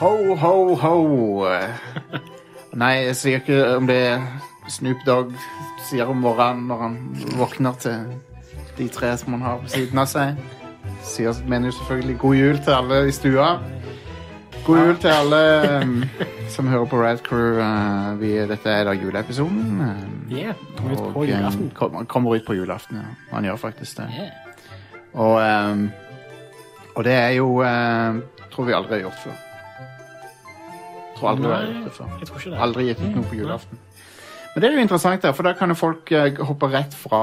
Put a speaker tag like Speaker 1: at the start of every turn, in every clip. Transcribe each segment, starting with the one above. Speaker 1: Ho, ho, ho. Nei, jeg sier ikke om det Snoop Dogg sier om morgenen når han våkner til de tre som han har på siden av seg. Sier, mener jo selvfølgelig god jul til alle i stua. God jul til alle um, som hører på Rad Crew. Uh, vi, dette er da juleepisoden. Um,
Speaker 2: Yeah. Kom ut på
Speaker 1: og, um,
Speaker 2: julaften.
Speaker 1: kom- Han kommer ut på julaften, ja. Han gjør faktisk det.
Speaker 2: Yeah.
Speaker 1: Og, um, og det er jo um, Tror vi aldri har gjort før. Tror aldri vi har
Speaker 2: Nei,
Speaker 1: gjort det før.
Speaker 2: jeg tror ikke det.
Speaker 1: Aldri gitt ut noe på julaften. Men det er jo interessant, der, for da kan jo folk eh, hoppe rett fra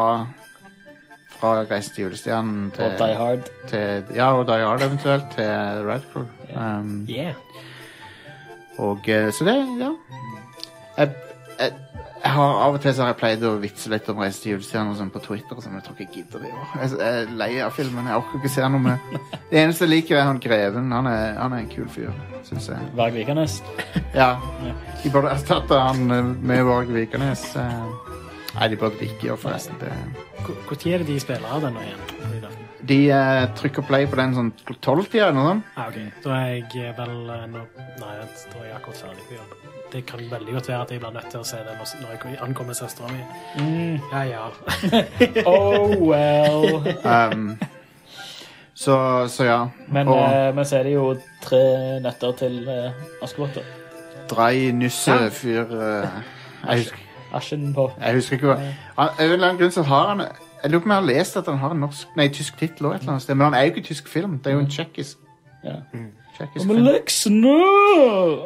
Speaker 1: fra Reise til julestjernen til,
Speaker 3: Og Die Hard.
Speaker 1: til Ja, og Die Hard eventuelt, til Red Crew. Um,
Speaker 2: Yeah.
Speaker 1: og eh, så det, ja. Jeg, jeg, jeg har Av og til så har jeg pleid å vitse litt om Reise til julestjernen og sånn på Twitter, som jeg tror ikke jeg gidder i år. Jeg, jeg er lei av filmen. Jeg orker ikke se noe med Det eneste jeg liker, er han Greven. Han er, han er en kul fyr, syns jeg.
Speaker 3: Varg Vikernes.
Speaker 1: Ja. De burde erstatte han eh, med Varg Vikernes. eh. Nei, de burde ikke gjøre forresten det.
Speaker 2: Når er det de spiller av den nå igjen? På julaften?
Speaker 1: De eh, trykker play på den sånn tolvtida eller noe sånt.
Speaker 2: Ah, ok. Da er jeg vel eh, nå... Nei, vent, da er jeg akkurat ferdig på jobb. Det kan veldig godt være at jeg blir nødt til å se det når når jeg ankommer søstera mi.
Speaker 1: Mm.
Speaker 2: Ja, ja.
Speaker 3: Oh well.
Speaker 1: Um, så, så ja.
Speaker 3: Men,
Speaker 1: og
Speaker 3: eh, men så er det jo tre nøtter til uh, Askepott. da.
Speaker 1: Drei Nusse fyr eh, Jeg husker
Speaker 3: Asjen på.
Speaker 1: Jeg husker ikke hva han, Av en eller annen grunn så har han Jeg lurer på om jeg har lest at han har en norsk, nei, tysk tittel også et eller annet sted, men han er jo ikke tysk film. Det er jo en tsjekkisk
Speaker 3: Ja.
Speaker 1: tsjekkisk
Speaker 3: Men
Speaker 1: film.
Speaker 3: Lex nå!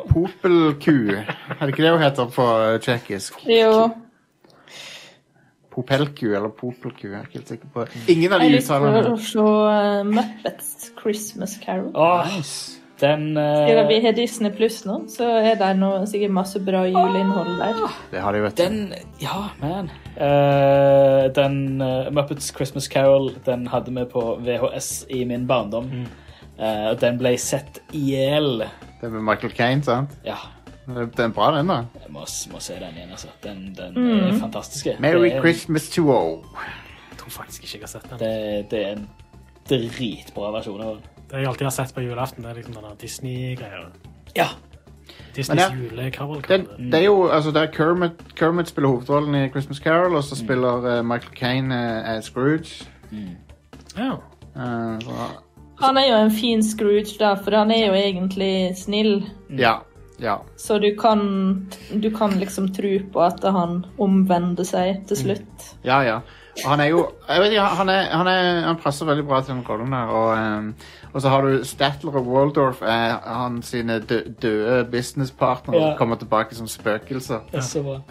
Speaker 1: Popelku. Er det ikke det hun heter på eh, tsjekkisk?
Speaker 4: Jo.
Speaker 1: Popelku eller Popelku. Jeg er ikke helt sikker på Ingen av
Speaker 4: Jeg
Speaker 1: de
Speaker 4: liker å
Speaker 1: uttalene.
Speaker 4: se eh, Muppets Christmas Carol.
Speaker 3: Åh, den
Speaker 4: Siden vi
Speaker 3: eh,
Speaker 4: har Disney Pluss nå, så er det nå sikkert masse bra juleinnhold der.
Speaker 1: Det har de, vet du.
Speaker 3: Den Ja, man. Eh, den eh, Muppets Christmas Carol den hadde vi på VHS i min barndom.
Speaker 1: Mm.
Speaker 3: Eh, og den ble sett i hjel.
Speaker 1: Det er med Michael Caine, sant?
Speaker 3: Ja,
Speaker 1: Den er bra, den, da.
Speaker 3: jeg må, må se den igjen, altså. Den, den er fantastisk.
Speaker 1: Merry
Speaker 3: Det er-
Speaker 1: Christmas to all.
Speaker 2: Jeg tror faktisk ikke jeg har sett den.
Speaker 3: Det, det er en dritbra versjon av den.
Speaker 2: Det jeg alltid har sett på julaften, det er liksom denne Disney-greia.
Speaker 3: Ja.
Speaker 2: Disneys
Speaker 1: Men Den,
Speaker 2: julekavalkade.
Speaker 3: Mm.
Speaker 1: det er jo altså, det er Kermit, Kermit spiller hovedrollen i Christmas Carol, og så
Speaker 3: Mm.
Speaker 1: spiller eh, Michael Caine eh, eh, Scrooge.
Speaker 2: Ja.
Speaker 1: Eh, så-
Speaker 4: Han er jo en fin Scrooge, da, for han er jo egentlig snill.
Speaker 3: Mm.
Speaker 1: ja. Ja.
Speaker 4: Så du kan, du kan liksom tro på at han omvender seg
Speaker 1: Mm.
Speaker 4: til slutt.
Speaker 1: Ja, ja. Og Han er jo jeg vet ikke, han, er, han, er, han passer veldig bra til den rollen der. Og, ehm, og så har du Statler og Waldorf, er han sine dø døde businesspartnere,
Speaker 3: Ja.
Speaker 1: som kommer tilbake som spøkelser.
Speaker 3: Det er så bra.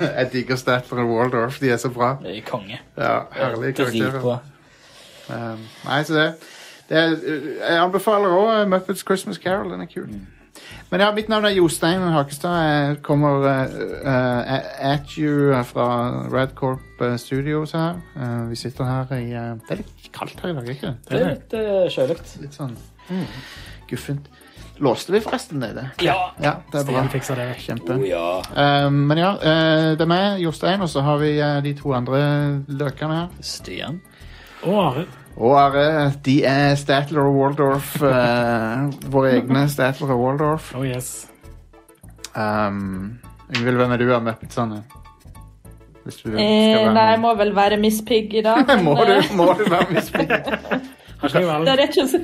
Speaker 1: Jeg digger Statler og Waldorf. De er så bra.
Speaker 3: Det er konge.
Speaker 1: Ja, Herlige karakterer.
Speaker 3: Dritbra.
Speaker 1: Ehm, nei, så det, det er, Jeg anbefaler òg Muppets Christmas Carol. Den er kul. Men ja, mitt navn er Jostein Hakestad. Jeg kommer eh, eh, at you fra Radcorp eh, Studios her. Eh, vi sitter her i eh, Det er litt kaldt her i dag, ikke det?
Speaker 3: Det er litt uh, sjølukt.
Speaker 1: Litt sånn guffent. Låste vi forresten det? det?
Speaker 3: Ja.
Speaker 1: Ja, det er bra.
Speaker 2: Stian fikser det.
Speaker 1: Kjempe.
Speaker 3: Oh, ja.
Speaker 1: Eh, men ja, eh, det er meg, Jostein, og så har vi eh, de to andre løkene her.
Speaker 3: Stian.
Speaker 2: Og Arild.
Speaker 1: Og Are, de er Statler og Waldorf. eh, våre egne Statler og Waldorf.
Speaker 2: Oh yes.
Speaker 1: Um, Yngvild, hvem er du av Muppetsene? Hvis du skal
Speaker 4: Eh,
Speaker 1: være
Speaker 4: nei, jeg
Speaker 1: med.
Speaker 4: må vel være Miss Pigg i dag.
Speaker 1: Må
Speaker 4: men, eh,
Speaker 1: du, må du være med i spillet?
Speaker 2: Har ikke jeg valg?
Speaker 4: Der er, ikke så,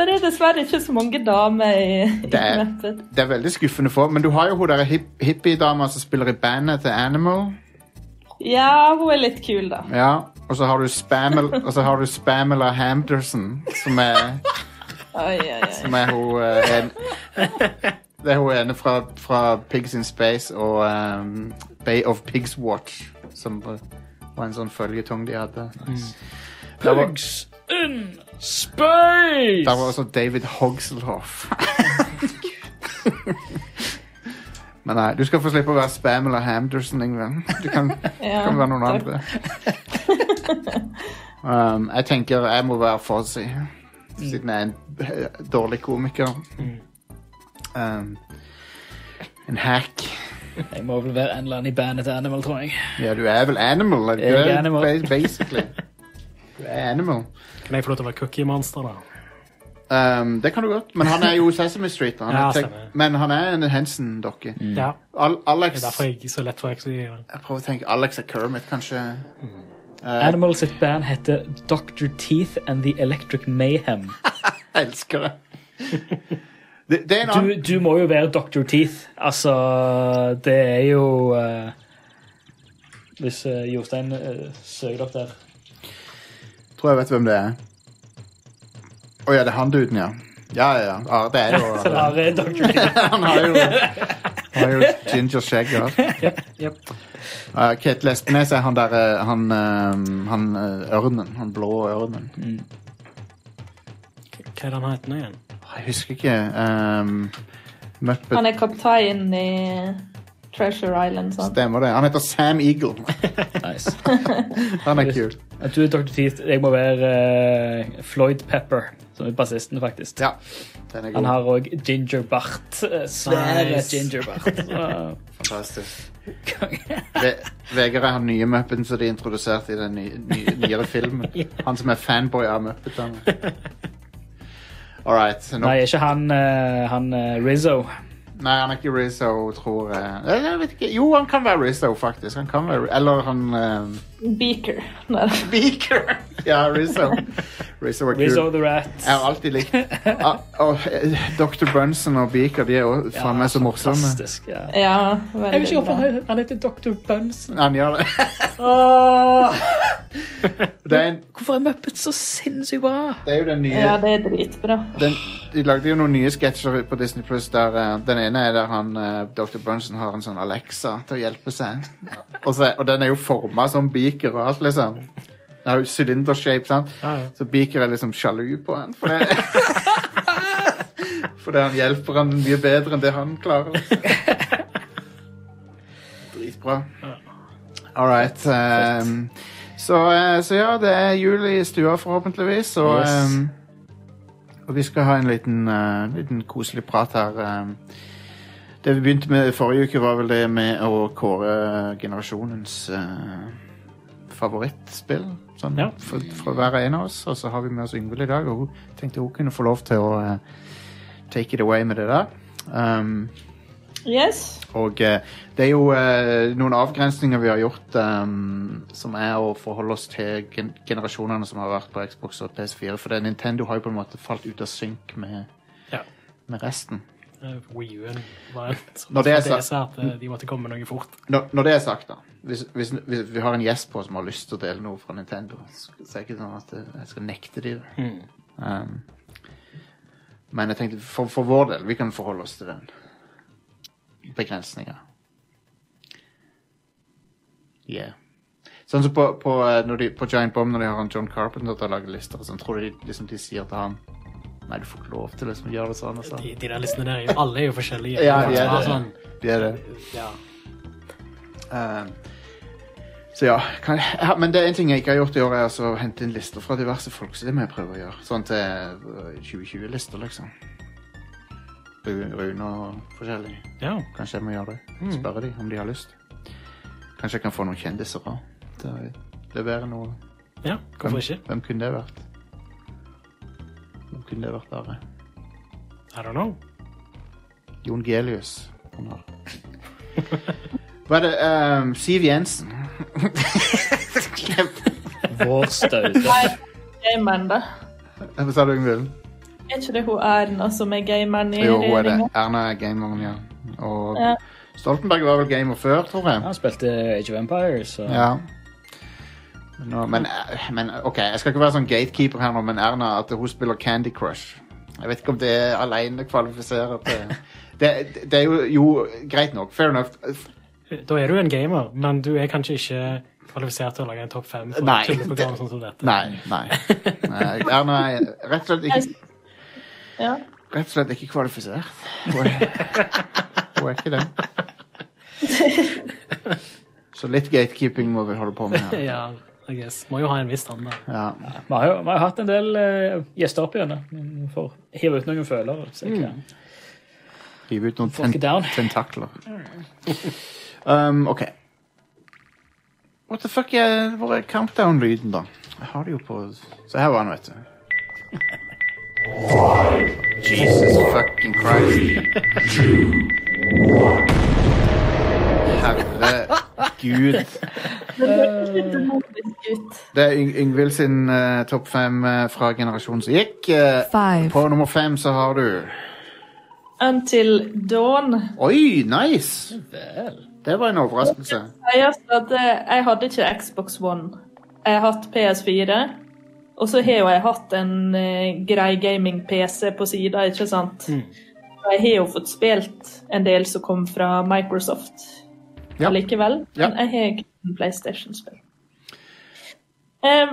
Speaker 4: der er dessverre ikke så mange damer i, i
Speaker 1: Det er-
Speaker 4: Muppet.
Speaker 1: Det er veldig skuffende for, men du har jo hun der hip, hippiedama som spiller i bandet til Animal.
Speaker 4: Ja, hun er litt kul, da.
Speaker 1: Ja, Og så har du Spamel, og så har du Spamela Hamderson, som er,
Speaker 4: Oi, oi, oi.
Speaker 1: som er hun eh, en, Det er hun ene fra, fra Pigs in Space og um, Bay of Pigs Watch, som eh, var en sånn føljetong de hadde. Der var-
Speaker 3: Pugs in space!
Speaker 1: Der var også David Hogselhoff. Men nei, du skal få slippe å være Spam eller Hamderson, Ingvild. Du kan,
Speaker 4: Ja,
Speaker 1: kan være noen
Speaker 4: takk.
Speaker 1: andre. Um, jeg tenker jeg må være Fozzy, siden jeg er en eh, dårlig komiker. Um, en hack.
Speaker 3: Jeg må vel være en eller annen i bandet til Animal, tror jeg.
Speaker 1: Ja, du er vel animal? er du ikke
Speaker 3: Jeg er
Speaker 1: det?
Speaker 3: animal.
Speaker 1: Ba- Basically. Du er animal.
Speaker 2: Kan jeg få lov til å være cookie monster, da?
Speaker 1: Um, det kan du godt. Men han er jo Sesame Street. da. Han
Speaker 2: Ja,
Speaker 1: er tek-
Speaker 2: stemmer.
Speaker 1: men han er en Hensen-dokke.
Speaker 2: Ja.
Speaker 1: Al
Speaker 2: Det
Speaker 1: Alex
Speaker 2: er derfor jeg så lett får ekstra
Speaker 1: Jeg prøver å tenke Alex og Kermit, kanskje.
Speaker 2: Mm.
Speaker 1: Eh,
Speaker 3: Animal sitt band heter Dr. Teeth and The Electric Mayhem.
Speaker 1: jeg elsker det. det. Det er en
Speaker 3: Du,
Speaker 1: annen
Speaker 3: du må jo være Dr. Teeth. Altså, det er jo eh, Hvis eh, Jostein eh, søker opp der
Speaker 1: Tror jeg vet hvem det er. Å ja, det er han duden, ja. Ja, ja, ja. Ah, det er
Speaker 3: Så
Speaker 1: jo
Speaker 3: der er Dr. Teeth.
Speaker 1: Han har jo, han har jo ginger skjegg. Ja.
Speaker 2: Yep.
Speaker 1: Uh, Ketil Espenes er han der eh, han, eh, han eh, ørnen. Han blå ørnen.
Speaker 2: Hva er det han heter nå igjen?
Speaker 1: Jeg husker ikke. ehm, Muppet
Speaker 4: Han er kaptein i Treasure Island, sant?
Speaker 1: Stemmer det. Han heter Sam Eagle.
Speaker 3: Nice.
Speaker 1: Han er kul.
Speaker 3: At du er Dr. Teeth. Jeg må være eh, Floyd Pepper, som er bassisten, faktisk.
Speaker 1: Ja, den er
Speaker 3: Han
Speaker 1: god.
Speaker 3: har òg gingerbart. eh, Svære
Speaker 2: Nice.
Speaker 3: gingerbart. Så-
Speaker 1: Fantastisk. Ve Vegard er han nye Muppeten som de introduserte i den ny ny nyere filmen. Han som er fanboy av Muppetene. All right. Nå,
Speaker 3: Nei,
Speaker 1: nei.
Speaker 3: ikke han, eh, han eh, Rizzo.
Speaker 1: han er ikke Rizzo, tror jeg. Eller, jeg vet ikke. Jo, han kan være Rizzo, faktisk. Han kan være, eller han eh,
Speaker 4: Beaker. Nei.
Speaker 1: Beaker. Ja, Rizzo. Rizzo er kul.
Speaker 3: Rizzo the Rat.
Speaker 1: Jeg har alltid likt Ah, og, eh, Dr. Brunson og Beaker de er jo
Speaker 3: Ja,
Speaker 1: faen meg så eh. morsomme.
Speaker 3: Fantastisk, ja.
Speaker 4: Ja, veldig bra.
Speaker 3: han heter Dr. Bunsen. Ah.
Speaker 1: Han gjør det. det, er en,
Speaker 3: Hvorfor er Muppet så sinnssykt bra?
Speaker 1: det er jo den nye
Speaker 4: Ja, det er dritbra.
Speaker 1: den, De lagde jo noen nye sketsjer på Disney Plus der eh, den ene er der han eh, Dr. Brunson har en sånn Alexa til å hjelpe seg. Og, så, og den er jo forma som Beaker og alt, liksom. Den har jo sylindershape, sant.
Speaker 2: Ja, ja.
Speaker 1: Så Beaker er liksom sjalu på han. For det, fordi han hjelper han mye bedre enn det han klarer. Liksom. Dritbra. All right. ehm, så, eh, så ja, det er jul i stua forhåpentligvis, og
Speaker 3: Yes.
Speaker 1: ehm, og vi skal ha en liten, eh, liten koselig prat her. ehm. det vi begynte med forrige uke, var vel det med å kåre generasjonens eh, favorittspill. Sånn,
Speaker 2: Ja.
Speaker 1: for, for hver en av oss. Og så har vi med oss Yngvild i dag, og hun tenkte hun kunne få lov til å eh, take it away med det der. Um,
Speaker 4: Yes.
Speaker 1: og eh, det er jo eh, noen avgrensninger vi har gjort ehm, som er å forholde oss til gen generasjonene som har vært på Xbox og PS4. For det, Nintendo har jo på en måte falt ut av synk med,
Speaker 2: Ja.
Speaker 1: med resten.
Speaker 2: Eh, Wii U-en var en sånn
Speaker 1: Når det er
Speaker 2: det er at eh, de måtte komme med noe fort.
Speaker 1: Når, når det er sagt, da. Hvis, hvis, hvis vi har en gjest på som har lyst til å dele noe fra Nintendo, så er det ikke sånn at jeg skal nekte de det. Ehm, men jeg tenkte for, for vår del, vi kan forholde oss til den begrensninga. Yeah. Sånn som på, på, eh, når de, på Giant Bomb, når de har han John Carpenter til å lage lister, sånn, tror du de, liksom, de sier til han Nei, du får ikke lov til liksom, å gjøre det sånn og sånn.
Speaker 2: De, de der listene der, er jo- alle er jo forskjellige.
Speaker 1: Ja, de
Speaker 2: Det
Speaker 1: er
Speaker 2: var
Speaker 1: det.
Speaker 2: sånn,
Speaker 1: De er det.
Speaker 2: ja.
Speaker 1: Um, så ja, kan, ja, men det er en ting jeg ikke har gjort i år, er altså å hente inn lister fra diverse folk. Så det må jeg prøve å gjøre. Sånn til øh, 2020-lister, liksom. Ru- Rune og forskjellig.
Speaker 2: ja.
Speaker 1: Kanskje jeg må gjøre det.
Speaker 2: Mm.
Speaker 1: Spørre dem om de har lyst. Kanskje jeg kan få noen kjendiser òg til å levere noe.
Speaker 2: Ja, hvorfor ikke?
Speaker 1: Hvem kunne det vært? Hvem kunne det vært bare?
Speaker 2: I don't know.
Speaker 1: Jon Gelius. Hun har. Hva er det? Um, Siv Jensen. Glem-
Speaker 3: Vår staude.
Speaker 4: Nei, gameren, da.
Speaker 1: Hva sa du, Ingvild?
Speaker 4: Er ikke det hun Erna som er gameren i
Speaker 1: Jo, hun er det.
Speaker 4: regjeringen?
Speaker 1: Erna er gameren, ja. Og
Speaker 4: Ja.
Speaker 1: Stoltenberg var vel gamer før, tror jeg.
Speaker 3: Han spilte Age of Empires. Så.
Speaker 1: Ja. Men nå- Men, men OK, jeg skal ikke være sånn gatekeeper her nå, men Erna at hun spiller Candy Crush. Jeg vet ikke om det alene kvalifiserer til Det, det er jo, jo greit nok. Fair enough.
Speaker 2: Da er du en gamer, men du er kanskje ikke kvalifisert til å lage en topp fem for
Speaker 1: Nei,
Speaker 2: tulleprogram
Speaker 1: det-
Speaker 2: sånn som dette.
Speaker 1: Nei. Nei. nei Erna er rett og slett ikke
Speaker 4: Ja.
Speaker 1: Rett og slett ikke kvalifisert. Hun er, hun er ikke det. Så litt gatekeeping må vi holde på med her.
Speaker 2: Ja, I guess. Må jo ha en viss standard.
Speaker 1: Ja.
Speaker 3: Vi har jo vi har hatt en
Speaker 1: Mm.
Speaker 3: del eh, gjester opp igjennom. Vi får hive ut noen følere. så jeg kan-
Speaker 1: Hive ut noen
Speaker 3: Fuck it down.
Speaker 1: ten tentakler. Um, OK. What the fuck er, Hvor er countdown-lyden, da? Jeg har det jo på Se her var den, vet du. Jesus fucking Christ. Herregud. Det er Yng Yngvild sin eh, topp fem eh, fra generasjonen som gikk. Eh,
Speaker 5: Five.
Speaker 1: på nummer fem så har du
Speaker 4: Until Dawn.
Speaker 1: Oi, nice! Det var en overraskelse.
Speaker 4: Jeg, altså at eh, jeg hadde ikke Xbox One. Jeg har hatt PS4. Og så har jo jeg hatt en eh, grei gaming-PC på sida, ikke sant?
Speaker 1: Mm.
Speaker 4: Og jeg har jo fått spilt en del som kom fra Microsoft
Speaker 1: Ja.
Speaker 4: likevel.
Speaker 1: Ja.
Speaker 4: Men jeg har ikke en PlayStation-spill. Em,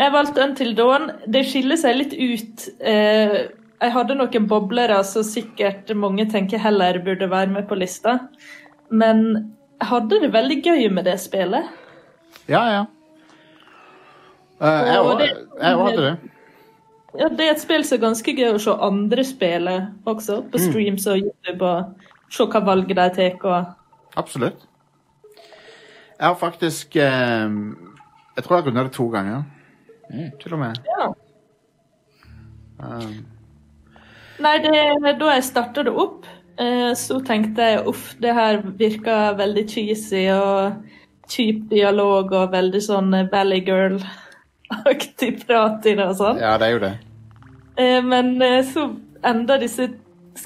Speaker 4: jeg valgte Until Dawn. Det skiller seg litt ut. Eh, jeg hadde noen boblere som sikkert mange tenker heller burde være med på lista. Men jeg hadde det veldig gøy med det spillet.
Speaker 1: Ja, ja. Eh, jeg
Speaker 4: Og
Speaker 1: òg
Speaker 4: det-
Speaker 1: jeg òg hadde det.
Speaker 4: Ja, det er et spill som er ganske gøy å se andre spille også, på streams og YouTube, og se hva valg de tar. Og...
Speaker 1: Absolutt. Jeg har faktisk eh, Jeg tror jeg har runda det to ganger.
Speaker 4: Mm.
Speaker 1: Til og med.
Speaker 4: Ja.
Speaker 1: Um,
Speaker 4: Nei, det, da jeg starta det opp, eh, så tenkte jeg uff, det her virker veldig cheesy og kjip dialog og veldig sånn eh, Valley Girl-aktig prat i det og sånn.
Speaker 1: ja, det er jo det.
Speaker 4: Eh, Men eh, så ender disse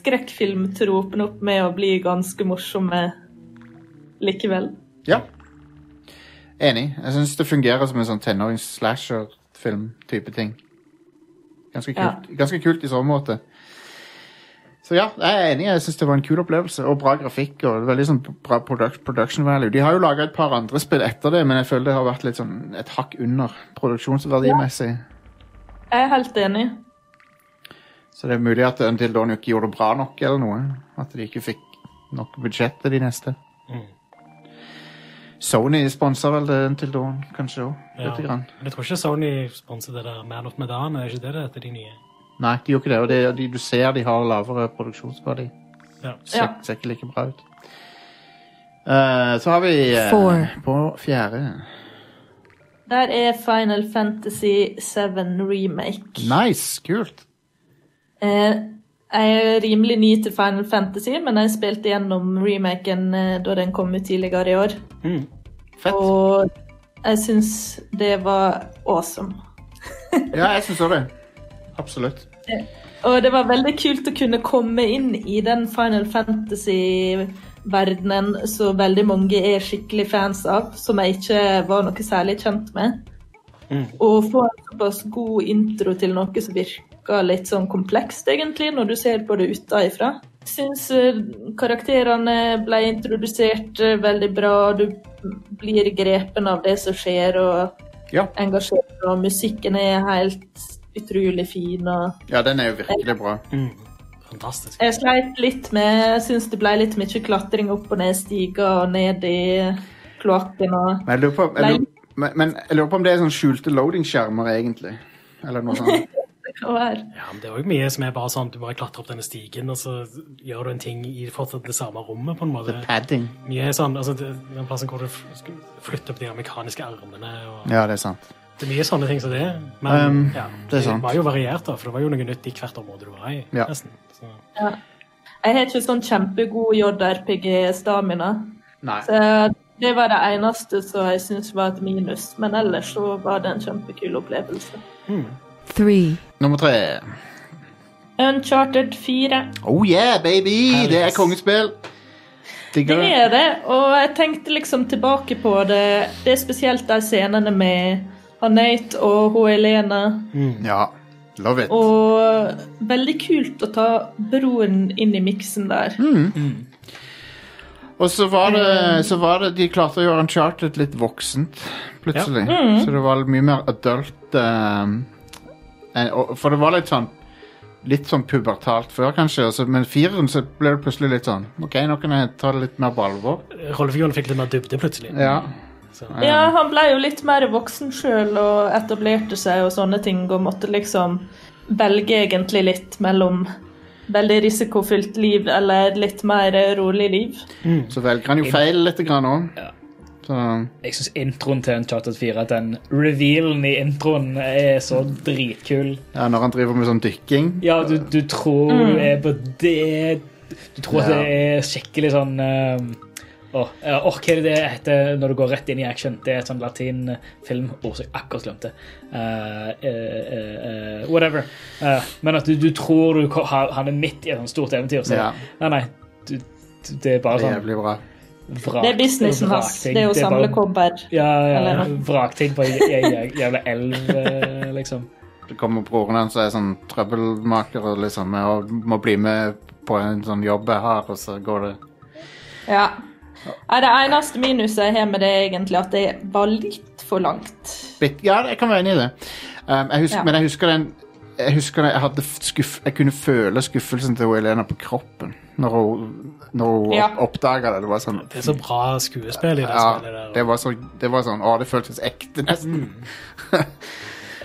Speaker 4: skrekkfilmtropene opp med å bli ganske morsomme likevel.
Speaker 1: Ja. Enig. Jeg syns det fungerer som en sånn tenårings-slasher-film-type ting. Ganske kult. Ganske kult i så måte. Så ja, jeg er enig. Jeg syns det var en kul opplevelse. Og bra grafikk og veldig sånn bra produc- production value. De har jo laga et par andre spill etter det, men jeg føler det har vært litt sånn et hakk under produksjonsverdimessig.
Speaker 4: Jeg er helt enig.
Speaker 1: Så det er mulig at Until Dawn ikke gjorde det bra nok eller noe. At de ikke fikk nok budsjett til de neste. Sony sponser vel det Until Dawn, kanskje òg.
Speaker 2: Ja.
Speaker 1: Lite grann.
Speaker 2: Men jeg tror ikke Sony sponset det der Man of Medan. Er ikke det det heter, de nye?
Speaker 1: Nei, de gjorde ikke det. Og det, de, du ser de har lavere produksjonsverdi.
Speaker 2: Ja.
Speaker 1: Ser,
Speaker 4: Ja.
Speaker 1: ser ikke like bra ut. Eh, så har vi eh,
Speaker 5: Four.
Speaker 1: på fjerde
Speaker 4: Der er Final Fantasy 7 Remake.
Speaker 1: Nice! Kult.
Speaker 4: Eh, jeg er rimelig ny til Final Fantasy, men jeg spilte gjennom remaken eh, da den kom ut tidligere i år.
Speaker 1: Mm, Fett.
Speaker 4: Og jeg syns det var awesome.
Speaker 1: Ja, jeg syns òg det. Absolutt.
Speaker 4: Og det var veldig kult å kunne komme inn i den Final Fantasy-verdenen som veldig mange er skikkelig fans av, som jeg ikke var noe særlig kjent med. Og få en såpass god intro til noe som virker litt sånn komplekst, egentlig, når du ser på det utenfra. Jeg syns karakterene ble introdusert eh, veldig bra, du blir grepen av det som skjer, og
Speaker 1: Ja.
Speaker 4: engasjert, og musikken er helt utrolig fin. og...
Speaker 1: ja, den er jo virkelig bra.
Speaker 2: Fantastisk.
Speaker 4: Jeg sleit litt med Jeg syns det ble litt mye klatring opp og ned stiger og ned i kloakken og
Speaker 1: Men jeg lurer på, jeg
Speaker 4: Nei.
Speaker 1: lurer, men, men jeg lurer på om det er sånn skjulte loading-skjermer, egentlig. Eller noe sånt.
Speaker 4: og her.
Speaker 2: Ja, men det er òg mye som er bare sånn du bare klatrer opp denne stigen, og så gjør du en ting i fortsatt det samme rommet, på en måte.
Speaker 1: Padding.
Speaker 2: Mye er sånn, altså det- Den plassen hvor du f- skal flytte opp de der mekaniske armene og
Speaker 1: Ja, det er sant.
Speaker 2: Det er mye sånne ting som det er. Men
Speaker 1: Um,
Speaker 2: ja,
Speaker 1: det er sant.
Speaker 2: var jo variert, da, for det var jo noe nytt i hvert område du var i.
Speaker 1: Ja.
Speaker 2: nesten. Så,
Speaker 4: Jeg har ikke sånn kjempegod JRPG-stamina.
Speaker 1: Nei.
Speaker 4: Så det var det eneste som jeg syns var et minus. Men ellers så var det en kjempekul opplevelse.
Speaker 5: three,
Speaker 1: Nummer tre.
Speaker 4: Uncharted 4.
Speaker 1: Oh yeah, baby! Det er kongespill. Digger
Speaker 4: Det
Speaker 1: det.
Speaker 4: er det, og jeg tenkte liksom tilbake på det. Det er spesielt de scenene med han Nate og hun Elena.
Speaker 1: Ja. Love it.
Speaker 4: Og veldig kult å ta broen inn i miksen der.
Speaker 1: Og så var
Speaker 4: Mm.
Speaker 1: det, så var det De klarte å gjøre Uncharted litt voksent, plutselig.
Speaker 4: Mm.
Speaker 1: Så det var mye mer adult. ehm, enn- og- for det var litt sånn Litt sånn pubertalt før, kanskje, og så- men fireren så ble det plutselig litt sånn OK, nå kan jeg ta det litt mer på alvor.
Speaker 2: Rollefiguren fikk litt mer dybde plutselig.
Speaker 1: Ja.
Speaker 2: Så,
Speaker 4: Ja, han ble jo litt mer voksen sjøl og etablerte seg og sånne ting, og måtte liksom velge egentlig litt mellom veldig risikofylt liv eller litt mer rolig liv.
Speaker 1: Så velger han jo feil litt grann òg.
Speaker 3: Ja.
Speaker 1: Så
Speaker 3: Jeg syns introen til Uncharted 4, den revealen i introen, er så dritkul.
Speaker 1: ja, når han driver med sånn dykking
Speaker 3: Ja, du, du tror
Speaker 4: Mm.
Speaker 3: du er på det Du tror at
Speaker 1: Ja.
Speaker 3: det er skikkelig sånn um, Åh, eh, åh, hva er det det heter når du går rett inn i action? Det er et sånn latin filmord som jeg akkurat glemte. Eh, eh, eh, eh, whatever. Eh, men at du, du tror du ko- ha- han er midt i et sånt stort eventyr. Så
Speaker 1: Ja.
Speaker 3: Nei, nei. Du, du, det er bare
Speaker 1: Det er
Speaker 3: sånn
Speaker 1: jævlig bra.
Speaker 3: vrak.
Speaker 4: Det er businessen hans.
Speaker 3: vrakting.
Speaker 4: Det er
Speaker 3: bare-
Speaker 4: å samle kobber.
Speaker 3: Ja, ja, ja.
Speaker 4: Eller noe.
Speaker 3: Vrakting på ei ei- ei jævla elv, eh, liksom.
Speaker 1: Det kommer broren hans og er sånn trøbbelmaker og liksom og må bli med på en sånn jobb jeg har, og så går det
Speaker 4: Ja. Nei, det eneste minuset jeg har med det, er egentlig at det var litt for langt.
Speaker 1: Bitt, ja, jeg kan være enig i det. Um, jeg husker,
Speaker 4: Ja.
Speaker 1: Men jeg husker den jeg husker det, jeg, hadde f- skuff, jeg kunne føle skuffelsen til Elena på kroppen når hun, når hun
Speaker 4: Ja.
Speaker 1: opp- oppdaga det. Det var sånn
Speaker 2: Det er så bra skuespill i det
Speaker 1: ja,
Speaker 2: spillet der. Mm.
Speaker 1: det var, så, det var sånn Å, det føltes ekte, nesten.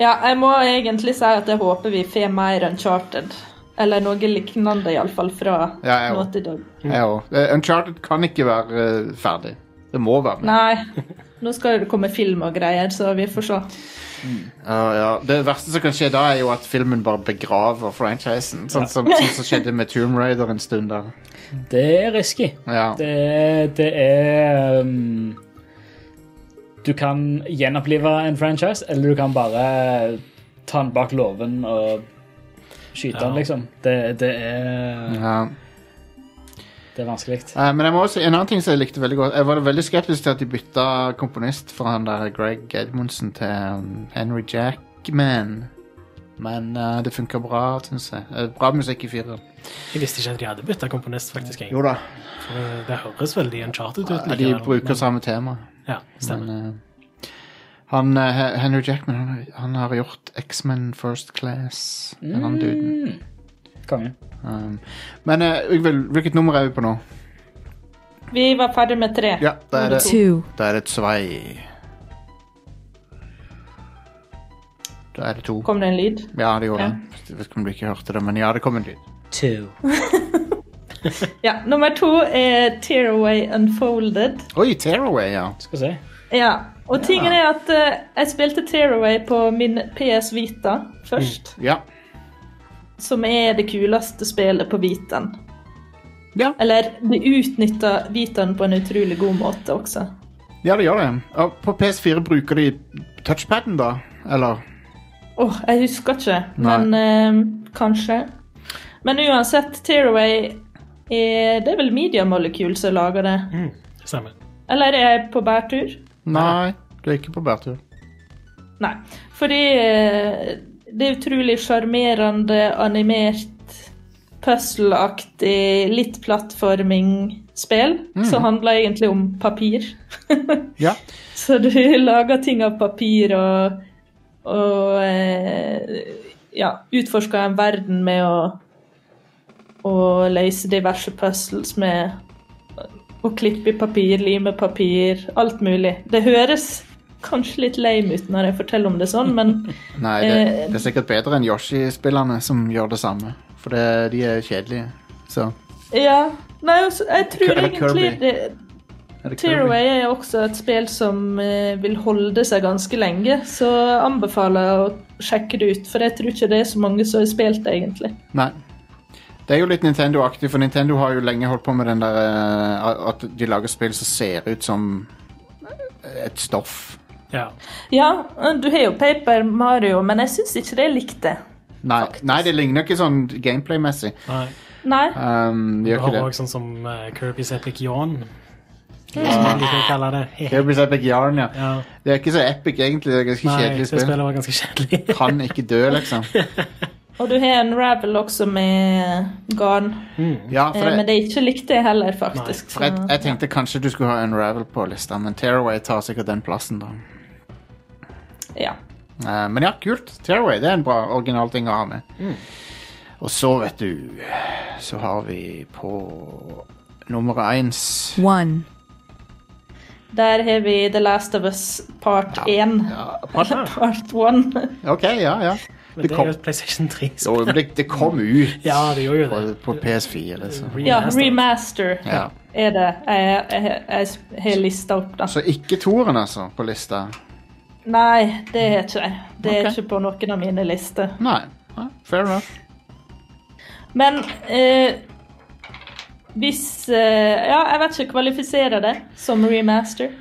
Speaker 4: Ja, jeg må egentlig si at jeg håper vi får mer Uncharted. Eller noe lignende, iallfall, fra
Speaker 1: Ja, jeg
Speaker 4: nå
Speaker 1: også.
Speaker 4: til dag.
Speaker 1: Jeg òg. Eh, Uncharted kan ikke være eh, ferdig. Det må være med.
Speaker 4: Nei. Nå skal det komme film og greier, så vi får se.
Speaker 1: Ja, ja. Det verste som kan skje da, er jo at filmen bare begraver franchisen. Sånn som, sånn som skjedde med Tomb Raider en stund der.
Speaker 3: Det er risky.
Speaker 1: Ja.
Speaker 3: Det, er- det er um, Du kan gjenopplive en franchise, eller du kan bare ta den bak låven og skyte
Speaker 2: Ja.
Speaker 3: den, liksom. Det, det er,
Speaker 1: Ja.
Speaker 3: det er vanskelig.
Speaker 1: Eh, Men jeg må også, en annen ting som jeg likte veldig godt Jeg var veldig skeptisk til at de bytta komponist fra han der Greg Edmondsen til um, Henry Jackman. Men eh, det funka bra, syns jeg. Eh, bra musikk i fireren.
Speaker 2: Jeg visste ikke at de hadde bytta komponist, faktisk. Jeg.
Speaker 1: Jo da.
Speaker 2: For Det høres veldig uncharted ut.
Speaker 1: Ja, de
Speaker 2: likevel,
Speaker 1: bruker
Speaker 2: men-
Speaker 1: samme tema.
Speaker 2: Ja,
Speaker 1: Men
Speaker 2: stemmer.
Speaker 1: eh, han, eh, He- Henry Jackman han, han har gjort X-Men First Class. Den han duden.
Speaker 3: Mm. Konge.
Speaker 1: Um, men eh, Yngvild, hvilket nummer er vi på nå?
Speaker 4: Vi var ferdig med tre.
Speaker 1: Ja, da er det,
Speaker 5: two,
Speaker 1: da er det Zwei. Da er det to.
Speaker 4: Kom det en lyd?
Speaker 1: Ja, det gjorde det. Jeg vet ikke om du ikke hørte det, men ja, det kom en lyd.
Speaker 3: Two.
Speaker 4: Ja. Nummer to er Tearaway Unfolded.
Speaker 1: Oi, Tearaway, ja.
Speaker 3: Skal vi se.
Speaker 4: Ja. Og tingen er at eh, jeg spilte Tearaway på min PS Vita først.
Speaker 1: Ja.
Speaker 4: Som er det kuleste spillet på Vitaen.
Speaker 1: Ja.
Speaker 4: Eller det utnytter Vitaen på en utrolig god måte også.
Speaker 1: ja, det gjør det. Og på PS4 bruker de touchpaden, da? Eller?
Speaker 4: Åh, jeg husker ikke,
Speaker 1: Nei.
Speaker 4: men eh, kanskje. Men uansett, Tearaway er, Det er vel Media Molecule som lager det?
Speaker 1: Mm.
Speaker 2: Mm, Stemmer.
Speaker 4: Eller er jeg på bærtur?
Speaker 1: Nei, du er ikke på bærtur.
Speaker 4: Nei. Fordi eh, det er utrolig sjarmerende, animert, puzzleaktig, litt plattforming-spill. Som handler egentlig om papir.
Speaker 1: Ja.
Speaker 4: Så du lager ting av papir og, og eh, ja, utforsker en verden med å, å løse diverse puzzles med å klippe i papir, lime papir, alt mulig. Det høres kanskje litt lame ut når jeg forteller om det sånn, men
Speaker 1: Nei, det,
Speaker 4: Eh,
Speaker 1: det er sikkert bedre enn Yoshi-spillerne som gjør det samme. For det, de er kjedelige. Så
Speaker 4: ja. Nei, altså, jeg tror
Speaker 1: Eller
Speaker 4: egentlig
Speaker 1: Kirby.
Speaker 4: det,
Speaker 1: er det
Speaker 4: Tearaway er også et spill som eh, vil holde seg ganske lenge, så jeg anbefaler jeg å sjekke det ut, for jeg tror ikke det er så mange som har spilt det, egentlig.
Speaker 1: Kirby. Nei. Det er jo litt Nintendo-aktig, for Nintendo har jo lenge holdt på med den der eh, at de lager spill som ser ut som et stoff.
Speaker 2: Ja.
Speaker 4: Ja, eh, du har jo Paper Mario, men jeg syns ikke det jeg likte.
Speaker 1: Nei, nei det ligner ikke sånn gameplay-messig.
Speaker 2: Nei.
Speaker 4: Nei.
Speaker 1: Um, de
Speaker 2: Du
Speaker 1: gjør
Speaker 2: har
Speaker 1: ikke det.
Speaker 2: også sånn som eh, Kirby's Epic Yawn. Som man liker å kalle det. He-
Speaker 1: Kirby's Epic Yarn, ja.
Speaker 2: Ja.
Speaker 1: Det er ikke så epic, egentlig. Det er ganske
Speaker 2: Nei, det
Speaker 1: kjedelig spill.
Speaker 2: spillet var ganske kjedelig.
Speaker 1: Kan ikke dø, liksom.
Speaker 4: Og du har en Ravel også med eh, garn,
Speaker 1: Ja,
Speaker 4: Eh,
Speaker 1: for,
Speaker 4: men
Speaker 1: det,
Speaker 4: det sånn- ikke likte jeg heller, faktisk.
Speaker 1: for jeg,
Speaker 4: Så-
Speaker 1: jeg tenkte kanskje du skulle ha Unravel på lista, men Tearaway tar sikkert den plassen, da.
Speaker 4: ja.
Speaker 1: Eh, men ja, kult. Tearaway det er en bra original ting å ha med. Og så, vet du, så har vi på nummer ens
Speaker 5: one.
Speaker 4: Der har vi The Last of Us part 1.
Speaker 1: ja, Part
Speaker 4: Part 1.
Speaker 1: OK, ja, ja.
Speaker 2: Men
Speaker 1: Det
Speaker 2: det, er
Speaker 1: kom-
Speaker 2: jo PlayStation 3.
Speaker 1: Jo, men det, det kom ut
Speaker 2: Ja, det gjorde jo
Speaker 1: på,
Speaker 2: det.
Speaker 1: på PS4, så
Speaker 4: Ja,
Speaker 2: Remastered.
Speaker 4: remaster
Speaker 1: ja.
Speaker 4: er det. Jeg, jeg, jeg, jeg har lista opp, da.
Speaker 1: Så ikke toeren, altså, på lista?
Speaker 4: Nei, det er ikke jeg. Det er
Speaker 1: Ok.
Speaker 4: ikke på noen av mine lister.
Speaker 1: Nei. Nei, Fair enough.
Speaker 4: Men eh, hvis eh, Ja, jeg vet ikke. Kvalifiserer det som remaster?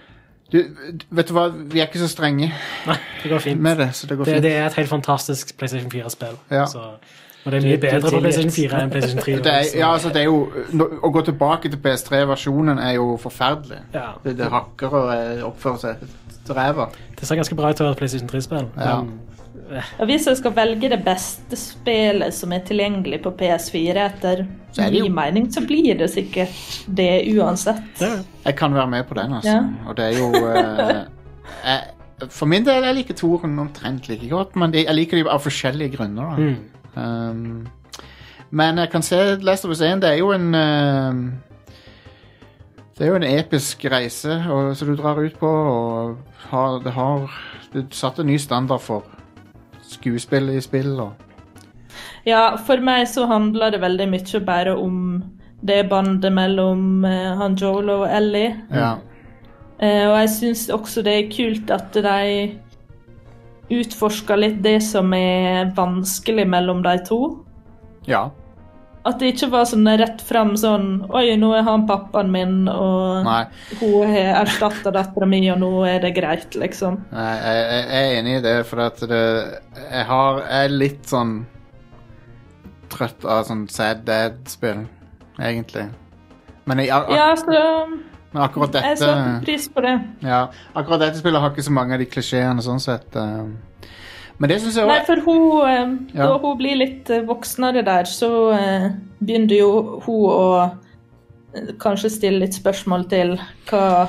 Speaker 1: Du, vet du hva, vi er ikke så strenge
Speaker 2: Nei, det går fint.
Speaker 1: med det, så det går
Speaker 2: Det,
Speaker 1: fint.
Speaker 2: det er et helt fantastisk PlayStation 4-spill.
Speaker 1: Ja.
Speaker 2: Og det er mye
Speaker 3: Det- det er
Speaker 2: bedre på
Speaker 3: tilgitt.
Speaker 2: PlayStation 4 enn PlayStation 3.
Speaker 1: Det er,
Speaker 2: så-
Speaker 1: ja, altså, det er jo, nå- å gå tilbake til PS3-versjonen er jo forferdelig.
Speaker 2: Ja.
Speaker 1: Det, det hakker og eh, oppfører seg til ræva.
Speaker 2: Det ser ganske bra ut til å være et PlayStation 3-spill.
Speaker 1: Ja.
Speaker 4: Og Hvis jeg skal velge det beste spillet som er tilgjengelig på PS4 etter
Speaker 1: Så er det jo-
Speaker 4: min mening, så blir det sikkert det uansett.
Speaker 1: Jeg kan være med på den, altså.
Speaker 4: Ja.
Speaker 1: Og det er jo eh, jeg, For min del jeg liker toeren omtrent like godt, men jeg liker dem av forskjellige grunner. Da.
Speaker 2: Mm.
Speaker 1: Um, men jeg kan se Last of Us 1, det er jo en um, Det er jo en episk reise og, som du drar ut på, og har, det har Det satte en ny standard for skuespill i spill og
Speaker 4: Ja, for meg så handler det veldig mye bare om det bandet mellom eh, han Joel og Ellie.
Speaker 1: Ja.
Speaker 4: Eh, og jeg syns også det er kult at de utforsker litt det som er vanskelig mellom de to.
Speaker 1: ja.
Speaker 4: At det ikke var sånn rett fram sånn Oi, nå er han pappaen min, og
Speaker 1: Nei.
Speaker 4: hun har erstatta dattera mi, og nå er det greit, liksom.
Speaker 1: Nei, jeg, jeg jeg er enig i det, for at det, jeg, har, jeg er litt sånn trøtt av sånn sad dad-spill, egentlig. Men, jeg, ak
Speaker 4: Ja, så
Speaker 1: men akkurat
Speaker 4: jeg
Speaker 1: dette
Speaker 4: setter pris på det.
Speaker 1: ja, Akkurat dette spillet har ikke så mange av de klisjeene sånn sett. ehm. Men det syns jeg
Speaker 4: Nei,
Speaker 1: også
Speaker 4: for hun, eh,
Speaker 1: Ja.
Speaker 4: da hun blir litt eh, voksnere der, så eh, begynner jo hun å eh, kanskje stille litt spørsmål til hva, hva,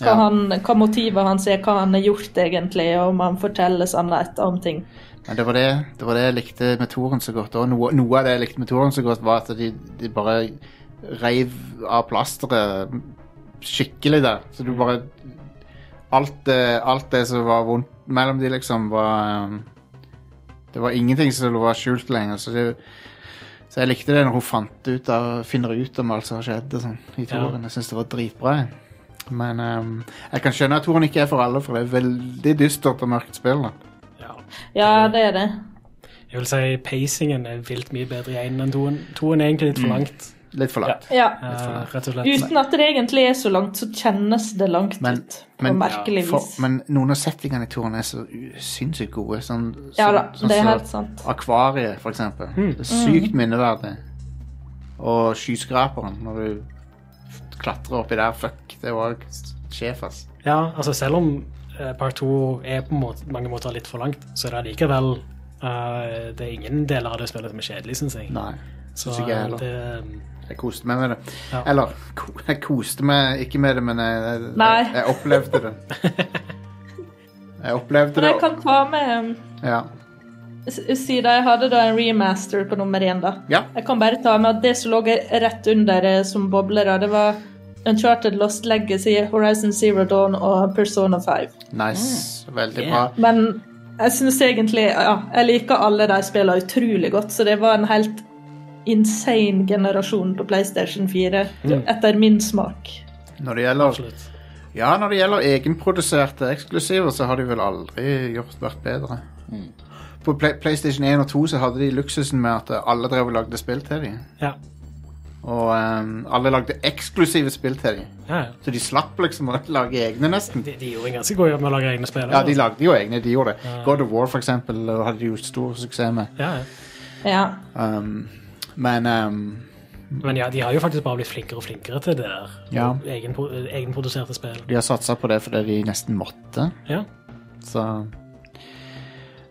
Speaker 1: Ja.
Speaker 4: han, hva motivet hans er, hva han har gjort egentlig, og om han forteller sannhet om ting.
Speaker 1: Men det var det, det var det jeg likte med Toren så godt. Og noe, noe av det jeg likte med Toren så godt, var at de, de bare reiv av plasteret skikkelig der. Så du bare Alt det, alt det som var vondt mellom de, liksom, var um, Det var ingenting som var skjult lenger. Så, det, så jeg likte det når hun fant ut av, finner ut om alt som har skjedd og sånn, i Toren. Jeg syns det var dritbra. jeg. Men um, jeg kan skjønne at Toren ikke er for alle, for det er veldig dystert og mørkt spill. da.
Speaker 2: Ja.
Speaker 4: Ja, det er det.
Speaker 2: Jeg vil si pacingen er vilt mye bedre i én enn toen. Toen er egentlig litt for langt.
Speaker 1: Mm. Litt for langt.
Speaker 4: Ja.
Speaker 2: eh, rett og slett.
Speaker 4: Uten at det egentlig er så langt, så kjennes det langt
Speaker 1: Men-
Speaker 4: ut. På
Speaker 1: men-
Speaker 4: merkelig vis.
Speaker 1: For, men noen av settingene i turen er så u- sinnssykt gode. Sånn, sånn,
Speaker 4: ja da,
Speaker 1: sånn
Speaker 4: det er
Speaker 1: som
Speaker 4: helt sant.
Speaker 1: Akvariet, for eksempel. Det er sykt minneverdig. Og skyskraperen, når du f- klatrer oppi der. Fuck, det var sjef, ass.
Speaker 2: Ja, altså selv om eh, part 2 er på måte, mange måter litt for langt, så er det allikevel eh, Det er ingen deler av det spillet som er kjedelig, syns jeg.
Speaker 1: Nei,
Speaker 2: så
Speaker 1: synes ikke jeg
Speaker 2: eh,
Speaker 1: heller.
Speaker 2: det
Speaker 1: jeg koste meg med det.
Speaker 2: Ja.
Speaker 1: Eller, ko, jeg koste meg ikke med det, men jeg, jeg,
Speaker 4: Nei.
Speaker 1: jeg, jeg opplevde det. Jeg opplevde
Speaker 4: Men
Speaker 1: det.
Speaker 4: jeg kan ta med um,
Speaker 1: Ja.
Speaker 4: s- Siden jeg hadde da en remaster på nummer én, da.
Speaker 1: ja.
Speaker 4: Jeg kan bare ta med at det som lå rett under eh, som bobler, det var Uncharted Lost Legacy, Horizon Zero Dawn og Persona 5.
Speaker 1: Nice. Veldig
Speaker 3: Yeah.
Speaker 1: bra.
Speaker 4: Men jeg syns egentlig Ja, jeg liker alle de spillene utrolig godt, så det var en helt insane generasjon på PlayStation 4, etter min smak.
Speaker 1: Når det gjelder
Speaker 2: Absolutt.
Speaker 1: Ja, når det gjelder egenproduserte eksklusiver, så har de vel aldri gjort vært bedre.
Speaker 2: Mm.
Speaker 1: På Play PlayStation 1 og 2 så hadde de luksusen med at alle drev og lagde spill til dem.
Speaker 2: Ja.
Speaker 1: Og ehm, alle lagde eksklusive spill til dem.
Speaker 2: ja. ja.
Speaker 1: Så de slapp liksom å lage egne, nesten.
Speaker 2: De, de gjorde en ganske god jobb med å lage egne spill. altså.
Speaker 1: Ja, de lagde jo egne, de gjorde det. God of War, for eksempel, hadde de jo stor suksess med.
Speaker 2: ja, ja.
Speaker 4: Ja.
Speaker 1: Um, men ehm,
Speaker 2: Men ja, de har jo faktisk bare blitt flinkere og flinkere til det der.
Speaker 1: Ja.
Speaker 2: Egenpro egenproduserte spill.
Speaker 1: de har satsa på det fordi de nesten måtte.
Speaker 2: Ja.
Speaker 1: Så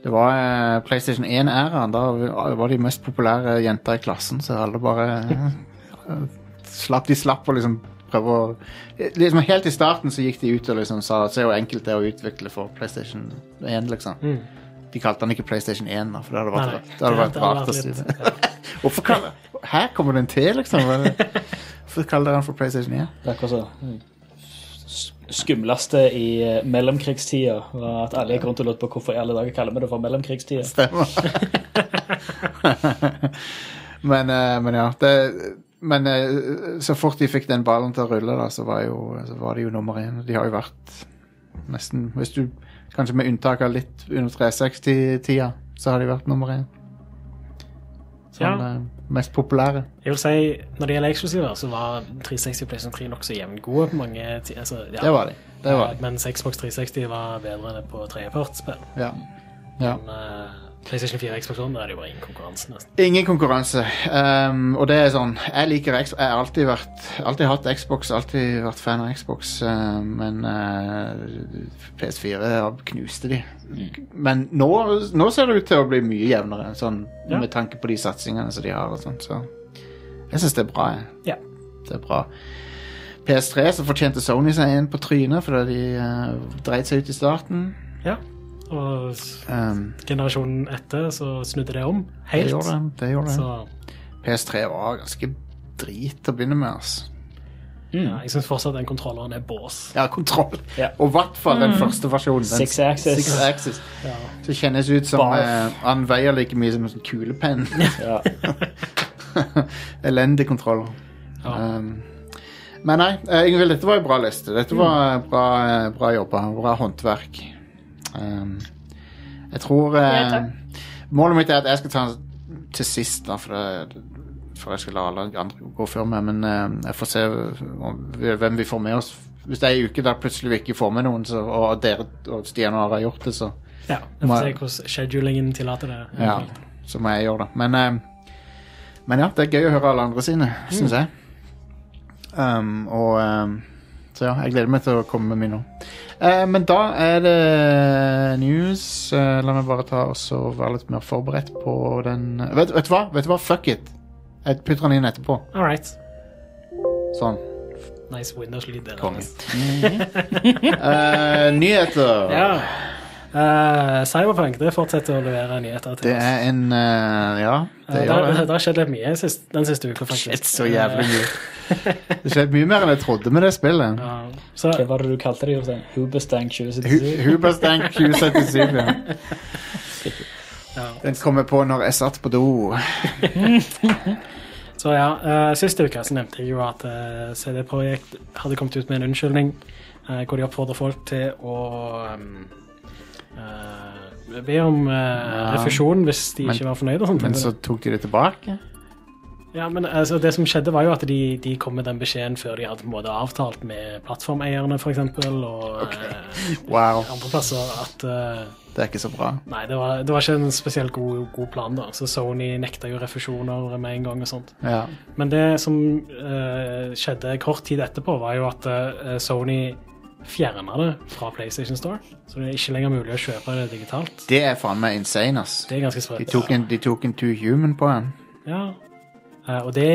Speaker 1: Det var eh, PlayStation 1-æraen. Da var de mest populære jenter i klassen, så alle bare eh, slapp, De slapp å liksom prøve å liksom Helt i starten så gikk de ut og liksom sa se hvor enkelt det er å utvikle for PlayStation 1, liksom.
Speaker 2: Mm.
Speaker 1: De kalte den ikke PlayStation 1, da, for det hadde
Speaker 2: Nei,
Speaker 1: vært,
Speaker 2: nei.
Speaker 1: Det hadde vært
Speaker 2: Det hadde
Speaker 1: rart
Speaker 2: vært
Speaker 1: å si
Speaker 2: litt-
Speaker 1: det. Hvorfor kaller Her kommer det en til, liksom? Hva er det- Hvorfor kaller dere den for PlayStation 1?
Speaker 3: Det er akkurat så. s- skumleste i eh, mellomkrigstida var at alle gikk rundt og lurte på hvorfor i alle dager kaller vi det for mellomkrigstida.
Speaker 1: Stemmer. men, eh, men ja. Det, men eh, så fort de fikk den ballen til å rulle, da, så var, jo, så var det jo nummer én. De har jo vært nesten hvis du, Kanskje med unntak av litt under 360-tida, så har de vært nummer én. Sånn
Speaker 2: Ja.
Speaker 1: eh, mest populære.
Speaker 2: Jeg vil si, Når det gjelder eksklusiver, så var 360 og PlayStation 3 nokså jevngode på mange ti- altså, ja.
Speaker 1: Det var de. Det var de.
Speaker 2: Mens Xbox 360 var bedre enn på tredjepartsspill.
Speaker 1: Ja. ja.
Speaker 2: Men eh, PlayStation 4 og Xbox One, der er det jo bare ingen konkurranse, nesten.
Speaker 1: Ingen konkurranse. Ehm, og det er sånn Jeg liker X Jeg har alltid, vært, alltid hatt Xbox, alltid vært fan av Xbox, eh, men eh, PS4 knuste de.
Speaker 2: Mm.
Speaker 1: Men nå, nå ser det ut til å bli mye jevnere, sånn,
Speaker 2: Ja.
Speaker 1: med tanke på de satsingene som de har. Og sånt, så jeg syns det er bra. Jeg.
Speaker 2: Ja.
Speaker 1: Det er bra. PS3 så fortjente Sony seg en på trynet fordi de eh, dreit seg ut i starten.
Speaker 2: ja. Og s-
Speaker 1: Ehm,
Speaker 2: generasjonen etter så snudde det om
Speaker 1: det
Speaker 2: helt.
Speaker 1: gjorde det. det, gjorde det.
Speaker 2: Så
Speaker 1: PS3 var ganske drit til å begynne med. Altså.
Speaker 2: ja, jeg syns fortsatt den kontrolleren er bås.
Speaker 1: Ja, kontroll.
Speaker 3: Ja.
Speaker 1: Og i hvert fall den første versjonen. Den
Speaker 3: Six axis.
Speaker 1: Six axis.
Speaker 2: Ja.
Speaker 1: Så kjennes ut som
Speaker 3: Barf.
Speaker 1: eh, han veier like mye som en sånn kulepenn.
Speaker 3: Ja.
Speaker 1: Elendig kontroll.
Speaker 2: Ja.
Speaker 1: Um, men nei, eh, Ingvild, dette var en bra liste. Dette
Speaker 3: Mm.
Speaker 1: var bra, eh, bra jobba. Bra håndverk. Um, jeg tror eh,
Speaker 4: Ja, takk.
Speaker 1: Målet mitt er at jeg skal ta den til sist, da, for, det, for jeg skal la alle andre gå før meg. Men eh, jeg får se om, hvem vi får med oss. Hvis det er en uke der plutselig vi ikke får med noen, så, og dere og Stian og Are har gjort det, så
Speaker 2: Ja, Vi får se hvordan schedulingen tillater det.
Speaker 1: ja, så må jeg gjøre det. Men, eh, men ja, det er gøy å høre alle andre sine, syns jeg. Um, og um, Så ja, jeg gleder meg til å komme med min nå. Eh, men da er det news. Eh, la meg bare ta og så være litt mer forberedt på den vet, vet du hva? Vet du hva? Fuck it. Jeg putter den inn etterpå.
Speaker 2: All right.
Speaker 1: Sånn.
Speaker 2: Nice Windows-lyd. det er
Speaker 1: Konge.
Speaker 2: nice.
Speaker 1: Eh, nyheter.
Speaker 2: Ja. Eh, Cyberpunk det fortsetter å levere nyheter til
Speaker 1: Det er en eh, Ja, det
Speaker 2: Eh,
Speaker 1: gjør
Speaker 2: der-
Speaker 1: det.
Speaker 2: der har skjedd litt mye sist, den siste uka, faktisk. Eh,
Speaker 1: Shit, så jævlig mye. Det skjedde mye mer enn jeg trodde med det spillet.
Speaker 2: Ja. Så
Speaker 3: Hva var det du kalte det? Jostein? Hoobastank 2077?
Speaker 1: Huberstank Q77. Ja.
Speaker 2: Ja.
Speaker 1: Den kommer på når jeg satt på do.
Speaker 2: Så ja, eh, Siste uke så nevnte jeg jo at eh, CD Projekt hadde kommet ut med en unnskyldning eh, hvor de oppfordrer folk til å ehm, eh, be om eh, refusjon hvis de
Speaker 1: Men-
Speaker 2: ikke var fornøyd. og sånt.
Speaker 1: Men så tok de det tilbake.
Speaker 2: Ja, men altså, Det som skjedde, var jo at de, de kom med den beskjeden før de hadde på en måte avtalt med plattformeierne for eksempel, og eh,
Speaker 1: Wow,
Speaker 2: andre plasser. at... eh,
Speaker 1: det er ikke så bra.
Speaker 2: Nei, det var, det var ikke en spesielt god, god plan, da. Så Sony nekta jo refusjoner med en gang og sånt.
Speaker 1: Ja.
Speaker 2: Men det som eh, skjedde kort tid etterpå, var jo at eh, Sony fjerna det fra PlayStation Store. Så det er ikke lenger mulig å kjøpe det digitalt.
Speaker 1: Det er faen meg insane, ass.
Speaker 2: Det er ganske
Speaker 1: De
Speaker 2: sprøtt.
Speaker 1: tok en, de tok en two human på en.
Speaker 2: Ja. Eh, og det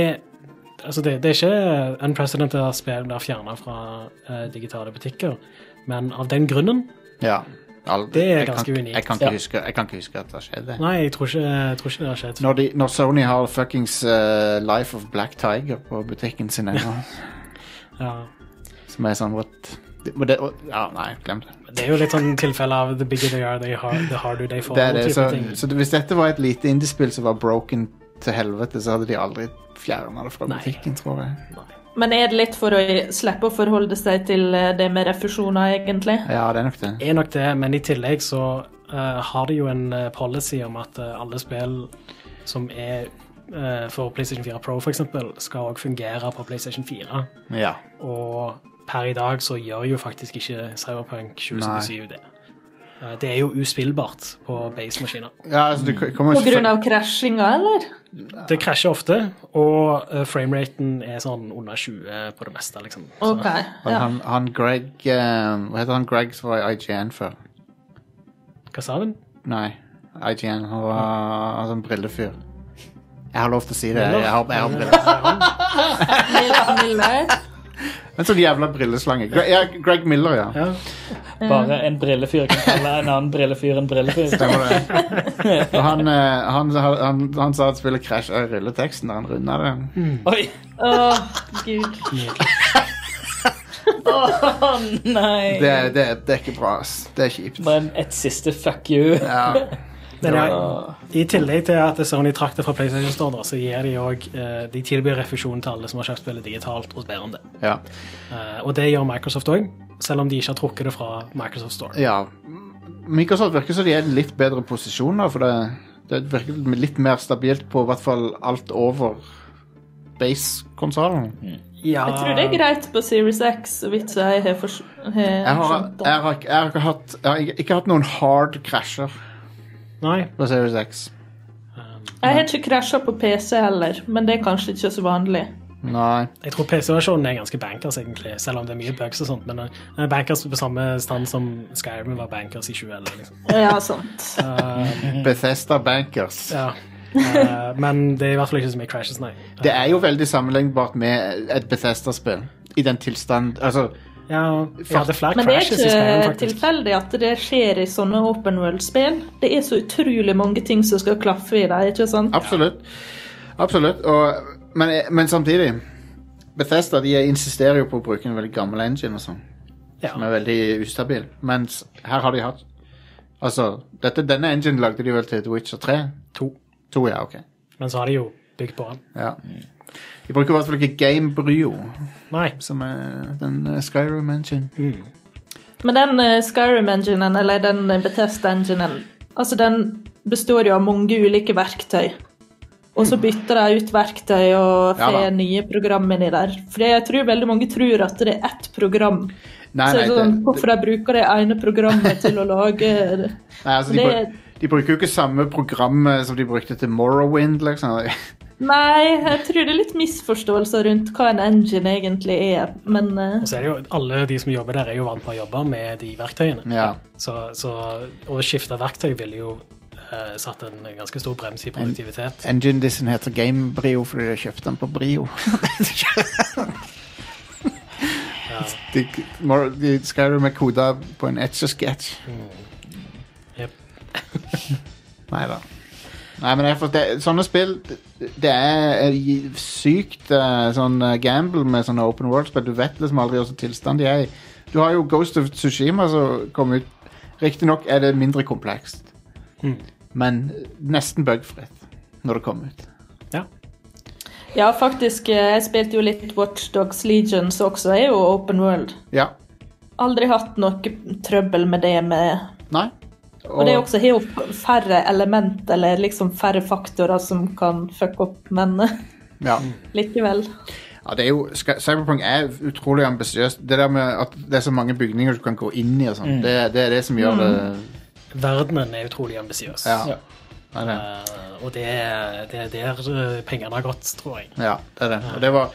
Speaker 2: Altså, det, det er ikke unprecedented at spill blir fjerna fra eh, digitale butikker, men av den grunnen
Speaker 1: Ja. Al-
Speaker 2: Det er
Speaker 1: jeg
Speaker 2: ganske
Speaker 1: kan,
Speaker 2: unikt.
Speaker 1: Jeg kan, ikke
Speaker 3: Ja.
Speaker 1: huske, jeg kan ikke huske at det har skjedd. jeg.
Speaker 2: Nei, jeg tror ikke, jeg tror ikke det har skjedd.
Speaker 1: Når, de, når Sony har fuckings eh, Life of Black Tiger på butikken sin ennå,
Speaker 2: Ja.
Speaker 1: som er sånn what det, og det, og, Ja, nei, glem det.
Speaker 2: Det er jo litt sånn tilfelle av the bigger they are, they hard, the harder they fall.
Speaker 1: det, er det
Speaker 2: type
Speaker 1: så,
Speaker 2: ting.
Speaker 1: så hvis dette var et lite indiespill som var broken til helvete, så hadde de aldri fjerna det fra
Speaker 2: Nei.
Speaker 1: butikken, tror jeg.
Speaker 4: Men er det litt for å slippe å forholde seg til eh, det med refusjoner, egentlig?
Speaker 1: Ja, det er nok det.
Speaker 2: er nok det, men i tillegg så eh, har de jo en eh, policy om at eh, alle spill som er eh, for PlayStation 4 Pro, f.eks., skal òg fungere på PlayStation 4.
Speaker 1: Ja.
Speaker 2: Og per i dag så gjør jo faktisk ikke Cyberpunk 2077 det. Eh, Det er jo uspillbart på base-maskiner.
Speaker 1: Ja, altså, du k- kommer
Speaker 4: På
Speaker 1: ikke
Speaker 4: grunn av krasjinga, eller?
Speaker 2: Det krasjer ofte, og eh, frameraten er sånn under 20 på det meste, liksom. Så-
Speaker 4: OK.
Speaker 1: Men
Speaker 4: Ja.
Speaker 1: han, han Greg eh, Hva heter han Greg som var i IGN før?
Speaker 2: Hva sa den?
Speaker 1: Nei, IGN. Han var en sånn brillefyr. Jeg har lov til å si det. Jeg har, jeg har briller.
Speaker 4: Mil- Miller.
Speaker 1: En sånn jævla brilleslange. Greg, ja, Greg Miller, ja.
Speaker 2: Ja.
Speaker 3: Bare en brillefyr kan kalle en annen brillefyr en brillefyr.
Speaker 1: Det var det. Og han, eh, han, han, han sa at spillet eh, krasja i
Speaker 2: Mm.
Speaker 1: rulleteksten da han runda det.
Speaker 3: Oi!
Speaker 4: Å, gud.
Speaker 3: Å nei!
Speaker 1: Det, det, det er ikke bra, ass. Det er kjipt.
Speaker 3: Men et siste fuck you.
Speaker 1: Ja.
Speaker 2: Men ja,
Speaker 3: Ja.
Speaker 2: I tillegg til at Sony trakk det fra PlayStation Store, da, så gir de òg De tilbyr refusjon til alle som har kjøpt spillet digitalt og ber om det.
Speaker 1: ja.
Speaker 2: Eh, og det gjør Microsoft òg, selv om de ikke har trukket det fra Microsoft Store.
Speaker 1: Ja. Microsoft virker som de er i en litt bedre posisjon nå, for det, det virker litt mer stabilt på i hvert fall alt over base-konsollen.
Speaker 2: Ja,
Speaker 4: Jeg tror det er greit på Series X, så vidt jeg har, fors-
Speaker 1: Jeg
Speaker 4: har
Speaker 1: har, jeg,
Speaker 4: skjønt. det.
Speaker 1: har, ikke- jeg, har ikke hatt, jeg har ikke- ikke hatt noen hard krasjer
Speaker 2: Nei.
Speaker 1: på Series X.
Speaker 2: Um,
Speaker 4: Jeg har ikke krasja på PC heller, men det er kanskje ikke så vanlig.
Speaker 1: Nei.
Speaker 2: jeg tror PC-versjonen er ganske bankers, egentlig, selv om det er mye bugs og sånt. Men den den er bankers på samme stand som Skyrim var bankers i 2011. Liksom.
Speaker 4: Ja, sant.
Speaker 2: Eh,
Speaker 1: Bethesda Bankers.
Speaker 2: ja. Eh, men det er i hvert fall ikke så mye crashes, nei.
Speaker 1: Det er jo veldig sammenlignbart med et Bethesda-spill. I den tilstand Altså,
Speaker 2: Ja, jeg hadde flere
Speaker 4: Men det er
Speaker 2: crashes i Skyrim,
Speaker 4: ikke
Speaker 2: faktisk.
Speaker 4: tilfeldig at det skjer i sånne open world-spill. Det er så utrolig mange ting som skal klaffe i dem, ikke sant?
Speaker 1: absolutt. Absolutt. Og, men, men samtidig Bethesda de insisterer jo på å bruke en veldig gammel engine og sånn.
Speaker 2: Ja.
Speaker 1: som er veldig ustabil. Mens her har de hatt Altså, dette, denne engine lagde de vel til The Witcher 3?
Speaker 2: To.
Speaker 1: To, ja, ok.
Speaker 2: Men så har de jo bygd på den.
Speaker 1: Ja. De bruker i hvert fall ikke Game Bryo,
Speaker 2: Nei.
Speaker 1: som er den eh, Skyrim engine.
Speaker 4: Men den eh, Skyrim-enginen, eller den eh, Bethesda-enginen, altså den består jo av mange ulike verktøy. Og så bytter de ut verktøy og
Speaker 1: Ja
Speaker 4: får
Speaker 1: da.
Speaker 4: nye program inni der. For jeg tror veldig mange tror at det er ett program.
Speaker 1: Nei,
Speaker 4: så
Speaker 1: nei,
Speaker 4: er det
Speaker 1: det,
Speaker 4: sånn, hvorfor de bruker det ene programmet til å lage
Speaker 1: nei altså, de,
Speaker 4: det-
Speaker 1: bru- de bruker jo ikke samme program eh, som de brukte til Morrowind, liksom.
Speaker 4: Nei, jeg tror det er litt misforståelser rundt hva en engine egentlig er, men eh,
Speaker 2: Og så er det jo, alle de som jobber der, er jo vant med å jobbe med de verktøyene.
Speaker 1: Ja.
Speaker 2: Så, så å skifte verktøy ville jo eh, satt en ganske stor brems i produktivitet.
Speaker 1: Engine dissen heter Game Brio fordi de kjøpte den på Brio.
Speaker 2: Ja.
Speaker 1: de, Mor- de Skyrim er koda på en etch-a-sketch.
Speaker 2: Jep.
Speaker 1: Nei da. Nei, men jeg forstår, det, sånne spill det, det er eh, gi- sykt eh, sånn eh, gamble med sånne open world-spill. Du vet liksom aldri hvilken tilstand de er i. Du har jo Ghost of Tsushima som kom ut. Riktignok er det mindre komplekst,
Speaker 2: Mm.
Speaker 1: men nesten bugfritt når det kom ut.
Speaker 2: Ja.
Speaker 4: ja, faktisk, eh, jeg spilte jo litt Watch Dogs Legions også, jeg er jo open world.
Speaker 1: Ja.
Speaker 4: aldri hatt noe trøbbel med det med
Speaker 1: Nei.
Speaker 4: Og det er også har jo færre element, eller liksom færre faktorer som kan fucke opp, men
Speaker 1: ja.
Speaker 4: likevel.
Speaker 1: Ja, det er jo, Sky- Cyberpunk er utrolig ambisiøst. Det der med at det er så mange bygninger du kan gå inn i, og sånn, det, det er det som gjør det
Speaker 4: Mm.
Speaker 2: Verdenen er utrolig ambisiøs.
Speaker 1: Ja.
Speaker 3: Ja.
Speaker 1: Det er det.
Speaker 2: Eh, og det, er- det er der eh, pengene har gått, tror jeg.
Speaker 1: Ja, det er det. Og det var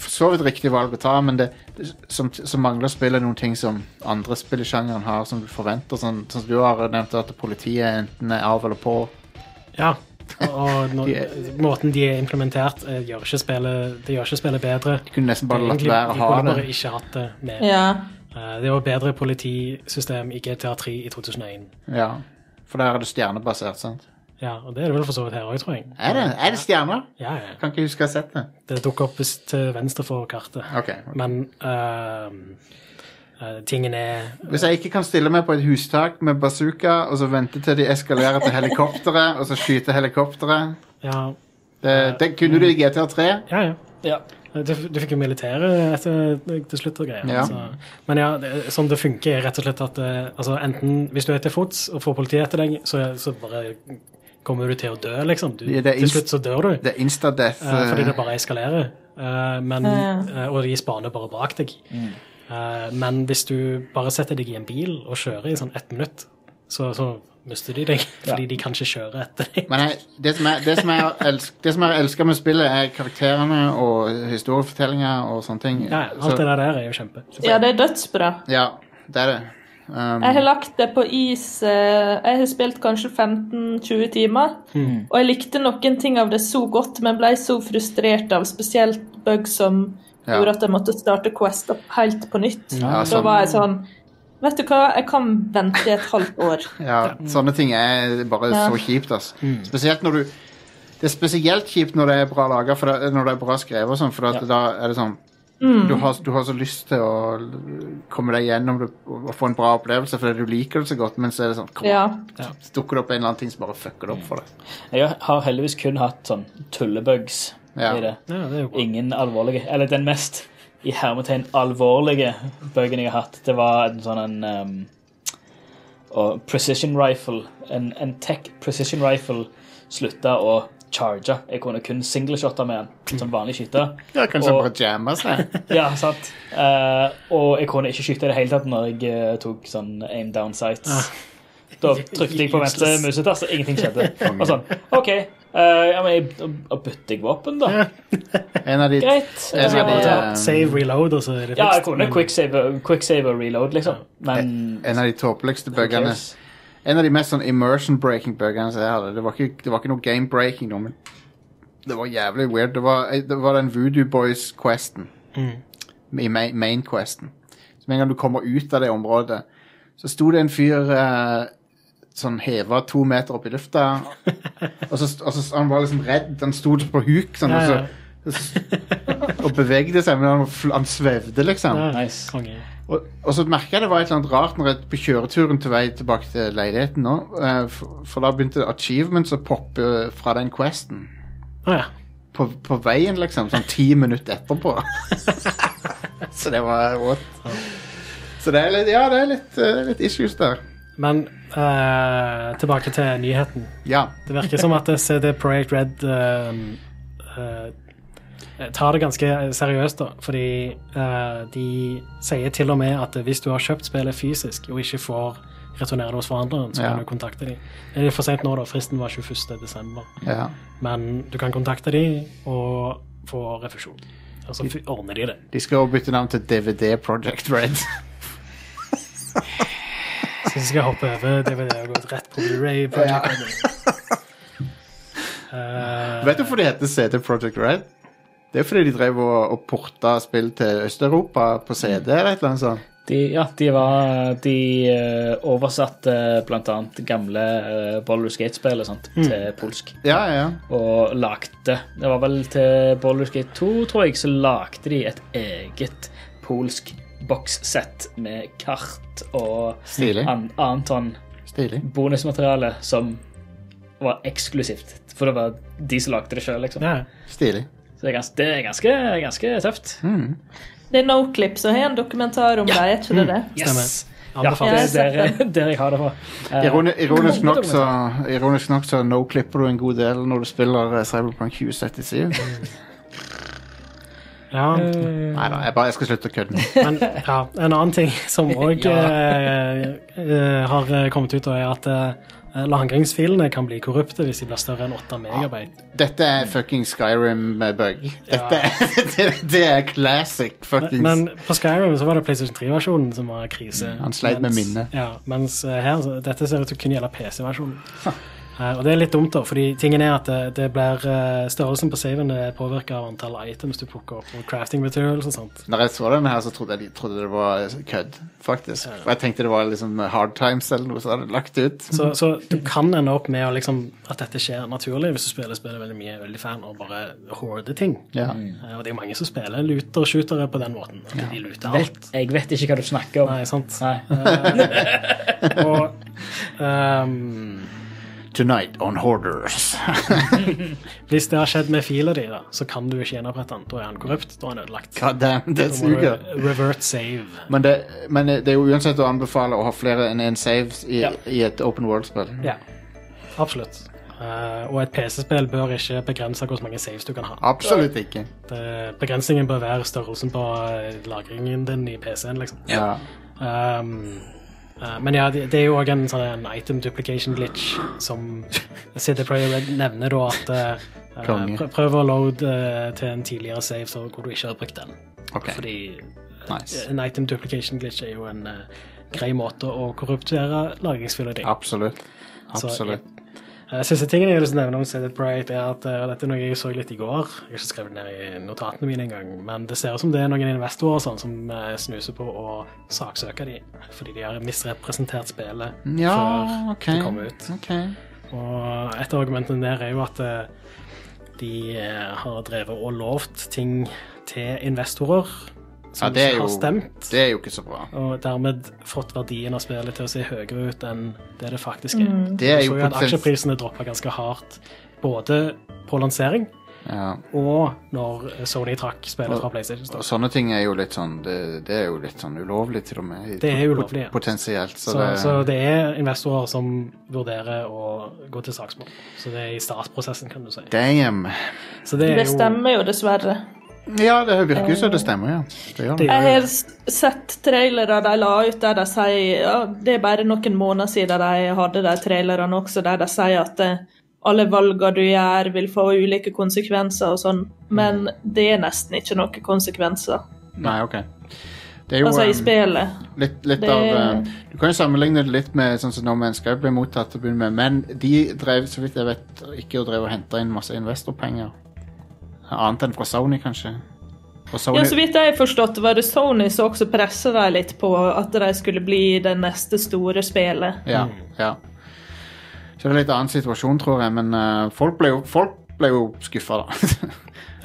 Speaker 1: for så vidt riktig valg å ta, men det, det- som, som mangler spillet noen ting som andre spill i sjangeren har, som du forventer. Sånn, sånn som du har nevnt at politiet enten er av eller på.
Speaker 2: Ja. Og, og nå-
Speaker 1: De er-
Speaker 2: måten de er implementert, eh, gjør ikke spillet, det gjør ikke spillet bedre.
Speaker 1: De kunne nesten bare latt
Speaker 2: Egentlig,
Speaker 1: være å
Speaker 2: de
Speaker 1: ha
Speaker 2: kunne bare
Speaker 1: det.
Speaker 2: ikke hatt det med.
Speaker 4: Ja.
Speaker 2: Eh, Det var bedre politisystem i GTA3 i 2001.
Speaker 1: Ja, For der er det stjernebasert, sant?
Speaker 2: Ja, og det er det vel for så vidt her òg, tror jeg.
Speaker 1: Er det, er det stjerner?
Speaker 2: Ja, ja.
Speaker 1: Kan ikke huske å ha sett det.
Speaker 2: Det dukker opp hvis- til venstre for kartet.
Speaker 1: Ok.
Speaker 2: Men ehm, eh, tingen er
Speaker 1: Hvis jeg ikke kan stille meg på et hustak med bazooka, og så vente til de eskalerer til helikopteret, og så skyte helikopteret
Speaker 2: Ja,
Speaker 1: det, det kunne du i GTA3.
Speaker 2: ja. ja.
Speaker 3: Ja.
Speaker 2: Eh, Du, du fikk jo militæret etter til slutt og greier.
Speaker 1: Ja.
Speaker 2: så- Men ja, det, sånn det funker, er rett og slett at eh, altså, enten hvis du er til fots og får politiet etter deg, så, så bare kommer du til å dø, liksom. Du,
Speaker 1: Ja, det er
Speaker 2: til
Speaker 1: inst-
Speaker 2: slutt så dør du.
Speaker 1: Det er insta-death.
Speaker 2: Eh, fordi det
Speaker 1: eh,
Speaker 2: bare eskalerer. Eh, men,
Speaker 4: Ja.
Speaker 2: eh, og de spaner bare bak deg.
Speaker 1: Mm.
Speaker 2: Eh, men hvis du bare setter deg i en bil og kjører i sånn ett minutt, så, så mister de deg. Fordi de kan ikke kjøre etter deg.
Speaker 1: Men jeg, det, som jeg, det, som jeg elsk, det som jeg elsker med spillet, er karakterene og historiefortellinga og sånne ting.
Speaker 2: Ja, ja, alt det der der er jo kjempe.
Speaker 4: ja, det er dødsbra.
Speaker 1: ja, det er det. Um,
Speaker 4: Jeg har lagt det på is eh, Jeg har spilt kanskje 15-20 timer,
Speaker 1: Hmm.
Speaker 4: og jeg likte noen ting av det så godt, men ble så frustrert av spesielt bug som
Speaker 1: Ja.
Speaker 4: gjorde at jeg måtte starte Quest opp helt på nytt.
Speaker 1: Ja,
Speaker 4: Da
Speaker 1: sånn.
Speaker 4: var jeg sånn Vet du hva, jeg kan vente et halvt år.
Speaker 1: ja, sånne ting er bare
Speaker 4: Ja.
Speaker 1: så kjipt, ass. Spesielt når du Det er spesielt kjipt når det er bra laga, for det, når det er bra skrevet og sånn, for at
Speaker 3: Ja.
Speaker 1: da er det sånn
Speaker 4: Mm.
Speaker 1: Du, har, du har så lyst til å l- komme deg gjennom det og og få en bra opplevelse fordi du liker det så godt, men så er det sånn kom,
Speaker 4: Ja.
Speaker 1: Så dukker det opp en eller annen ting som bare fucker det opp for deg.
Speaker 3: Jeg har heldigvis kun hatt sånn tullebugs
Speaker 1: Ja.
Speaker 3: i det.
Speaker 2: Ja, det er jo
Speaker 3: Ingen alvorlige Eller den mest i hermetegn alvorlige bøgen jeg har hatt, det var en sånn en um, og precision rifle. En, en tech precision rifle slutta å charge. Jeg kunne kun singleshotte med den som vanlig skyter.
Speaker 1: Ja, kanskje
Speaker 3: Og-
Speaker 1: bare jammer seg.
Speaker 3: Ja, sant. Eh, og jeg kunne ikke skyte i det hele tatt når jeg eh, tok sånn aim down sights. Da trykte jeg på venstre
Speaker 2: Useless.
Speaker 3: musetass, og ingenting skjedde. Og sånn, OK, eh, ja, men jeg, og bytter jeg våpen, da?
Speaker 1: En av de
Speaker 3: Greit.
Speaker 1: en av de,
Speaker 3: Eh,
Speaker 2: Ta
Speaker 1: eh,
Speaker 2: Save, reload, og så er det
Speaker 3: Ja, jeg
Speaker 2: fikst,
Speaker 3: kunne
Speaker 2: men-
Speaker 3: quicksave quick save og reload, liksom. Men
Speaker 1: en av de tåpeligste bøggene.
Speaker 3: cares?
Speaker 1: En av de mest sånn immersion-breaking bøggene som jeg hadde. Det var ikke, det var ikke noe game-breaking, nå, men det var jævlig weird. Det var, det var den Voodoo Boys-questen.
Speaker 2: Mm.
Speaker 1: I main- main-questen. Så med en gang du kommer ut av det området, så sto det en fyr eh, sånn heva to meter opp i lufta, og så, og så han var liksom redd. Han sto på huk, sånn,
Speaker 2: Ja, ja.
Speaker 1: og så og bevegde seg, men han, fl- han svevde, liksom.
Speaker 2: Ja,
Speaker 3: Nice.
Speaker 2: Konge.
Speaker 1: Og, og så merka jeg det var et eller annet rart når jeg på kjøreturen til vei tilbake til leiligheten nå. eh, For, for da begynte achievements å poppe fra den questen.
Speaker 2: Å ja.
Speaker 1: På, på veien, liksom. Sånn ti minutter etterpå. så det var what? Så det er litt, ja, det er litt, eh, litt issues der.
Speaker 2: Men eh, tilbake til nyheten.
Speaker 1: Ja.
Speaker 2: Det virker som at CD Projekt Red ehm, eh, tar det ganske seriøst, da. Fordi eh, de sier til og med at hvis du har kjøpt spillet fysisk og ikke får returnere det hos forhandleren, så
Speaker 1: Ja.
Speaker 2: kan du kontakte dem. Det er for sent nå, da. Fristen var 21. desember.
Speaker 1: ja.
Speaker 2: Men du kan kontakte dem og få refusjon. Og så f- ordner de det.
Speaker 1: De skal også bytte navn til DVD Project Red.
Speaker 2: Så jeg skal hoppe over DVD og gå rett på Blu-ray. Project Red. Eh,
Speaker 1: Vet du hvorfor de heter CD Project Red? Det er fordi de drev og, og porta spill til Øst-Europa på CD eller et eller annet sånt.
Speaker 3: De, ja, de var De eh, oversatte blant annet gamle uh, Boulder Skate-spill og sånt til polsk.
Speaker 1: Ja, ja, ja.
Speaker 3: Og lagde Det var vel til Boulder Skate 2, tror jeg, så lagde de et eget polsk bokssett med kart og
Speaker 1: Stilig.
Speaker 3: an, annet sånn
Speaker 1: Stilig.
Speaker 3: bonusmateriale som var eksklusivt. For det var de som lagde det sjøl, liksom.
Speaker 2: ja.
Speaker 1: Stilig.
Speaker 3: Så det er ganske, det er ganske, ganske tøft.
Speaker 1: Mm,
Speaker 2: Mm.
Speaker 4: Det er Noclip som har en dokumentar om det, er ikke
Speaker 1: Hmm.
Speaker 4: det det?
Speaker 3: Yes! Ja, det
Speaker 2: Anbefales.
Speaker 3: er der, der jeg har det fra. Eh,
Speaker 1: Ironi ironisk,
Speaker 3: Konge
Speaker 1: nok så, ironisk nok så no-klipper du en god del når du spiller eh, Cyberpunk 2077.
Speaker 2: Mm. Ja,
Speaker 1: Nei da, jeg, bare, jeg skal slutte å kødde. nå.
Speaker 2: men ja, en annen ting som òg har eh, kommet ut, da, er at eh, lagringsfilene kan bli korrupte hvis de blir større enn
Speaker 1: Ah,
Speaker 2: 8 megabyte.
Speaker 1: Dette er fucking Skyrim-bug. Dette er, det, det er classic fuckings
Speaker 2: Men på Skyrim så var det PlayStation 3-versjonen som var krise.
Speaker 1: Mm. Han sleit med minnet.
Speaker 2: Ja, mens eh, her, så- dette ser ut til å kunne gjelde PC-versjonen. Eh, og det er litt dumt, da, fordi tingen er at det, det blir eh, størrelsen på saven påvirka av antall items du plukker opp, og crafting materials og sånt.
Speaker 1: Når jeg så den her, så trodde jeg trodde det var kødd, faktisk. For jeg tenkte det var liksom Hard Times eller noe som hadde lagt ut.
Speaker 2: Så, så du kan ende opp med å liksom, at dette skjer naturlig hvis du spiller spillet veldig mye, er veldig fan, og bare hoarder ting.
Speaker 1: Ja.
Speaker 2: Eh, Og det er mange som spiller luter-shootere på den måten. at De luter alt.
Speaker 3: Jeg vet ikke hva du snakker om.
Speaker 2: Nei, sant?
Speaker 3: Nei.
Speaker 2: Og ehm,
Speaker 1: Tonight on Hoarders.
Speaker 2: hvis det har skjedd med fila di, da, så kan du ikke gjenopprette den. Da er han korrupt. Da er han ødelagt.
Speaker 1: God damn, det
Speaker 2: Da må du
Speaker 1: suger.
Speaker 2: Revert save.
Speaker 1: Men det, men det er jo uansett å anbefale å ha flere enn én saves i,
Speaker 3: Ja.
Speaker 1: i et open world-spill.
Speaker 2: Ja, absolutt. Eh, og et PC-spill bør ikke begrense hvor mange saves du kan ha.
Speaker 1: Absolutt ikke.
Speaker 2: Det, begrensningen bør være størrelsen på eh, lagringen din i PC-en, liksom.
Speaker 1: Ja.
Speaker 2: Um, uh, men ja, det, det er jo òg en sånn en item duplication glitch som CD Prayer Red nevner, da at eh,
Speaker 1: Konge.
Speaker 2: prø- Prøv å load eh, til en tidligere save så hvor du ikke har brukt den.
Speaker 1: Ok.
Speaker 2: Fordi uh,
Speaker 1: Nice.
Speaker 2: en item duplication glitch er jo en eh, grei måte å korruptere lagringsfylla di.
Speaker 1: Absolutt.
Speaker 2: Så,
Speaker 1: Absolutt.
Speaker 2: Eh, Siste tingen jeg har lyst til å nevne om CD Projekt, er at eh, og dette er noe jeg så litt i går. Jeg har ikke skrevet det ned i notatene mine engang, men det ser ut som det er noen investorer og sånn, som eh, snuser på å saksøke de, fordi de har misrepresentert spillet før
Speaker 1: ok.
Speaker 2: det kom ut.
Speaker 1: ok.
Speaker 2: Og et av argumentene der er jo at eh, de eh, har drevet og lovt ting til investorer som
Speaker 1: Ja, det er
Speaker 2: ikke
Speaker 1: jo,
Speaker 2: har stemt,
Speaker 1: det er jo ikke så bra.
Speaker 2: og dermed fått verdien av spillet til å se høyere ut enn det det faktisk er.
Speaker 1: Det er
Speaker 2: Vi
Speaker 1: jo
Speaker 2: så jo at
Speaker 1: potensielt
Speaker 2: aksjeprisene droppa ganske hardt, både på lansering
Speaker 1: ja.
Speaker 2: og når Sony trakk spillet fra PlayStation.
Speaker 1: Og
Speaker 2: Store.
Speaker 1: sånne ting er jo litt sånn Det, det er jo litt sånn ulovlig, til og med. i-
Speaker 2: Det er ulovlig, ja.
Speaker 1: Potensielt. Så,
Speaker 2: Så,
Speaker 1: det,
Speaker 2: så det er investorer som vurderer å gå til saksmål. Så det er i startprosessen, kan du si.
Speaker 1: Damn.
Speaker 2: Så det er
Speaker 4: Det
Speaker 2: jo
Speaker 4: stemmer jo, dessverre.
Speaker 1: Ja, det virker jo som det stemmer, ja. Det gjør det.
Speaker 2: det
Speaker 4: Jeg
Speaker 2: gjør jo
Speaker 4: har s- sett trailere de la ut der de sier ja, Det er bare noen måneder siden de hadde de trailerne også, der de sier at eh, alle valgene du gjør, vil få ulike konsekvenser og sånn, men det er nesten ikke noen konsekvenser.
Speaker 1: Nei, OK. Det er jo
Speaker 2: eh,
Speaker 4: Altså i
Speaker 1: um,
Speaker 4: spillet.
Speaker 1: Litt, litt
Speaker 4: Det-
Speaker 1: av eh, Du kan jo sammenligne det litt med sånn som No Man's Sky ble mottatt til å begynne med, men de drev så vidt jeg vet ikke og drev og henta inn masse investorpenger. Annet enn fra Sony, kanskje. Og Sony,
Speaker 4: Ja, Så vidt jeg har forstått, var det Sony som også pressa dem litt på at de skulle bli det neste store spillet.
Speaker 1: ja, ja. Så det er en litt annen situasjon, tror jeg, men eh, folk ble jo, folk ble jo skuffa, da.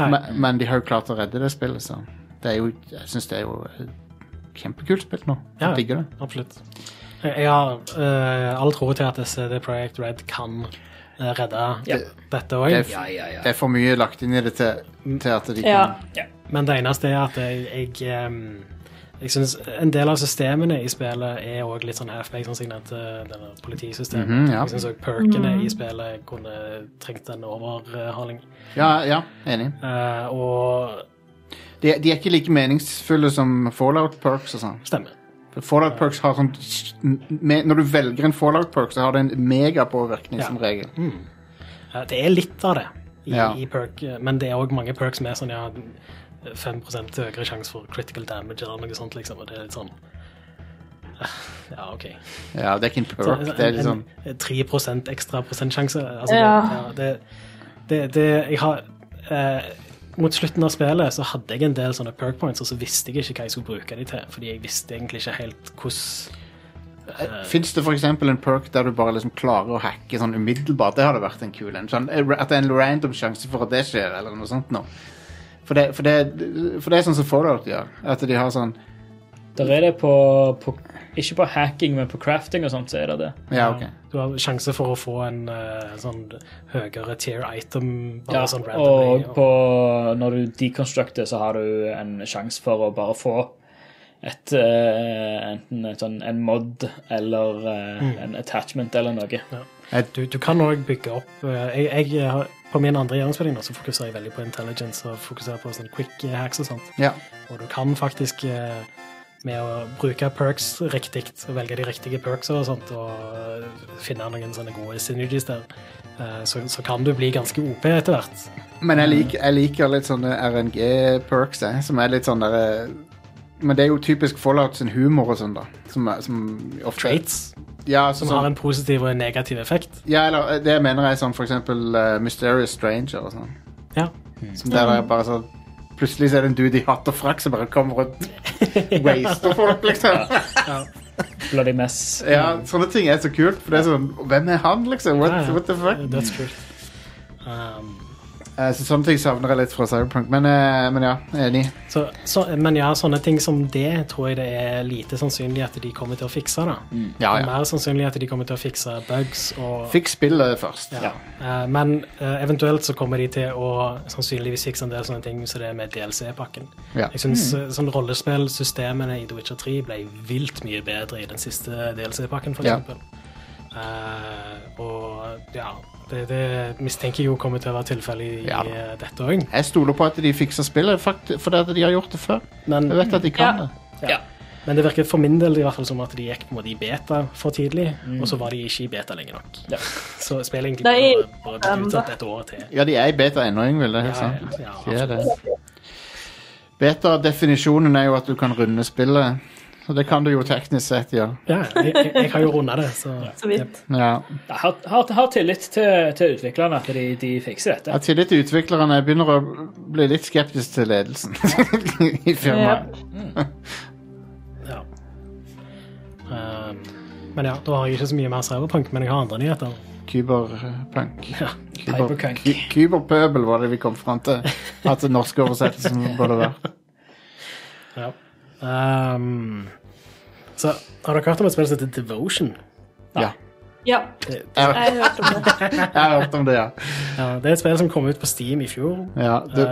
Speaker 2: Nei.
Speaker 1: men, men de har jo klart å redde det spillet, så det er jo, jeg syns det er jo et kjempekult spilt nå. Jeg
Speaker 2: Ja,
Speaker 1: digger det.
Speaker 2: absolutt. Jeg jeg har eh, all tro til at CD Projekt Red kan eh, redde
Speaker 3: Ja.
Speaker 2: dette
Speaker 1: Det
Speaker 2: òg,
Speaker 1: er,
Speaker 3: Ja, ja, ja.
Speaker 1: det er for mye lagt inn i det til, til at de
Speaker 4: Ja.
Speaker 1: kan
Speaker 2: men det eneste er at jeg, jeg em, jeg synes En del av systemene i spillet er òg litt sånn halfbake, sånn som jeg nevnte denne politisystemet.
Speaker 1: Mhm, ja.
Speaker 2: Jeg syns òg perkene i spillet kunne trengt en overhaling.
Speaker 1: Ja, ja enig.
Speaker 2: Eh, og
Speaker 1: De, de er ikke like meningsfulle som Fallout Perks og sånn.
Speaker 2: stemmer.
Speaker 1: Fallout Perks har sånn me- Når du velger en Fallout Perk, så har det en megapåvirkning
Speaker 2: Ja.
Speaker 1: som regel.
Speaker 2: Eh, Det er litt av det i,
Speaker 1: Ja.
Speaker 2: i perk, eh, men det er òg mange perks med sånn ja, 5 høyere sjanse for critical damage eller noe sånt, liksom. Og det er litt sånn eh, Ja, OK.
Speaker 1: Ja, det er ikke en perk.
Speaker 2: Så,
Speaker 1: Det er
Speaker 2: en-
Speaker 1: liksom
Speaker 2: en 3 ekstra prosentsjanse. Altså,
Speaker 4: Ja.
Speaker 2: Det, ja, det, det, det Jeg har eh, Mot slutten av spillet så hadde jeg en del sånne perk points, og så visste jeg ikke hva jeg skulle bruke de til, fordi jeg visste egentlig ikke helt hvordan
Speaker 1: Fins det f.eks. en perk der du bare liksom klarer å hacke sånn umiddelbart? Det hadde vært en kul en. Sånn, eh, at det er en random sjanse for at det skjer, eller noe sånt noe. For det, for, det, for det er sånn som Fallout gjør. At de har sånn
Speaker 3: Der er det på, på Ikke på hacking, men på crafting og sånt, så er det det.
Speaker 1: Ja, OK.
Speaker 2: Du har sjanse for å få en eh, sånn høyere tier item. Bare
Speaker 3: Ja,
Speaker 2: sånn randomly,
Speaker 3: og på, når du deconstructer, så har du en sjanse for å bare få et eh, Enten et sånn, en mod eller eh, en attachment eller noe.
Speaker 2: Du, du kan òg bygge opp eh, jeg, jeg, har- På min andre gjennomspilling nå så fokuserer jeg veldig på intelligence og fokuserer på sånn quick hacks og sånt.
Speaker 1: Ja.
Speaker 2: Og du kan faktisk, eh, med å bruke perks riktig, og velge de riktige perks og sånt, og eh, finne noen sånne gode synergies der, eh, så, så kan du bli ganske OP etter hvert.
Speaker 1: Men jeg, lik, jeg liker litt sånne RNG-perks, jeg, som er litt sånn der eh, Men det er jo typisk Fallout sin humor og sånn, da. Som, er- som ofte
Speaker 2: Traits
Speaker 1: Ja,
Speaker 2: som
Speaker 1: sånn-
Speaker 2: har en positiv og en negativ effekt.
Speaker 1: ja, eller eh, det jeg mener er sånn for eksempel eh, Mysterious Stranger og sånn.
Speaker 2: Ja.
Speaker 1: Som der er bare sånn Plutselig så er det en dude i hatt og frakk som bare kommer og waster folk, liksom.
Speaker 3: Bloody mess.
Speaker 1: Ja, sånne ting er så kult, for det er sånn Hvem er han, liksom? What,
Speaker 2: Ja, ja.
Speaker 1: what the fuck?
Speaker 2: Dødskult. Um,
Speaker 1: Eh, så sånne ting savner jeg litt fra Cyberpunk, men, eh, men ja, enig.
Speaker 2: Så, så, men ja, sånne ting som det tror jeg det er lite sannsynlig at de kommer til å fikse. da.
Speaker 1: Ja,
Speaker 2: Det er
Speaker 1: Mm. Ah, ja.
Speaker 2: Mer sannsynlig at de kommer til å fikse bugs og
Speaker 1: Fikk spillet først.
Speaker 2: ja. Eh, Men eh, eventuelt så kommer de til å sannsynligvis fikse en del sånne ting som det er med DLC-pakken.
Speaker 1: Ja. Mm.
Speaker 2: Jeg syns sånn rollespillsystemene i The Witcher 3 ble vilt mye bedre i den siste DLC-pakken, f.eks.
Speaker 1: Ja.
Speaker 2: eksempel Eh, og ja, det, det mistenker jeg jo kommer til å være tilfellet i
Speaker 1: Ja.
Speaker 2: eh, dette òg.
Speaker 1: Jeg stoler på at de fikser spillet, fakt- fordi at de har gjort det før.
Speaker 2: Men
Speaker 1: Jeg vet at de kan
Speaker 4: Ja.
Speaker 1: det.
Speaker 3: Ja.
Speaker 2: Men det virker for min del i hvert fall som at de gikk på en måte i beta for tidlig,
Speaker 1: Mm.
Speaker 2: og så var de ikke i beta lenge nok.
Speaker 3: Ja.
Speaker 2: Så spillet egentlig
Speaker 4: Nei,
Speaker 2: bare, bare blitt utsatt et år til.
Speaker 1: Ja, de er i beta ennå, Yngvild. Det er helt
Speaker 2: Ja, ja,
Speaker 1: sant.
Speaker 2: ja,
Speaker 1: De er det. Beta-definisjonen er jo at du kan runde spillet. Og det kan du jo teknisk sett gjøre.
Speaker 2: Ja, jeg, jeg, jeg har jo runda det, så
Speaker 4: Så vidt.
Speaker 1: Ja.
Speaker 3: Jeg har, har, har tillit til, til utviklerne at de, de fikser
Speaker 1: Jeg
Speaker 3: dette.
Speaker 1: har tillit til utviklerne. Jeg begynner å bli litt skeptisk til ledelsen i firmaet.
Speaker 2: ja. Eh, Um, men ja, da har jeg ikke så mye mer cyberpunk, men jeg har andre nyheter.
Speaker 1: Kyberpunk.
Speaker 2: Ja.
Speaker 1: Kyber-
Speaker 3: Cyberpunk.
Speaker 1: ky- Kyberpøbel var det vi kom fram til. At den norske oversettelsen burde være.
Speaker 2: Ja. Ehm, så har dere hørt om et spill som heter Devotion?
Speaker 1: Ja.
Speaker 4: Ja,
Speaker 2: Det,
Speaker 4: jeg har hørt om det.
Speaker 1: Jeg har hørt om det, ja.
Speaker 2: ja, det er et spill som kom ut på Steam i fjor.
Speaker 1: ja det,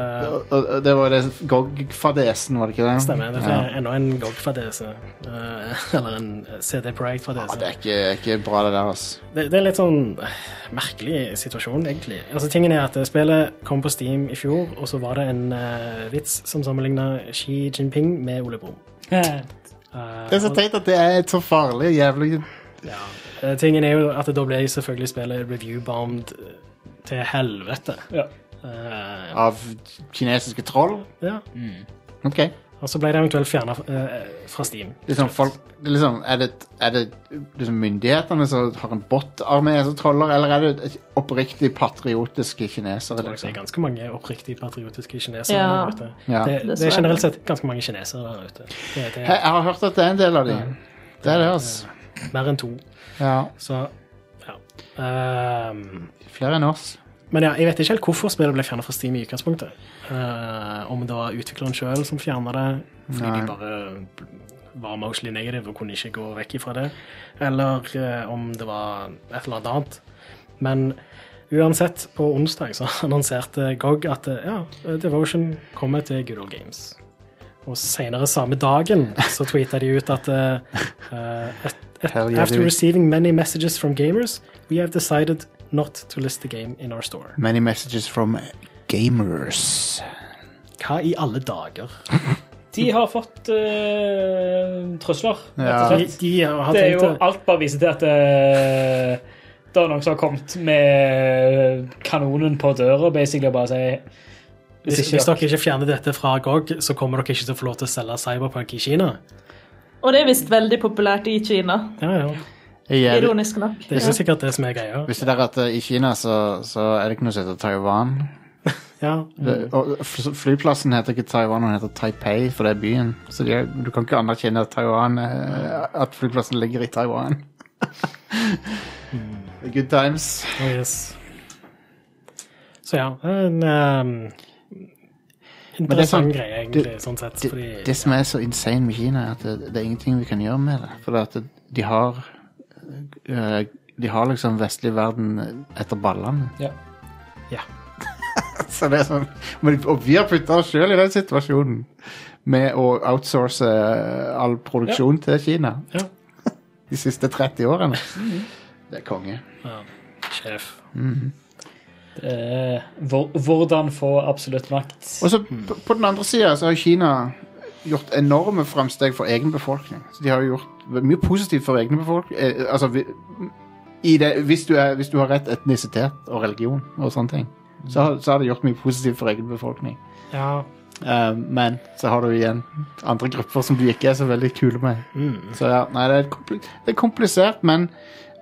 Speaker 1: og- og det var det GOG-fadesen, var det ikke det?
Speaker 2: Eh. Stemmer. Dette
Speaker 1: Ja.
Speaker 2: er enda en GOG-fadese. eh, eller en CD
Speaker 1: Ja,
Speaker 2: Projekt-fadese.
Speaker 1: det er ikke, ikke bra, det der, altså.
Speaker 2: det, det er litt sånn eh, merkelig situasjon, egentlig. Altså, tingen er at eh, Spillet kom på Steam i fjor, og så var det en eh, vits som sammenligna Xi Jinping med Ole Brumm. Eh,
Speaker 1: Det er så
Speaker 2: og-
Speaker 1: teit at det er et så farlig jævlig
Speaker 2: ja. Eh, Tingen er jo at da ble selvfølgelig spillet review-bombed eh, til helvete.
Speaker 3: Ja.
Speaker 2: Eh,
Speaker 1: av kinesiske troll.
Speaker 2: ja.
Speaker 3: mm.
Speaker 1: OK.
Speaker 2: Og så ble det eventuelt fjerna fra Steam.
Speaker 1: Liksom folk, liksom, er det, er det liksom myndighetene som har en bot-armé som troller, eller er det et oppriktig patriotiske kinesere?
Speaker 2: Det er
Speaker 1: Liksom?
Speaker 2: ganske mange oppriktig patriotiske kinesere
Speaker 4: Ja.
Speaker 2: der ute.
Speaker 1: Ja.
Speaker 2: Det, det er
Speaker 4: Dessverre.
Speaker 2: generelt sett ganske mange kinesere der ute. Det, det
Speaker 1: Jeg, jeg har hørt at det er en del av dem. Det er det, altså.
Speaker 2: er mer enn to.
Speaker 1: Ja.
Speaker 2: Så ja. Ehm,
Speaker 1: Flere enn oss.
Speaker 2: men ja, jeg vet ikke helt hvorfor spillet ble fjernet fra Steam i utgangspunktet. Eh, om det var utvikleren sjøl som fjerna det, fordi
Speaker 1: Nei.
Speaker 2: de bare var mostly negative og kunne ikke gå vekk ifra det, eller eh, om det var et eller annet annet. Men uansett, på onsdag så annonserte GOG at eh, ja, Devotion kommer til Good Old Games. Og senere samme dagen så tweeta de ut at eh, eh, et, et,
Speaker 1: Hell yeah,
Speaker 2: After
Speaker 1: dude.
Speaker 2: receiving many messages from gamers, we have decided not to list the game in our store.
Speaker 1: Many messages from gamers.
Speaker 2: Hva i alle dager?
Speaker 3: De har fått eh, trusler, rett og
Speaker 1: Ja.
Speaker 2: De,
Speaker 3: slett.
Speaker 2: de har
Speaker 3: Det er jo
Speaker 2: tenkt å-
Speaker 3: alt bare viser til at eh, det er noen som har kommet med kanonen på døra, basically, og bare sier
Speaker 2: hvis, hvis dere ikke fjerner dette fra GOG, så kommer dere ikke til å få lov til å selge Cyberpunk i Kina.
Speaker 4: Og det er visst veldig populært i Kina,
Speaker 2: Ja, ja.
Speaker 1: Jeg,
Speaker 4: ironisk nok.
Speaker 2: Det er ikke sikkert det som er greia.
Speaker 1: visste dere at eh, i Kina så, så er det ikke noe som heter Taiwan?
Speaker 2: Ja.
Speaker 1: Det- Og f- flyplassen heter ikke Taiwan, den heter Taipei, for det er byen. Så de, du kan ikke anerkjenne at, Taiwan, eh, at flyplassen ligger i Taiwan. Good times.
Speaker 2: Oh, yes. Så ja, en ehm, interessant
Speaker 1: sånn-
Speaker 2: greie,
Speaker 1: det-
Speaker 2: egentlig, sånn sett.
Speaker 1: Det,
Speaker 2: Fordi,
Speaker 1: det som er så insane med Kina, er at det, det er ingenting vi kan gjøre med det. For det at de har eh, De har liksom vestlig verden etter ballene.
Speaker 3: Ja.
Speaker 2: Ja.
Speaker 1: Så det er sånn, men, og vi har putta oss sjøl i den situasjonen med å outsource eh, all produksjon til Kina.
Speaker 2: Ja. Mhm.
Speaker 1: De siste 30 årene. Det er konge.
Speaker 2: ja. Sjef.
Speaker 3: Eh, hvor, hvordan få absolutt makt?
Speaker 1: Og så p- på den andre sida så har Kina gjort enorme framsteg for egen befolkning. Så de har jo gjort mye positivt for egen befolkning. Eh, altså, vi, i det, hvis, du er, hvis du har rett etnisitet og religion og sånne ting, så, har- så har de gjort mye positivt for egen befolkning.
Speaker 2: Ja.
Speaker 1: Eh, men så har du igjen andre grupper som du ikke er så veldig kule med. Så ja, nei, det er, kompli det er komplisert, men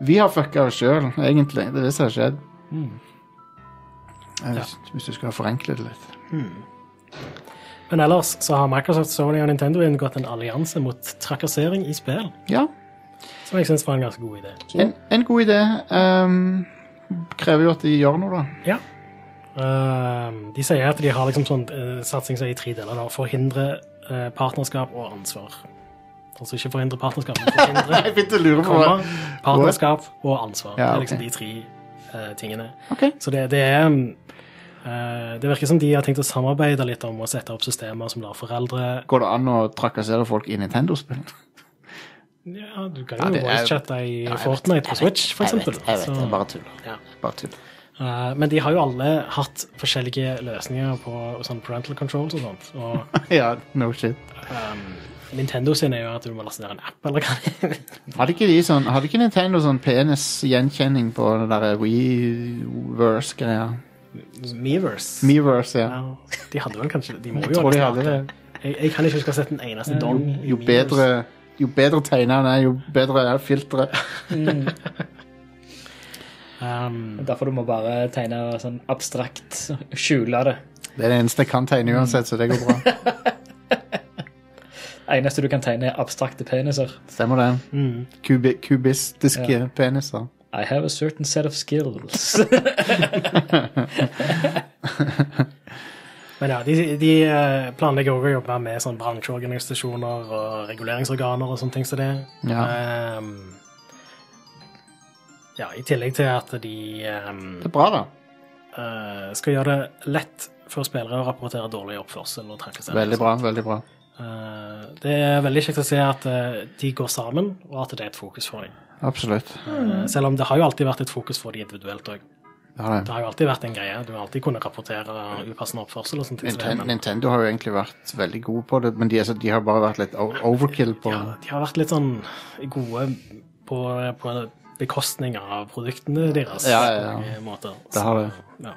Speaker 1: vi har fucka oss sjøl, egentlig. Det er det som har skjedd. Eh, Hvis, hvis du skal forenkle det litt.
Speaker 2: Men ellers så har Microsoft, Sony og Nintendo inngått en allianse mot trakassering i spill,
Speaker 1: Ja,
Speaker 2: som jeg syns var en ganske god idé.
Speaker 1: en, en god idé. ehm, krever jo at de gjør noe, da.
Speaker 2: Ja. Ehm, de sier at de har liksom sånn eh, satsing som er i tre deler. Da. Forhindre eh, partnerskap og ansvar. Altså ikke forhindre partnerskap, men forhindre
Speaker 1: Jeg begynte å lure på hva
Speaker 2: komma, partnerskap og ansvar.
Speaker 1: Ja,
Speaker 2: Det er
Speaker 1: ok.
Speaker 2: liksom de tre eh, tingene.
Speaker 1: Ok.
Speaker 2: Så det, det er mm, eh, Det virker som de har tenkt å samarbeide litt om å sette opp systemer som lar foreldre
Speaker 1: Går det an å trakassere folk i Nintendo-spill?
Speaker 2: Ja, du kan
Speaker 1: Ja,
Speaker 2: jo
Speaker 1: det er-
Speaker 2: voicechatte i Fortnite på Switch, for eksempel. Så-
Speaker 1: tuller.
Speaker 2: Ja.
Speaker 1: Bare tull.
Speaker 2: Eh, men de har jo alle hatt forskjellige løsninger på sånn parental controls og sånt. Og
Speaker 1: Ja, no shit.
Speaker 2: Um, Nintendo sin er jo at du må laste ned en app, eller hva det er.
Speaker 1: Hadde ikke, de sånn, hadde ikke Nintendo sånn penisgjenkjenning på den der Weverse-greia?
Speaker 2: Miiverse.
Speaker 1: Meverse, ja.
Speaker 2: Ja, de hadde vel kanskje De må
Speaker 1: Jeg
Speaker 2: jo
Speaker 1: tror de
Speaker 2: nesten
Speaker 1: hadde Mm,
Speaker 2: hatt Jeg, jeg kan ikke huske å ha sett en eneste dong. i
Speaker 1: Jo
Speaker 2: Miiverse.
Speaker 1: bedre, jo bedre tegner han er, jo bedre er filteret.
Speaker 2: Ehm,
Speaker 3: Derfor du må bare tegne sånn abstrakt, skjule det.
Speaker 1: Det er det eneste jeg kan tegne uansett, så det går bra.
Speaker 3: Eneste du kan tegne, er abstrakte peniser.
Speaker 2: Mm.
Speaker 1: Stemmer det. Kubi, kubistiske
Speaker 3: Ja.
Speaker 1: peniser.
Speaker 3: I have a certain set of skills.
Speaker 2: Men ja, de, de eh, planlegger også å jobbe med sånn bransjeorganisasjoner og reguleringsorganer og sånne ting som det.
Speaker 1: Ja.
Speaker 2: Ehm, ja, I tillegg til at de ehm,
Speaker 1: Det er bra, da.
Speaker 2: eh, skal gjøre det lett for spillere å rapportere dårlig oppførsel og trakassering.
Speaker 1: Veldig bra. veldig bra.
Speaker 2: Eh, det er veldig kjekt å se at eh, de går sammen, og at det er et fokus for dem.
Speaker 1: Absolutt.
Speaker 2: Eh, Selv om det har jo alltid vært et fokus for dem individuelt òg.
Speaker 1: Ja,
Speaker 2: Det
Speaker 1: det.
Speaker 2: har jo alltid vært en greie. Du har alltid kunnet rapportere upassende oppførsel og sånne ting. som det,
Speaker 1: Nintendo,
Speaker 2: men-
Speaker 1: Nintendo har jo egentlig vært veldig gode på det, men de, altså, de har bare vært litt o- overkill på
Speaker 2: Ja, de har vært litt sånn gode på, på bekostning av produktene deres.
Speaker 1: Ja, ja, ja.
Speaker 2: på mange Måter.
Speaker 1: Det har det.
Speaker 2: Så, Ja.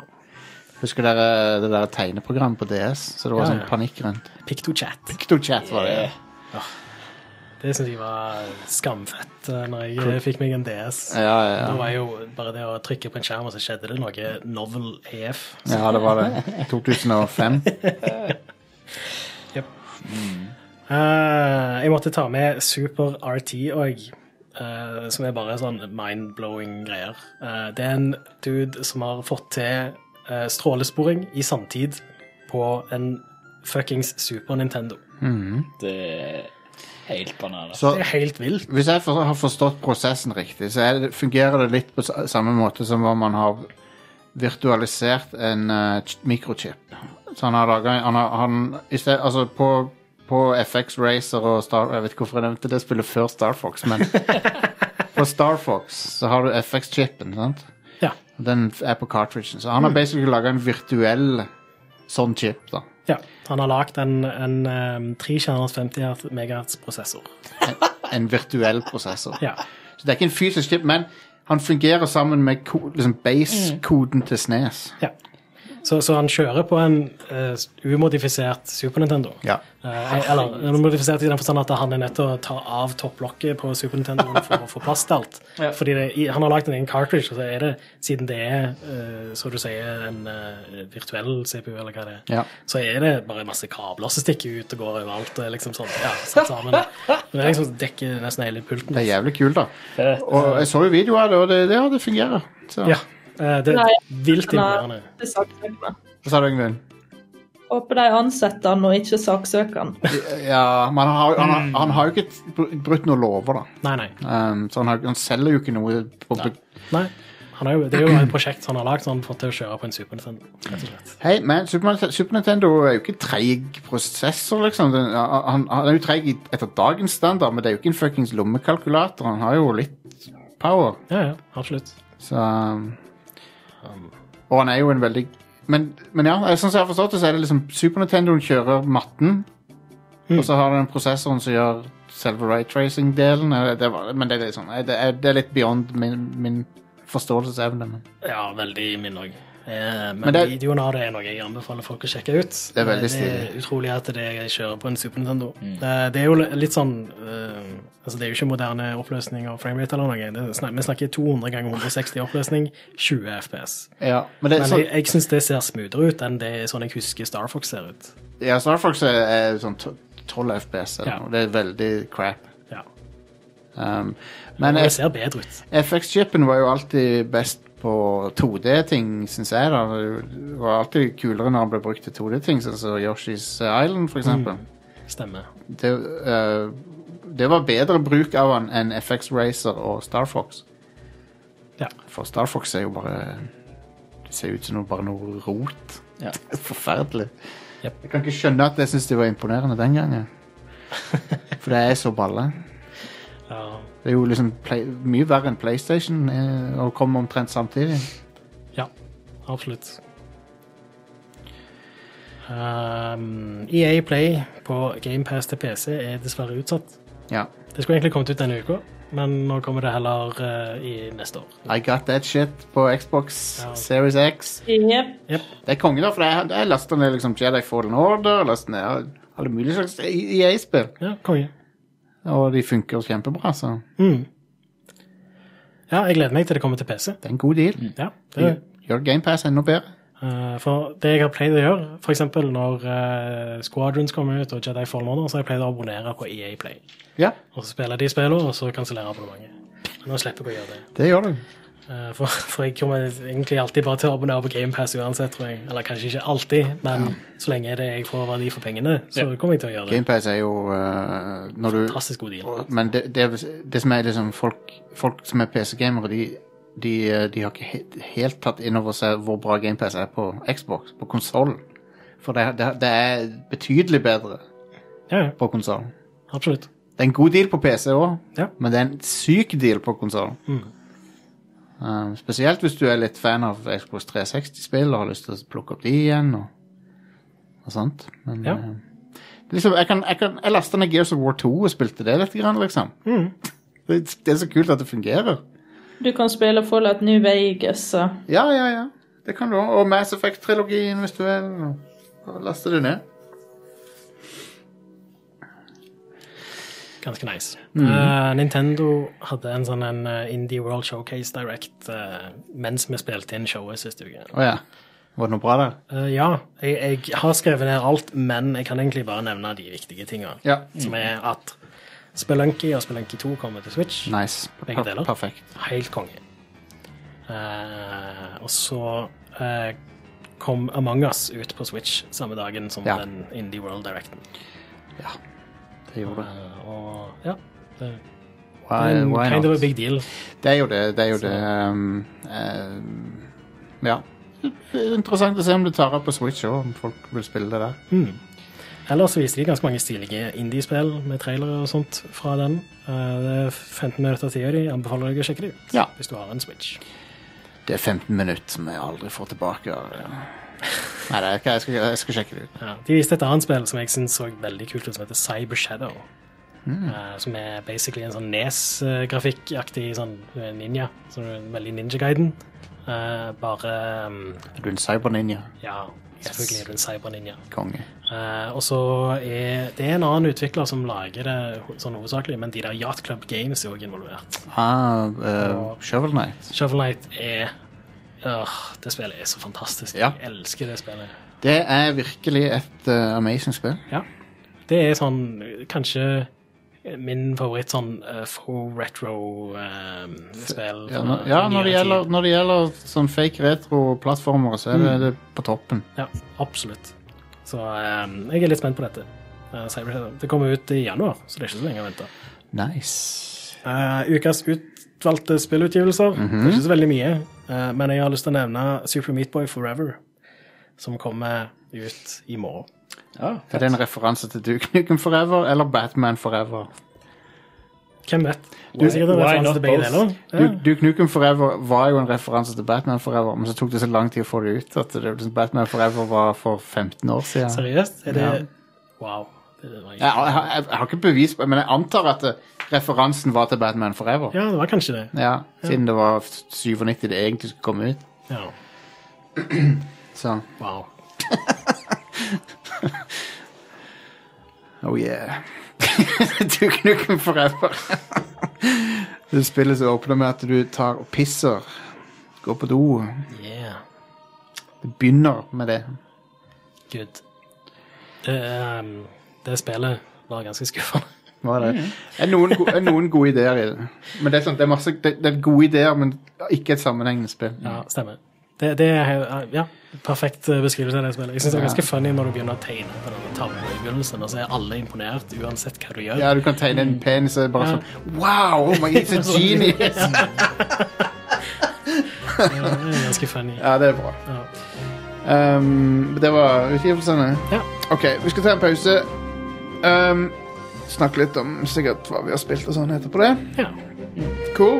Speaker 1: Husker dere det der tegneprogrammet på DS? Så det var
Speaker 2: Ja,
Speaker 1: sånn
Speaker 2: ja.
Speaker 1: panikk rundt.
Speaker 2: PictoChat.
Speaker 1: Pictochat var det.
Speaker 2: Det syns jeg var skamfett eh, når jeg fikk meg en DS.
Speaker 1: Ja, ja,
Speaker 2: Da
Speaker 1: ja.
Speaker 2: var jo bare det å trykke på en skjerm, og så skjedde det noe Novel E EF.
Speaker 1: ja det var det. 2005.
Speaker 2: Eh, jeg måtte ta med Super RT òg, eh, som er bare sånn mind-blowing greier. Eh, det er en dude som har fått til eh, strålesporing i samtid på en fuckings Super Nintendo.
Speaker 3: det er helt bananer.
Speaker 1: Så
Speaker 2: Det er helt vilt.
Speaker 1: hvis jeg for, har forstått prosessen riktig, så er det, fungerer det litt på sa- samme måte som om man har virtualisert en eh, ch- mikrochip. Så han har laga han, har- han, i sted- Altså, på, på FX Racer og Star Jeg vet ikke hvorfor jeg nevnte det spillet før Star Fox, men på Star Fox så har du FX-chipen, sant?
Speaker 2: Ja.
Speaker 1: Den f- er på cartridgen. Så han har basically laga en virtuell sånn chip, da.
Speaker 2: ja. Han har lagd en, en eh, em, 3-kjerners 50 MHz-prosessor.
Speaker 1: En virtuell prosessor.
Speaker 2: Ja.
Speaker 1: Så det er ikke en fysisk chip, men han fungerer sammen med ko- liksom base-koden
Speaker 2: Mm.
Speaker 1: til Snes.
Speaker 2: ja. Så, så han kjører på en eh, umodifisert Super Nintendo.
Speaker 1: Ja.
Speaker 2: Eh, eller nå modifisert i den forstand at han er nødt til å ta av topplokket på Super Nintendoen for å få plass til alt. Fordi det, i- han har lagd en egen cartridge, og så er det, siden det er, eh, så du sier, en eh, virtuell CPU, eller hva det er,
Speaker 1: Ja.
Speaker 2: så er det bare masse kabler som stikker ut og går overalt, og er liksom sånn, ja, satt sammen. Det er liksom dekker nesten hele pulten.
Speaker 1: Det er jævlig kult, da.
Speaker 3: Fett.
Speaker 1: Og jeg så jo videoer av det, og det, det, ja, det fungerer. Så
Speaker 2: Ja, eh, det
Speaker 4: Nei,
Speaker 2: er vilt
Speaker 4: Han har
Speaker 2: imponerende.
Speaker 4: ikke saksøkt meg.
Speaker 1: Hva sa du, Yngvild?
Speaker 4: Håper de ansetter han og ikke saksøker han.
Speaker 1: Ja, men han har, han,
Speaker 2: Mm.
Speaker 1: har, han har jo ikke br- brutt noen lover, da.
Speaker 2: Nei, nei.
Speaker 1: Um, så han, har, han selger jo ikke noe på
Speaker 2: nei. Han har jo, det er jo et prosjekt han har lagd, så han har fått til å kjøre på en Super Nintendo, rett og slett.
Speaker 1: Hei, men Super, Nintendo- Super Nintendo er jo ikke treig prosessor, liksom. Den, han, han er jo treig i- etter dagens standard, men det er jo ikke en fuckings lommekalkulator. Han har jo litt power.
Speaker 2: Ja, ja, absolutt.
Speaker 1: Så um, Og han er jo en veldig Men, men ja, jeg- sånn som jeg har forstått det, så er det liksom Super Nintendoen kjører matten, og så har den prosessoren som gjør selve raytracing-delen. eh, det var- Men det er litt sånn eh, Det er, det er litt beyond min, min forståelsesevne. Men
Speaker 2: Ja, veldig min òg. Eh, men
Speaker 1: Men det-
Speaker 2: videoen av det er noe jeg anbefaler folk å sjekke ut. Eh,
Speaker 1: Det er veldig Mm.
Speaker 2: er utrolig at det jeg kjører på en Super Nintendo. Det, det er jo litt sånn eh, Altså, det er jo ikke moderne oppløsning og framerate eller noe. Det, er snak- vi snakker 200 ganger 160 oppløsning, 20 FPS.
Speaker 1: ja, men det, sånn-
Speaker 2: Men
Speaker 1: så,
Speaker 2: jeg, jeg syns det ser smoothere ut enn det er sånn jeg husker Star Fox ser ut.
Speaker 1: ja, Star Fox er, er sånn to- 12 FPS, eller
Speaker 2: Ja.
Speaker 1: noe. det er veldig crap.
Speaker 2: Ja.
Speaker 1: Um, men
Speaker 2: Men det
Speaker 1: F-
Speaker 2: ser bedre ut.
Speaker 1: FX-chipen var jo alltid best på 2D-ting, syns jeg. da. Det var alltid kulere når han ble brukt til 2D-ting, sånn som Yoshi's Island, for eksempel.
Speaker 2: Stemmer.
Speaker 1: det, eh, det var bedre bruk av han enn FX Racer og Star Fox.
Speaker 2: Ja.
Speaker 1: For Star Fox er jo bare Det ser ut som noe, bare noe rot.
Speaker 3: Ja.
Speaker 1: Det er Forferdelig.
Speaker 2: Yep.
Speaker 1: Jeg kan ikke skjønne at jeg syntes det var imponerende den gangen. For det er så balle.
Speaker 2: Ja.
Speaker 1: Det er jo liksom play, mye verre enn PlayStation eh, å komme omtrent samtidig.
Speaker 2: Ja, absolutt. Um, EA Play på GamePass til PC er dessverre utsatt.
Speaker 1: Ja.
Speaker 2: Det skulle egentlig kommet ut denne uka, men nå kommer det heller eh, i neste år.
Speaker 1: I got that shit på Xbox
Speaker 2: Ja.
Speaker 1: Series X.
Speaker 4: Jep.
Speaker 1: Det er konge, da, for jeg, jeg lasta ned liksom Jedi Fallen Order, lasta ned alle mulige slags EA-spill.
Speaker 2: Ja, konge.
Speaker 1: Og de funker kjempebra, så
Speaker 2: Mm. Ja, jeg gleder meg til det kommer til PC.
Speaker 1: det er en god deal.
Speaker 2: Ja, det,
Speaker 1: Gjør Gjør GamePass enda bedre.
Speaker 2: eh, for det jeg har pleid å gjøre, f.eks. når eh, Squadrons kommer ut og Jedi Fallen Order, så har jeg pleid å abonnere på EA Play.
Speaker 1: Ja,
Speaker 2: Og så spiller de spillene, og så kansellerer abonnementet. Men nå slipper jeg å gjøre det.
Speaker 1: det gjør du.
Speaker 2: Eh, For, for jeg kommer egentlig alltid bare til å abonnere på GamePass uansett, tror jeg. Eller kanskje ikke alltid, men så lenge det jeg får verdi for pengene, så kommer jeg til å gjøre det.
Speaker 1: GamePass er jo eh, når du,
Speaker 2: Fantastisk god deal.
Speaker 1: Men det, det, det som er liksom folk, folk som er PC-gamere, de, de, eh, de har ikke he- helt tatt inn over seg hvor bra GamePass er på Xbox, på konsollen. For det, det, det er betydelig bedre
Speaker 2: Ja, ja,
Speaker 1: på konsollen.
Speaker 2: absolutt.
Speaker 1: Det er en god deal på PC òg,
Speaker 2: Ja.
Speaker 1: men det er en syk deal på konsollen.
Speaker 2: Mm.
Speaker 1: Um, spesielt hvis du er litt fan av Xbox 360-spill og har lyst til å plukke opp de igjen. og, og sånt. Men
Speaker 2: Ja.
Speaker 1: eh, det er liksom, jeg, kan, jeg, kan, jeg lastet ned Gears of War 2 og spilte det litt, grann, liksom. Det, det er så kult at det fungerer.
Speaker 4: Du kan spille Fallout New Vegas og
Speaker 1: Ja, ja, ja. Det kan du også. Og Mass Effect-trilogien, hvis du vil. og- og Laste det ned.
Speaker 2: Ganske nice. Eh, Nintendo hadde en sånn en eh, Indie World Showcase Direct eh, mens vi spilte inn showet siste uke.
Speaker 1: Å ja. Var det noe bra der?
Speaker 2: Eh, ja, jeg, jeg har skrevet ned alt, men jeg kan egentlig bare nevne de viktige tinga.
Speaker 1: Ja.
Speaker 2: Som er at Spelunky og Spelunky 2 kommer til Switch.
Speaker 1: Nice.
Speaker 2: Begge deler.
Speaker 1: Perfekt.
Speaker 2: Helt konge. Eh, og så eh, kom Among us ut på Switch samme dagen som
Speaker 1: Ja.
Speaker 2: den Indie World Directen.
Speaker 1: Det gjorde det.
Speaker 2: Eh, og ja, det er
Speaker 1: Why,
Speaker 2: en
Speaker 1: why
Speaker 2: kind of a
Speaker 1: not?
Speaker 2: big deal.
Speaker 1: Det er jo det. Det er jo det. Um, um, ja. Det er Interessant å se om det tar av på Switch òg, om folk vil spille det der.
Speaker 2: Ellers viser de ganske mange stilige indie-spill med trailere og sånt fra den. Eh, det er 15 minutter til de. Anbefaler deg å sjekke det ut
Speaker 1: Ja.
Speaker 2: hvis du har en Switch.
Speaker 1: Det er 15 minutter som jeg aldri får tilbake. Nei, det er, ikke- jeg, skal, jeg skal sjekke det ut.
Speaker 2: Ja. De viste et annet spill som jeg syns så veldig kult ut, som heter Cyber Shadow. Eh, som er basically en sånn Nes-grafikkaktig sånn eh, ninja. Så det er en veldig Ninja-guiden. Eh, bare mm,
Speaker 1: Er du en cyberninja?
Speaker 2: Ja, selvfølgelig er du en cyber-ninja.
Speaker 1: Konge.
Speaker 2: Eh, og så er det er en annen utvikler som lager det ho- sånn hovedsakelig, men de der Yacht Club Games er også involvert.
Speaker 1: Ah, uh, Shovel Knight.
Speaker 2: Shovel Knight er Åh, Det spillet er så fantastisk.
Speaker 1: Ja.
Speaker 2: Jeg elsker det spillet.
Speaker 1: Det er virkelig et eh, amazing spill.
Speaker 2: Ja. Det er sånn eh, kanskje min favoritt sånn uh, full eh, retro-spill.
Speaker 1: Ja, når, ja, når, det gjelder, når det gjelder sånn fake retro-plattformer, så er det, det på toppen.
Speaker 2: Ja, absolutt. Så eh, jeg er litt spent på dette. Eh, Cyber Shadow. Det kommer ut i januar, så det er ikke så lenge å vente.
Speaker 1: Nice.
Speaker 2: Eh, ukas utvalgte spillutgivelser.
Speaker 1: Mhm.
Speaker 2: Det er ikke så veldig mye, eh, men jeg har lyst til å nevne Super Meatboy Forever, som kommer ut i morgen.
Speaker 3: Ja,
Speaker 1: Er det en referanse til Duke Nukem Forever eller Batman Forever?
Speaker 2: Hvem vet? Du er sikkert
Speaker 3: Why
Speaker 2: en referanse
Speaker 3: not
Speaker 2: til begge
Speaker 3: both?
Speaker 2: deler. Ja.
Speaker 1: Duke, Duke Nukem Forever var jo en referanse til Batman Forever, men så tok det så lang tid å få det ut at det, liksom Batman Forever var for 15 år siden.
Speaker 2: Seriøst? Er det
Speaker 1: Ja.
Speaker 2: Wow. Det var ikke...
Speaker 1: Jeg, jeg, jeg, jeg har ikke bevis, på- men jeg antar at det, referansen var til Batman Forever.
Speaker 2: Ja, det var kanskje det.
Speaker 1: Ja, siden det var 97 det egentlig skulle komme ut.
Speaker 2: Ja.
Speaker 1: Så,
Speaker 2: Wow.
Speaker 1: oh yeah. Duke Nukem Forever. det spillet som åpner med at du tar og pisser, går på do.
Speaker 2: Yeah.
Speaker 1: Det begynner med det.
Speaker 2: Good. Det, ehm, det spillet var ganske skuffende.
Speaker 1: Hva er det? Er noen, go- er noen gode ideer i det? Men det er, sånn, det er, masse, det, det er gode ideer, men ikke et sammenhengende spill.
Speaker 2: Ja, stemmer. Det, det er he- ja, perfekt eh, beskrivelse av det spillet. Jeg synes det er ganske funny når du begynner å tegne på denne tavla i begynnelsen, og så er alle imponert uansett hva du gjør.
Speaker 1: Ja, du kan tegne en penis og bare sånn Wow! Oh my, he's a genius!
Speaker 2: Det er ganske funny.
Speaker 1: Ja, det er bra.
Speaker 2: Ja.
Speaker 1: Um, det var eh. utgivelsene.
Speaker 2: Ja.
Speaker 1: OK, vi skal ta en pause. Um, snakke litt om sikkert hva vi har spilt og sånn etterpå det.
Speaker 2: ja.
Speaker 1: Cool.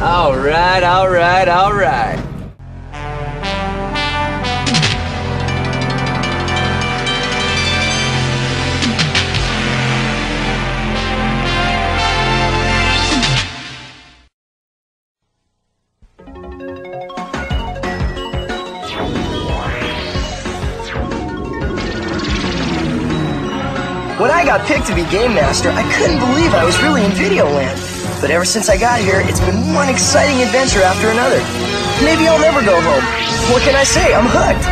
Speaker 5: All right, all right, all right.
Speaker 6: When I got picked to be Game Master, I couldn't believe I was really in video land. But ever since I got here, it's been one exciting adventure after another. Maybe I'll never go home. What can I say? I'm hooked.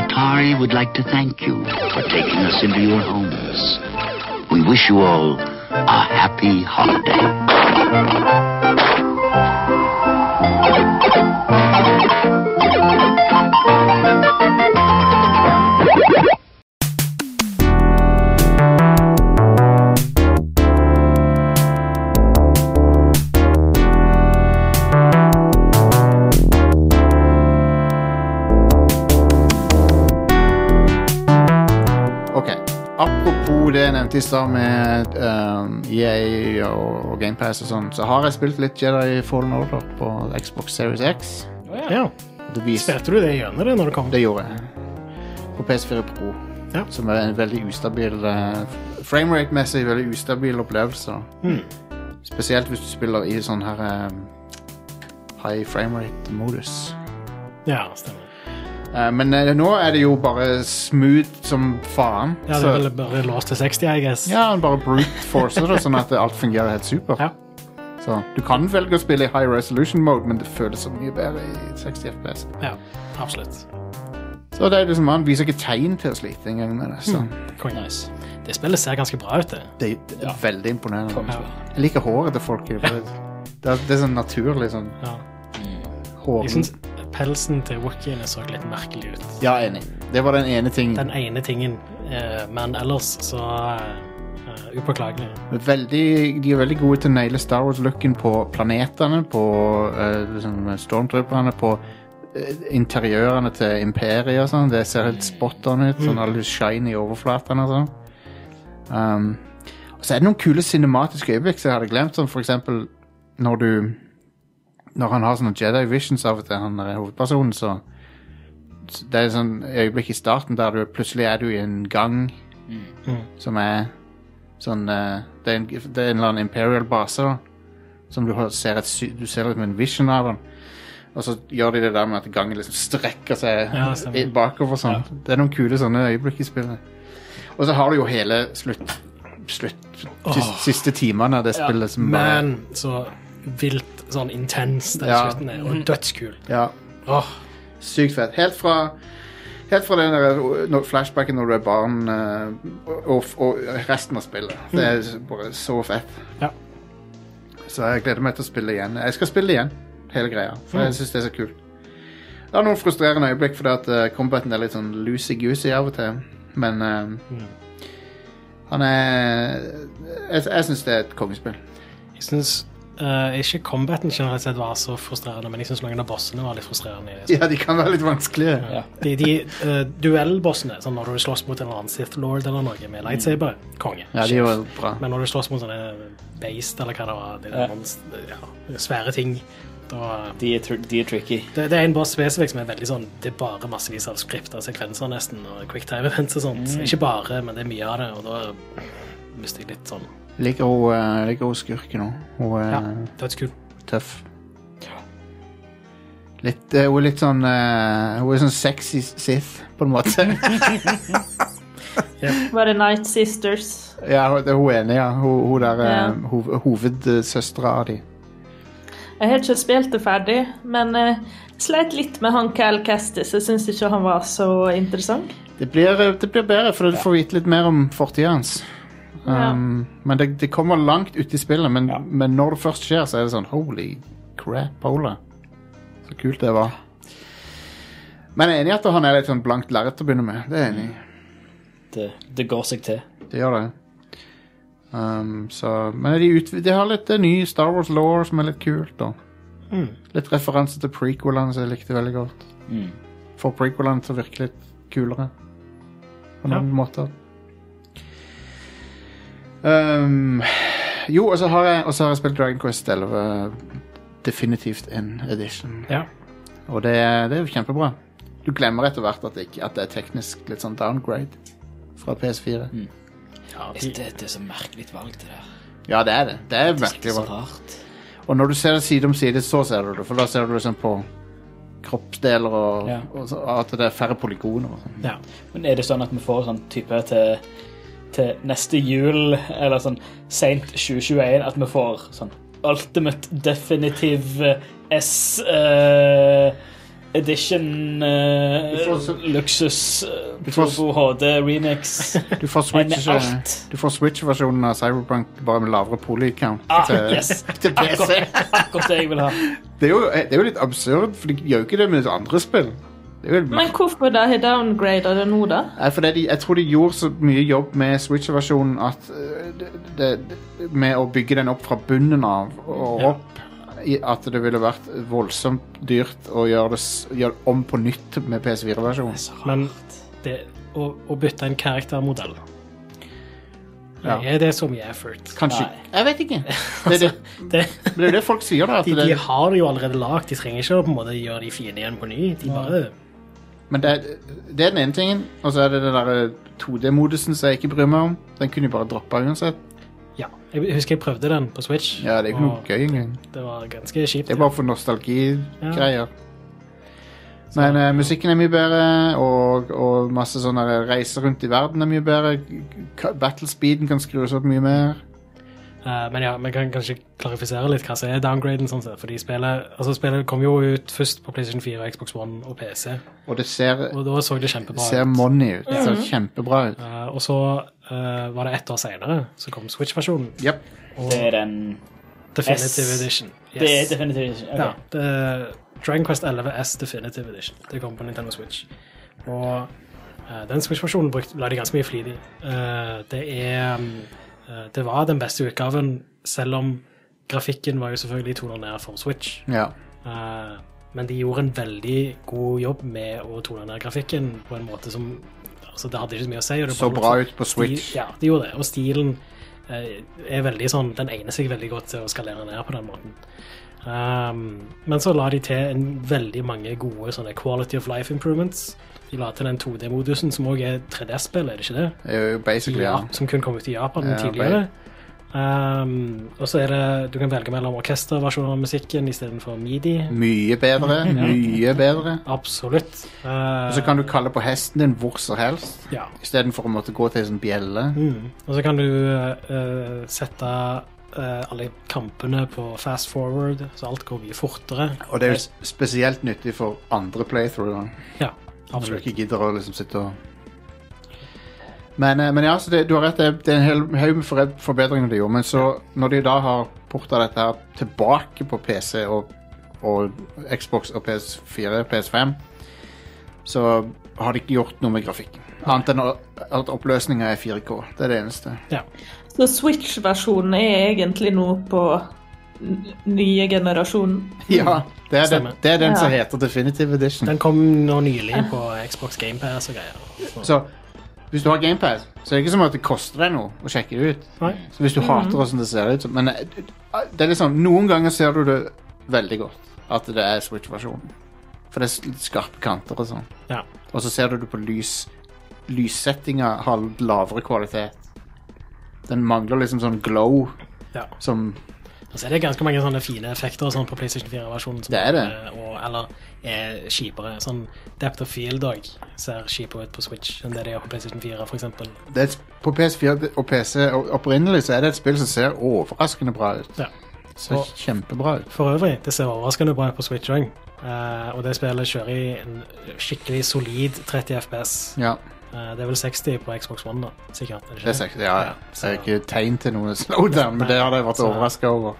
Speaker 7: Atari would like to thank you for taking us into your homes. We wish you all a happy holiday.
Speaker 1: Ok. Apropos det jeg nevnte i stad med um, EA og, og GamePass og sånn, så har jeg spilt litt Jedi Fallen Order på Xbox Series X.
Speaker 2: Ja.
Speaker 1: Det, viser,
Speaker 2: Spilte du det gjennom det når det kom?
Speaker 1: det gjorde jeg. På PS4 Pro.
Speaker 2: Ja.
Speaker 1: Som er en veldig ustabil eh, Framerate-messig veldig ustabil opplevelse.
Speaker 2: Hmm.
Speaker 1: Spesielt hvis du spiller i sånn her eh, high framerate-modus.
Speaker 2: Ja, stemmer.
Speaker 1: Eh, men eh, nå er det jo bare smooth som faen.
Speaker 2: Ja, det
Speaker 1: så-
Speaker 2: er vel bare låst til 60, I guess.
Speaker 1: Ja, han bare brute forcer det, sånn at alt fungerer helt super.
Speaker 2: Ja.
Speaker 1: Så, du kan velge å spille i high resolution mode, men det føles så mye bedre i 60 FPS.
Speaker 2: Ja, absolutt.
Speaker 1: Så det er liksom, Han viser ikke tegn til å slite engang med det. Så
Speaker 2: Konge.
Speaker 3: Nice.
Speaker 2: Det spillet ser ganske bra ut, det.
Speaker 1: det, det er veldig imponerende.
Speaker 2: Ja.
Speaker 1: Jeg liker håret til folk. Det, det, er, det er sånn naturlig sånn
Speaker 2: Ja.
Speaker 1: hår.
Speaker 2: Jeg syns pelsen til Wookiene så litt merkelig ut.
Speaker 1: Ja, enig. Det var den ene ting.
Speaker 2: Den ene tingen. eh, Men ellers så eh, eh, upåklagelig.
Speaker 1: Veldig, de er veldig gode til å naile Star Wars-looken på planetene, på eh, liksom stormtrooperne, på eh, interiørene til imperiet og sånn. Det ser helt spot on ut. Sånn alle shiny overflatene og sånn. Um, og så er det noen kule cinematiske øyeblikk som jeg hadde glemt, som for eksempel når du Når han har sånne Jedi visions av og til, han er hovedpersonen, så så det er sånn øyeblikk i starten der du plutselig er du i en gang
Speaker 2: Mm.
Speaker 1: som er sånn eh, det, er en, det er en eller annen Imperial base da, som du har- ser, et, sy- du ser liksom en vision av den. Og så gjør de det der med at gangen liksom strekker seg
Speaker 2: Ja, stemmer.
Speaker 1: i- bakover sånn. Det er noen kule sånne øyeblikk i spillet. Og så har du jo hele slutt, slutt siste, siste timene av det spillet som bare
Speaker 2: Men så vilt sånn intens den
Speaker 1: Ja.
Speaker 2: slutten er, og dødskul.
Speaker 1: Ja.
Speaker 2: Åh,
Speaker 1: Sykt fett. Helt fra Helt fra den der, når, flashbacken når du er barn, eh, og, og resten av spillet. Det er bare så fett.
Speaker 2: Ja.
Speaker 1: Så jeg gleder meg til å spille igjen. Jeg skal spille igjen, hele greia. For jeg syns det er så kult. Det er noen frustrerende øyeblikk fordi at eh, combaten er litt sånn loosey-goosey av og til. Men eh, han er Jeg, jeg syns det er et kongespill.
Speaker 2: jeg syns ikke combaten generelt sett var så frustrerende, men jeg syns noen av bossene var litt frustrerende. i det.
Speaker 1: Ja, de kan være litt vanskelige.
Speaker 2: De, de eh, duellbossene, sånn når du slåss mot en eller annen Sith Lord eller noe med lightsaber, konge.
Speaker 1: Ja, de er jo bra.
Speaker 2: Men når du slåss mot sånne beist eller hva det var, det,
Speaker 3: Ja.
Speaker 2: monst- ja, svære ting, da
Speaker 3: De er, tr de er tricky.
Speaker 2: det, det er en boss spesifikk som er veldig sånn Det er bare massevis av skript og sekvenser nesten, og quicktime events og sånt.
Speaker 1: Mm.
Speaker 2: Ikke bare, men det er mye av det, og da mister jeg litt sånn
Speaker 1: Liker hun, eh, liker hun skurken òg. Hun er
Speaker 2: Ja, dødskult.
Speaker 1: tøff. Litt, eh, hun er litt sånn eh, Hun er sånn sexy Sith, på en måte.
Speaker 4: Var det Night Sisters?
Speaker 1: ja, hun- det er hun enig, ja. Hun, hun der
Speaker 4: Ja.
Speaker 1: eh, hov, hovedsøstera av de.
Speaker 4: Jeg har ikke spilt det ferdig, men eh, jeg sleit litt med han Cal Kestis. Jeg syns ikke han var så interessant.
Speaker 1: Det blir, eh, det blir bedre, for du får vite litt mer om fortida hans.
Speaker 4: Ja.
Speaker 1: Um, Men det, det kommer langt ut i spillet, men, men når det først skjer, så er det sånn Holy crap, Ola. Så kult det var. Men jeg er enig i at han er litt sånn blankt lerret til å begynne med. Det er jeg enig i.
Speaker 3: Det, det går seg til.
Speaker 1: Det gjør det. Um, så, men de, ut, de har litt eh, ny Star Wars law som er litt kult. Da. Litt referanse til prequelene som jeg likte veldig godt. Får prequelene til å virke litt kulere på noen måter. Um, jo, og så har jeg, og så har jeg spilt Dragon Quest 11 Definitivt in edition.
Speaker 2: Ja.
Speaker 1: Og det, det er jo kjempebra. Du glemmer etter hvert at det, ikke, at det er teknisk litt sånn downgrade fra PS4.
Speaker 2: Ja, de,
Speaker 3: Det, det er så merkelig valg, det der.
Speaker 1: Ja, det er det. Det er
Speaker 3: Det er
Speaker 1: merkelig.
Speaker 3: så
Speaker 1: hva-
Speaker 3: rart.
Speaker 1: Og når du ser det side om side, så ser du det. For da ser du liksom på kroppsdeler og,
Speaker 3: Ja.
Speaker 1: og så, at det er færre polygoner. Og sånn.
Speaker 2: ja.
Speaker 3: Men er det sånn at vi får sånn type til, til neste jul, eller sånn seint 2021, at vi får sånn ultimate definitive S eh, edition eh,
Speaker 1: Du får så-
Speaker 3: luksus eh,
Speaker 1: Du får s-
Speaker 3: Turbo HD remix
Speaker 1: Du får
Speaker 3: med
Speaker 1: Switch-
Speaker 3: alt.
Speaker 1: du får Switch-versjonen av Cyberpunk bare med lavere polycount
Speaker 3: Ah,
Speaker 1: til,
Speaker 3: yes. Ah,
Speaker 1: til PC.
Speaker 3: Akkurat, akkurat det jeg vil ha.
Speaker 1: Det er, jo, det er jo litt absurd, for de gjør jo ikke det med andre spill. Det er jo
Speaker 3: Mm.
Speaker 1: helt
Speaker 4: Men hvorfor de har downgrada det nå, da?
Speaker 1: Nei, for det, de- jeg tror de gjorde så mye jobb med Switch-versjonen at eh, det, det, det, Med å bygge den opp fra bunnen av og opp i, At det ville vært voldsomt dyrt å gjøre det, s- gjøre det om på nytt med PS4-versjonen.
Speaker 2: Men det, å, å bytte en karaktermodell
Speaker 1: Ja.
Speaker 2: Er det så mye effort?
Speaker 1: Kanskje.
Speaker 3: Nei.
Speaker 1: Jeg vet ikke. Det er det,
Speaker 2: Det,
Speaker 1: men det, er jo det folk sier, da.
Speaker 2: de,
Speaker 1: At
Speaker 2: de
Speaker 1: det,
Speaker 2: har det jo allerede lagd. De trenger ikke å på en måte gjøre de fine igjen på ny. De bare
Speaker 1: men det, det er den ene tingen. Og så er det den der 2D-modusen som jeg ikke bryr meg om. Den kunne de bare droppa uansett.
Speaker 2: Ja. Jeg husker jeg prøvde den på Switch.
Speaker 1: Ja, det er jo ikke noe
Speaker 2: og
Speaker 1: gøy engang.
Speaker 2: Det var ganske kjipt.
Speaker 1: Det er bare for nostalgigreier. Men eh, musikken er mye bedre, og, og masse sånne der reiser rundt i verden er mye bedre. K- Battlespeeden kan skrus opp mye mer.
Speaker 2: Eh, men ja, vi kan kanskje klarifisere litt hva som er downgraden. sånn sett, fordi spillet, altså spillet kom jo ut først på PlayStation 4, Xbox One og PC.
Speaker 1: Og det ser,
Speaker 2: Og da så det kjempebra
Speaker 1: ser
Speaker 2: ut. Mhm.
Speaker 1: money ut. Det ser kjempebra ut.
Speaker 2: Eh, og så eh, var det ett år seinere så kom Switch-versjonen.
Speaker 1: Yep.
Speaker 3: Det er den
Speaker 2: Definitive
Speaker 3: S.
Speaker 2: Edition. Yes.
Speaker 3: Det er definitivt ikke.
Speaker 2: Ja,
Speaker 3: ok.
Speaker 2: det er Dragon Quest 11 S Definitive Edition. Det kom på Nintendo Switch. Og eh, den Switch-versjonen brukte- la de ganske mye flid i. Eh, det er mm, eh, Det var den beste utgaven, selv om grafikken var jo selvfølgelig toner ned for Switch.
Speaker 1: Ja.
Speaker 2: Eh, men de gjorde en veldig god jobb med å tone ned grafikken på en måte som altså Det hadde ikke så mye å si. Og det
Speaker 1: Så
Speaker 2: bare-
Speaker 1: bra ut på Switch.
Speaker 2: De, ja, de gjorde det. Og stilen eh, er veldig sånn Den egner seg veldig godt til å skalere ned på den måten. Um, men så la de til en veldig mange gode sånne quality of life improvements. De la til den 2D-modusen, som òg er 3D-spill, er det ikke det?
Speaker 1: Det er jo basically ja.
Speaker 2: Ja, som kun kom ut i Japan
Speaker 1: Ja,
Speaker 2: tidligere. Um, og så er det Du kan velge mellom orkesterversjoner av musikken istedenfor midi.
Speaker 1: Mye bedre. Mye bedre.
Speaker 2: Absolutt. Eh,
Speaker 1: Og så kan du kalle på hesten din hvor som helst,
Speaker 2: ja.
Speaker 1: istedenfor å måtte gå til en sånn bjelle.
Speaker 2: mm. Og så kan du eh, sette eh, alle kampene på fast forward, så alt går mye fortere. Eh,
Speaker 1: Og det er jo s- spesielt nyttig for andre playthrougher.
Speaker 2: Ja,
Speaker 1: Når du
Speaker 2: absolutt.
Speaker 1: ikke gidder å liksom sitte og Men, eh, men ja, så det, du har rett, det, det er en hel haug med forre- forbedringer de gjorde. Men så, når de da har porta dette her tilbake på PC og, og Xbox og PS4, PS5, så har de ikke gjort noe med grafikken. Annet enn å- at oppløsninga er 4K. Det er det eneste.
Speaker 2: Ja.
Speaker 4: Så Switch-versjonen er egentlig nå på n- nye generasjonen.
Speaker 1: Ja, Det er den,
Speaker 2: Stemmer.
Speaker 1: det er den som
Speaker 4: Ja.
Speaker 1: heter Definitive Edition.
Speaker 2: Den kom nå nylig på Xbox GamePass og greier. Så,
Speaker 1: Så hvis du har GamePass, så er det ikke som at det koster deg noe å sjekke det ut.
Speaker 2: Nei.
Speaker 1: Så hvis du hater hvordan det ser ut som Men eh, det er liksom, noen ganger ser du det veldig godt, at det er Switch-versjonen. For det er litt skarpe kanter og sånn.
Speaker 2: ja.
Speaker 1: Og så ser du det på lys. Lyssettinga har litt lavere kvalitet. Den mangler liksom sånn glow
Speaker 2: ja.
Speaker 1: som
Speaker 2: Og så er det ganske mange sånne fine effekter og sånn på PlayStation 4-versjonen. som
Speaker 1: Det er det.
Speaker 2: eh, Og, eller er kjipere. Sånn Depth of Field òg ser kjipere ut på Switch enn det det gjør på PlayStation 4, for eksempel.
Speaker 1: det er, et sp- På PS4 og PC og opprinnelig så er det et spill som ser overraskende bra ut.
Speaker 2: Ja.
Speaker 1: Ser
Speaker 2: Og-
Speaker 1: kjempebra ut.
Speaker 2: For øvrig, det ser overraskende bra ut på Switch òg. og det spillet kjører i en skikkelig solid 30 FPS.
Speaker 1: Ja,
Speaker 2: Eh, det er vel 60 på Xbox One, da. Sikkert. er
Speaker 1: det er
Speaker 2: det?
Speaker 1: sexy. Ja, ja. Det
Speaker 2: så-
Speaker 1: er ikke tegn til noe slowdown, men det hadde jeg vært
Speaker 2: Så-
Speaker 1: overraska over.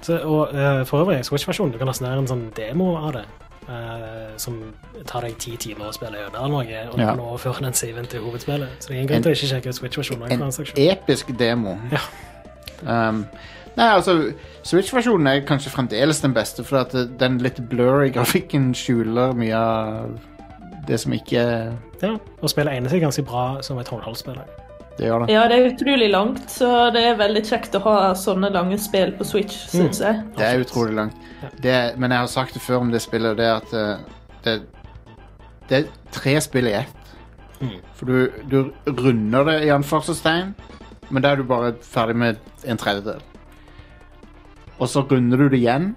Speaker 2: Så, og eh, for øvrig, Switch-versjonen, du kan laste ned en sånn demo av det. eh, som tar deg ti timer å spille gjennom eller noe, og du
Speaker 1: Ja.
Speaker 2: kan overføre den saven til hovedspillet. Så det er ingen grunn til å ikke sjekke ut Switch-versjonen.
Speaker 1: en
Speaker 2: av en
Speaker 1: episk demo. Um, nei, altså, Switch-versjonen er kanskje fremdeles den beste, for at eh, den litt blurry grafikken skjuler mye av det som ikke
Speaker 2: Ja, og spillet egner seg ganske bra som et håndholdsspill.
Speaker 1: Det gjør det.
Speaker 4: Ja, det er utrolig langt, så det er veldig kjekt å ha sånne lange spill på Switch, syns jeg.
Speaker 1: Det er utrolig langt. Det, men jeg har sagt det før om det spillet, og det er at eh, det, det er tre spill i ett. For du, du runder det i anførselstegn, men da er du bare ferdig med en tredjedel. Og så runder du det igjen.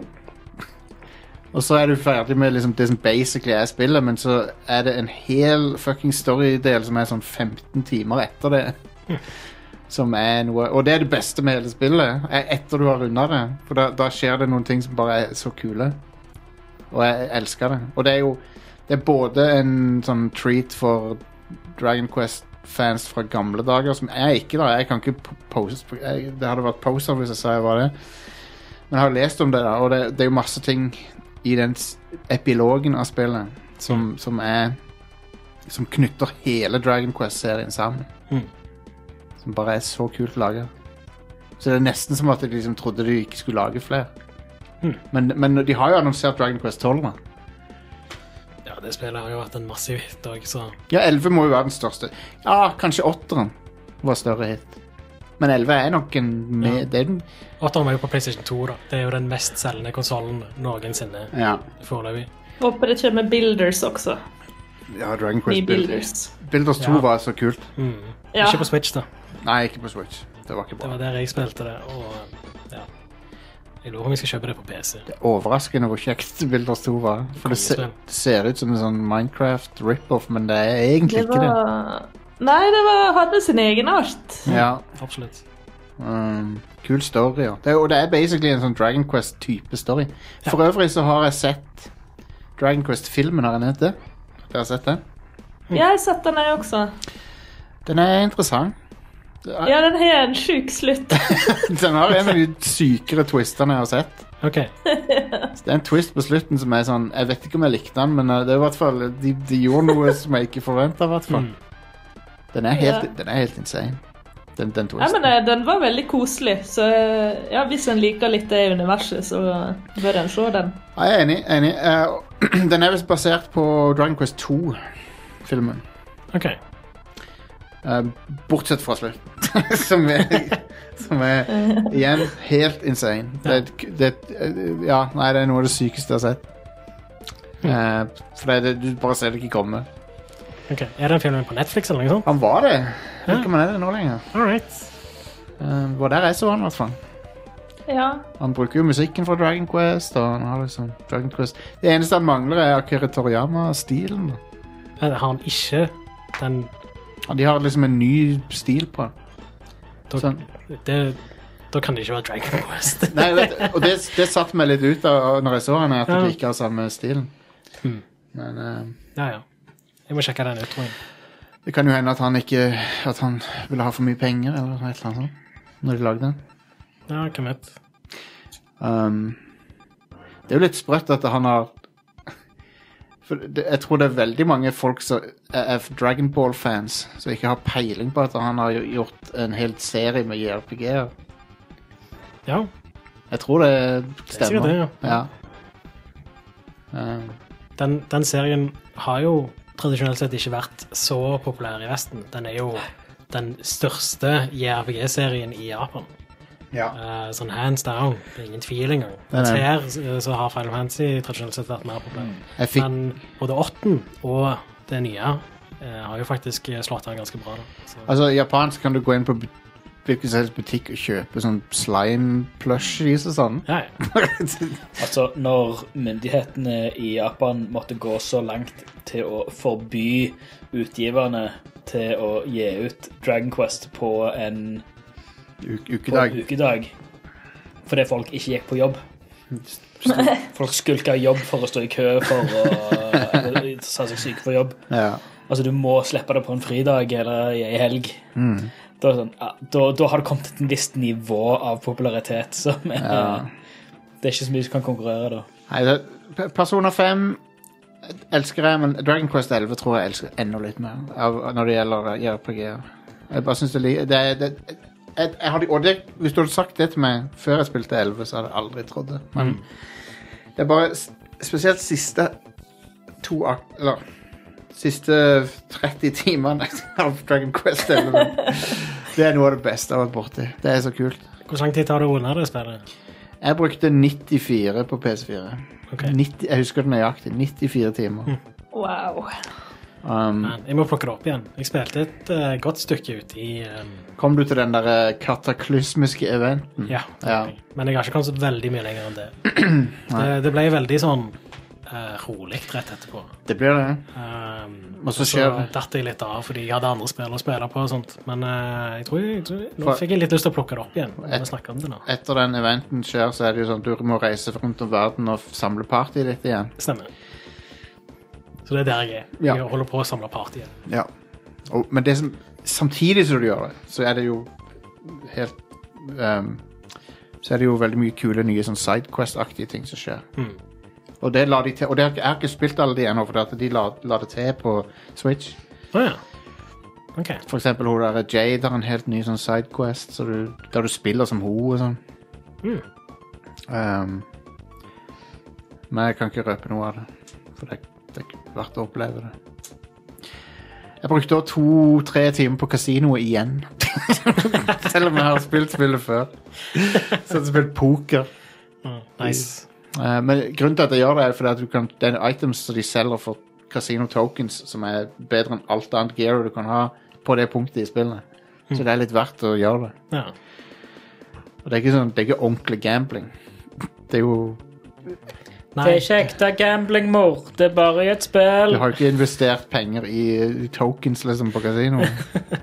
Speaker 1: Og så er du ferdig med liksom det som basically er spillet, men så er det en hel fucking storydel som er sånn 15 timer etter det. Som er noe Og det er det beste med hele spillet, er etter du har runda det. For da, da skjer det noen ting som bare er så kule. Og jeg elsker det. Og det er jo Det er både en sånn treat for Dragon Quest-fans fra gamle dager, som jeg ikke da, jeg kan ikke p- post, jeg, Det hadde vært poser hvis jeg sa jeg var det. Men jeg har lest om det, da, og det, det er jo masse ting i den s- epilogen av spillet som, som er Som knytter hele Dragon Quest-serien sammen.
Speaker 2: Mhm.
Speaker 1: Som bare er så kult laga. Så det er nesten som at de liksom trodde de ikke skulle lage flere. Men, men de har jo annonsert Dragon Quest 12, da.
Speaker 2: Ja, det spillet har jo vært en massiv hit òg, så
Speaker 1: Ja, 11 må jo være den største. Ja, kanskje 8-eren var større hit. Men 11 er nok en med
Speaker 2: Ja.
Speaker 1: det er den.
Speaker 2: Åtteren var jo på PlayStation 2, da. Det er jo den mest selgende konsollen noensinne
Speaker 1: Ja.
Speaker 2: foreløpig.
Speaker 4: Håper det kommer Builders også.
Speaker 1: ja, Dragon
Speaker 4: Nye
Speaker 1: Quest Builders.
Speaker 4: Builders.
Speaker 1: Builders 2
Speaker 2: Ja.
Speaker 1: var så kult.
Speaker 2: Mm.
Speaker 4: Ja.
Speaker 2: Ikke på Switch, da.
Speaker 1: Nei, ikke på Switch. Det var ikke
Speaker 2: Det
Speaker 1: bra.
Speaker 2: var der jeg spilte det, og ja. Jeg lurer om jeg skal kjøpe det på PC.
Speaker 1: Det er overraskende hvor kjekt Builders 2 var. For det, se,
Speaker 2: Kongespill.
Speaker 1: det ser ut som en sånn Minecraft rip-off, men det er egentlig
Speaker 4: Det
Speaker 1: ikke det.
Speaker 4: var Nei, det var, hadde sin egen art.
Speaker 1: Ja,
Speaker 2: Absolutt.
Speaker 1: Um, kul story, ja. Det, er- og det er basically en sånn Dragon Quest-type story. For øvrig så har jeg sett Dragon Quest-filmen, har jeg nevnt det? Dere har sett den?
Speaker 4: Jeg har sett den, jeg også.
Speaker 1: Den er interessant. Det er-
Speaker 4: Ja, den har en sjuk slutt.
Speaker 1: Den har en av de sykere twistene jeg har sett.
Speaker 2: OK.
Speaker 1: Så Det er en twist på slutten som er sånn Jeg vet ikke om jeg likte den, men uh, det er i hvert fall de, de gjorde noe som jeg ikke forventa, i hvert fall.
Speaker 2: Mm.
Speaker 1: Den er helt,
Speaker 4: Ja.
Speaker 1: den er helt insane, den, den
Speaker 4: Ja, men
Speaker 1: twisten.
Speaker 4: eh, Den var veldig koselig, så eh, ja, hvis en liker litt det universet, så bør en se den.
Speaker 1: Ja, Ah, jeg er enig. enig. Uh, den er visst basert på Dragon Quest 2-filmen.
Speaker 2: ok.
Speaker 1: Eh, bortsett fra slutt. som, er, som er igjen helt insane. Det, er et- det, er et- eh, ja, nei, det er noe av det sykeste jeg har sett. Eh, for det, er det, du bare ser det ikke komme.
Speaker 2: ok. Er den filmen på Netflix eller noe sånt?
Speaker 1: Han var det. Jeg vet
Speaker 2: Ja.
Speaker 1: ikke om han er det nå lenger.
Speaker 2: All right.
Speaker 1: Eh, det var der jeg så han, i hvert fall.
Speaker 4: Ja.
Speaker 1: Han bruker jo musikken fra Dragon Quest. Og han har liksom Dragon Quest Det eneste han mangler, er Akira Toriyama-stilen.
Speaker 2: Men har han ikke den
Speaker 1: Ja, De har liksom en ny stil på den.
Speaker 2: Da,
Speaker 1: Sånn.
Speaker 2: det, da kan det ikke være Dragon Quest.
Speaker 1: Nei, vet, du, og det, det satte meg litt ut av når jeg så han, er at
Speaker 2: Ja.
Speaker 1: de ikke har samme stilen. Men eh,
Speaker 2: ja, ja. Jeg må sjekke den ut, tror jeg.
Speaker 1: det kan jo hende at han ikke At han ville ha for mye penger eller et eller annet sånt når de lagde den.
Speaker 2: Ja, hvem vet.
Speaker 1: Um, det er jo litt sprøtt at han har For det, jeg tror det er veldig mange folk som er er Dragonball-fans som ikke har peiling på at han har jo gjort en hel serie med JRPG-er.
Speaker 2: Ja,
Speaker 1: Jeg tror det stemmer.
Speaker 2: det,
Speaker 1: ja. Um,
Speaker 2: den, den serien har jo tradisjonelt sett ikke vært så populær i Vesten. Den er jo den største JRPG-serien i Japan.
Speaker 1: ja.
Speaker 2: Eh, sånn hands down. Det er ingen tvil engang.
Speaker 1: Nei, nei.
Speaker 2: Her eh, så har Final Fantasy tradisjonelt sett vært mer populær.
Speaker 1: Jeg fikk
Speaker 2: Men både åtten og det nye eh, har jo faktisk slått an ganske bra. Da. Så,
Speaker 1: Altså, i japansk kan du gå inn på bu- hvilken som helst butikk og kjøpe sånn slime plushies og sånn.
Speaker 2: ja, ja.
Speaker 3: Altså, når myndighetene i Japan måtte gå så langt til å forby utgiverne til å gi ut Dragon Quest på en,
Speaker 1: U-
Speaker 3: på
Speaker 1: Ukedag.
Speaker 3: en ukedag fordi folk ikke gikk på jobb. Folk skulka jobb for å stå i kø for å eller sa seg syke på jobb.
Speaker 1: Ja.
Speaker 3: Altså, du må slippe det på en fridag eller i ei helg. Da, er det sånn, ja, da, da har det kommet til et visst nivå av popularitet som er Det er ikke så mye som kan konkurrere da.
Speaker 1: Nei, det, P- Persona 5 elsker jeg, men Dragon Quest 11 tror jeg elsker enda litt mer av, når det gjelder JRPG-er. Jeg bare synes det, li- det, det jeg, jeg hadde, og det, Hvis du hadde sagt det til meg før jeg spilte 11, så hadde jeg aldri trodd det. Men det er bare s- spesielt siste to ak... Eller siste 30 timene av Dragon Quest 11. Det er noe av det beste jeg har vært borti. Det er så kult.
Speaker 2: Hvor lang tid tar det å runde det spillet?
Speaker 1: Jeg brukte 94 på PS4.
Speaker 2: Ok.
Speaker 1: 90, jeg husker det nøyaktig. 94 timer.
Speaker 4: Wow.
Speaker 1: Um,
Speaker 2: Men jeg må plukke det opp igjen. Jeg spilte et eh, godt stykke ut i eh,
Speaker 1: kom du til den der eh, kataklysmiske eventen?
Speaker 2: ja,
Speaker 1: Ja.
Speaker 2: Men jeg har ikke kommet så veldig mye lenger enn det. det, det ble veldig sånn eh, rolig rett etterpå.
Speaker 1: Det blir det.
Speaker 2: Um,
Speaker 1: Og så
Speaker 2: så
Speaker 1: skjer-
Speaker 2: datt jeg litt av fordi jeg hadde andre spill å spille på. og sånt. Men eh, jeg tror, jeg tror, nå
Speaker 1: For-
Speaker 2: fikk jeg litt lyst til å plukke det opp igjen. når
Speaker 1: Et-
Speaker 2: vi snakker om det nå.
Speaker 1: Etter den eventen skjer, så er det jo sånn at du må reise rundt om verden og f- samle partyet ditt igjen.
Speaker 2: Stemmer. Så det er der jeg er.
Speaker 1: Ja.
Speaker 2: Jeg holder på å samle partiet.
Speaker 1: Ja. Og, men det som, samtidig som du gjør det, så er det jo helt ehm, Så er det jo veldig mye kule nye sånn Sidequest-aktige ting som skjer. Og det la de til, og det har ikke- jeg har ikke spilt alle de ennå, for at de la, la det til på Switch.
Speaker 2: Å ja. OK.
Speaker 1: For eksempel hun der Jade har en helt ny sånn Sidequest, så du, der du spiller som hun og sånn.
Speaker 2: Mm.
Speaker 1: Ehm, men jeg kan ikke røpe noe av det. For det, det er ikke verdt å oppleve det. Jeg brukte også to-tre timer på kasinoet igjen. Selv om jeg har spilt spillet før. Så jeg har spilt poker.
Speaker 2: Mm, nice.
Speaker 1: Eh, men grunnen til at jeg gjør det, er fordi at du kan, det er items som de selger for casino tokens, som er bedre enn alt annet gear du kan ha på det punktet i spillet. Så det er litt verdt å gjøre det.
Speaker 2: Ja.
Speaker 1: Og det er ikke, sånn, det er ikke ordentlig gambling. Det er jo
Speaker 2: Nei,
Speaker 3: ikke ekte gambling, mor. Det er bare i et
Speaker 1: Du
Speaker 3: spill.
Speaker 1: har jo ikke investert penger i, i tokens liksom, på kasinoet.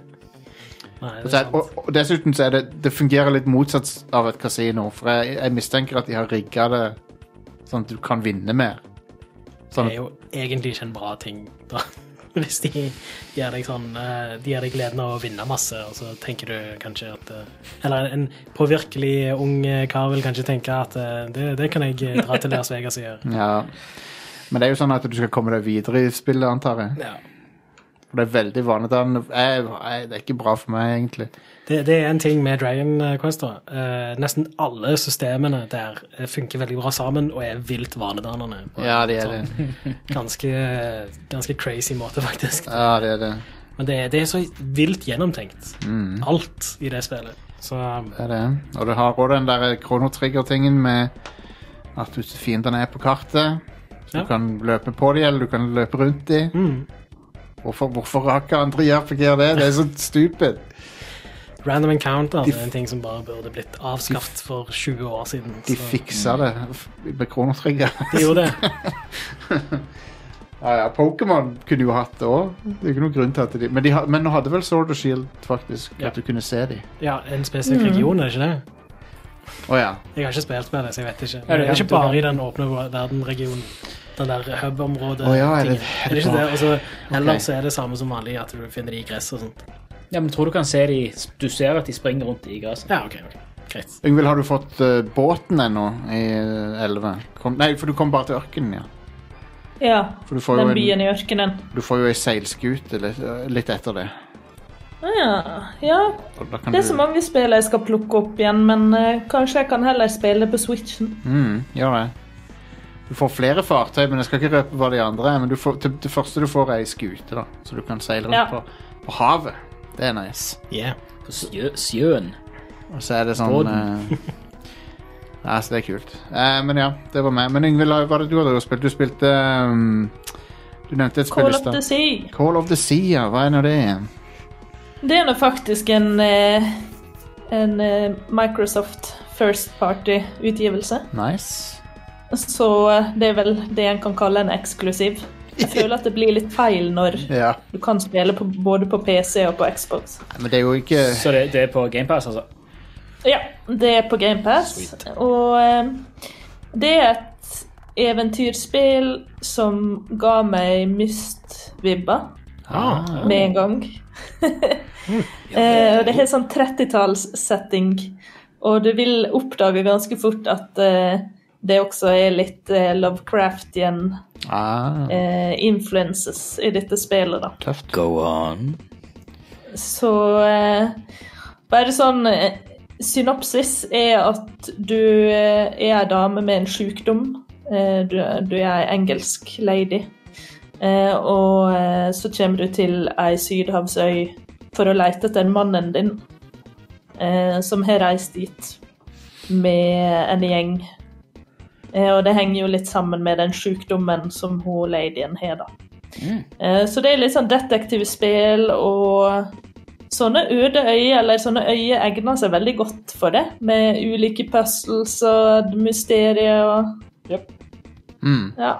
Speaker 2: nei, det er
Speaker 1: Så er-
Speaker 2: sant.
Speaker 1: Og, og dessuten så er det Det fungerer litt motsatt av et kasino, for jeg, jeg mistenker at de har rigga det sånn at du kan vinne mer.
Speaker 2: Det
Speaker 1: Sånn at,
Speaker 2: er jo egentlig ikke en bra ting, da. Hvis de gir deg sånn eh, De gir deg gleden av å vinne masse, og så tenker du kanskje at eh, Eller en påvirkelig ung eh, kar vil kanskje tenke at eh, det, det kan jeg eh, dra til Las Vegas og gjøre.
Speaker 1: ja. Men det er jo sånn at du skal komme deg videre i spillet, antar jeg.
Speaker 2: Ja.
Speaker 1: For det er veldig vanlig. Den, jeg, jeg, det er ikke bra for meg, egentlig.
Speaker 2: Det, det er en ting med Dragon Quest. da. Eh, nesten alle systemene der eh, funker veldig bra sammen og er vilt vanedannende. på en
Speaker 1: Ja, det er
Speaker 2: sånn
Speaker 1: det.
Speaker 2: Ganske, ganske crazy måte, faktisk.
Speaker 1: Ja, det, er det.
Speaker 2: Men det, det er så vilt gjennomtenkt,
Speaker 1: Mm.
Speaker 2: alt i det spillet. Så
Speaker 1: det, er det. Og du har òg den der kronotrigger-tingen med at hvis fiendene er på kartet, så
Speaker 2: Ja.
Speaker 1: du kan løpe på dem, eller du kan løpe rundt dem.
Speaker 2: mm.
Speaker 1: Hvorfor, hvorfor har ikke andre i RPG det? Det er så stupid.
Speaker 2: Random encounter er en ting som bare burde blitt avskaffet for 20 år siden.
Speaker 1: De
Speaker 2: så-
Speaker 1: fiksa det f- med kronotrigger.
Speaker 2: De gjorde det.
Speaker 1: ja, ja, Pokémon kunne jo hatt det òg. Det er ikke noen grunn til at de Men, de, ha- men nå hadde vel Sword og Shield, faktisk,
Speaker 2: Ja.
Speaker 1: at du kunne se dem.
Speaker 2: Ja, en spesifikk
Speaker 3: Mm.
Speaker 2: region, er det ikke det?
Speaker 1: Å ja.
Speaker 2: Jeg har ikke spilt med det, så jeg vet ikke.
Speaker 3: Er
Speaker 2: Men
Speaker 3: det
Speaker 2: det er ikke
Speaker 3: sant, du
Speaker 2: bare
Speaker 3: kan-
Speaker 2: i den åpne verden-regionen. Den der hub-området.
Speaker 1: Å ja, er det-
Speaker 2: tingen.
Speaker 1: er
Speaker 2: er
Speaker 1: det
Speaker 2: det ikke
Speaker 1: bare-
Speaker 2: det? Og så- ellers er det samme som vanlig, at du finner de i gress og sånt.
Speaker 3: Ja, men tror du kan se de Du ser at de springer rundt i gresset.
Speaker 2: Ja, OK. ok. Greit.
Speaker 1: Yngvild, har du fått eh, båten ennå i eh, 11? Kom, nei, for du kom bare til ørkenen, ja.
Speaker 4: Ja,
Speaker 1: For du får jo
Speaker 4: den
Speaker 1: en-
Speaker 4: byen i ørkenen.
Speaker 1: Du får jo ei seilskute litt, litt etter det.
Speaker 4: Ah, Ja, ja,
Speaker 1: Og da kan
Speaker 4: det
Speaker 1: du
Speaker 4: er så mange spill jeg skal plukke opp igjen, men eh, kanskje jeg kan heller spille på Switchen.
Speaker 1: mm, Gjør det. Du får flere fartøy, men jeg skal ikke røpe hva de andre er. Men du får, til, det første du får, er ei skute, da. Så du kan seile rundt
Speaker 4: Ja.
Speaker 1: på, på havet. Det er nice.
Speaker 2: Yeah.
Speaker 3: På sjø, sjøen.
Speaker 1: Og så er det sånn
Speaker 3: Båten.
Speaker 1: eh, Ja, så det er kult. Eh, men ja, det var meg. Men Yngvild, hva var det du hadde spilt? Du spilte ehm, Du nevnte et spill
Speaker 4: Call
Speaker 1: i
Speaker 4: of the
Speaker 1: stad.
Speaker 4: Sea.
Speaker 1: Call of the Sea, ja. Hva er nå det?
Speaker 4: Det er nå faktisk en, eh, en eh, Microsoft First Party-utgivelse.
Speaker 1: Nice.
Speaker 4: Så eh, det er vel det en kan kalle en eksklusiv. Jeg føler at det blir litt feil når
Speaker 1: Ja.
Speaker 4: du kan spille på, både på PC og på Xbox.
Speaker 1: Men det er jo ikke
Speaker 3: Eh. Så det, det er på GamePass, altså.
Speaker 4: Ja, det er på GamePass. Og eh, det er et eventyrspill som ga meg Myst-vibber.
Speaker 1: ah,
Speaker 4: med en gang. Eh, og det har sånn 30-talls-setting, og du vil oppdage ganske fort at eh, det også er litt eh, Lovecraftian
Speaker 1: ah,
Speaker 4: eh, influences i dette spillet, da.
Speaker 1: Tøft.
Speaker 5: Go on.
Speaker 4: Så eh, bare sånn eh, Synopsis er at du eh, er ei dame med en sjukdom. Eh, du, du er ei engelsk lady. Eh, og eh, så kommer du til ei sydhavsøy for å leite etter mannen din, eh, som har reist dit med en gjeng. Eh, og det henger jo litt sammen med den sjukdommen som hun ladyen har, da. Eh, Så det er litt sånn detektivspill og sånne øde øyer, eller sånne øyer egner seg veldig godt for det, med ulike puzzles og mysterier og
Speaker 1: Mm.
Speaker 4: ja.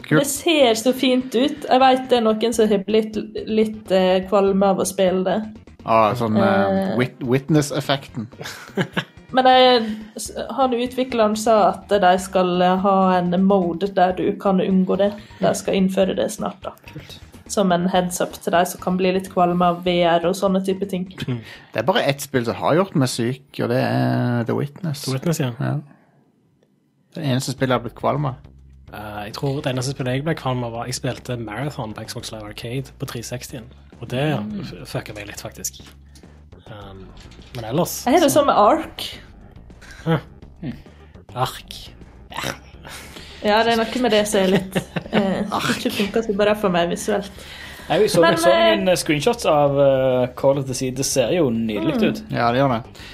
Speaker 1: Kult.
Speaker 4: Det ser så fint ut. Jeg vet det er noen som har blitt litt eh, kvalme av å spille det.
Speaker 1: Ah, sånn eh,
Speaker 4: Eh.
Speaker 1: wit witness-effekten.
Speaker 4: Men jeg, han utvikleren sa at de skal eh, ha en mode der du kan unngå det. De skal innføre det snart, da. Som en heads up til de som kan bli litt kvalme av VR og sånne type ting.
Speaker 1: Det er bare ett spill som har gjort meg syk, og det er The Witness.
Speaker 2: The Witness, ja.
Speaker 1: Ja. Det eneste spillet jeg har blitt kvalm av.
Speaker 2: Eh, jeg tror det eneste spillet jeg ble kvalm av, var jeg spilte Marathon på Xbox Live Arcade på 360-en. Og det
Speaker 3: Mm.
Speaker 2: f- fucka meg litt, faktisk. Um, men ellers
Speaker 4: Jeg har det sånn med ark.
Speaker 2: Ark.
Speaker 4: Ja, det er noe med det som er litt eh, Ikke funker så bra for meg visuelt.
Speaker 3: Jeg så,
Speaker 4: Men,
Speaker 3: så
Speaker 4: eh,
Speaker 3: noen screenshots av eh, Call of the Sea. Det ser jo
Speaker 4: Mm.
Speaker 3: nydelig ut.
Speaker 1: Ja, det gjør det.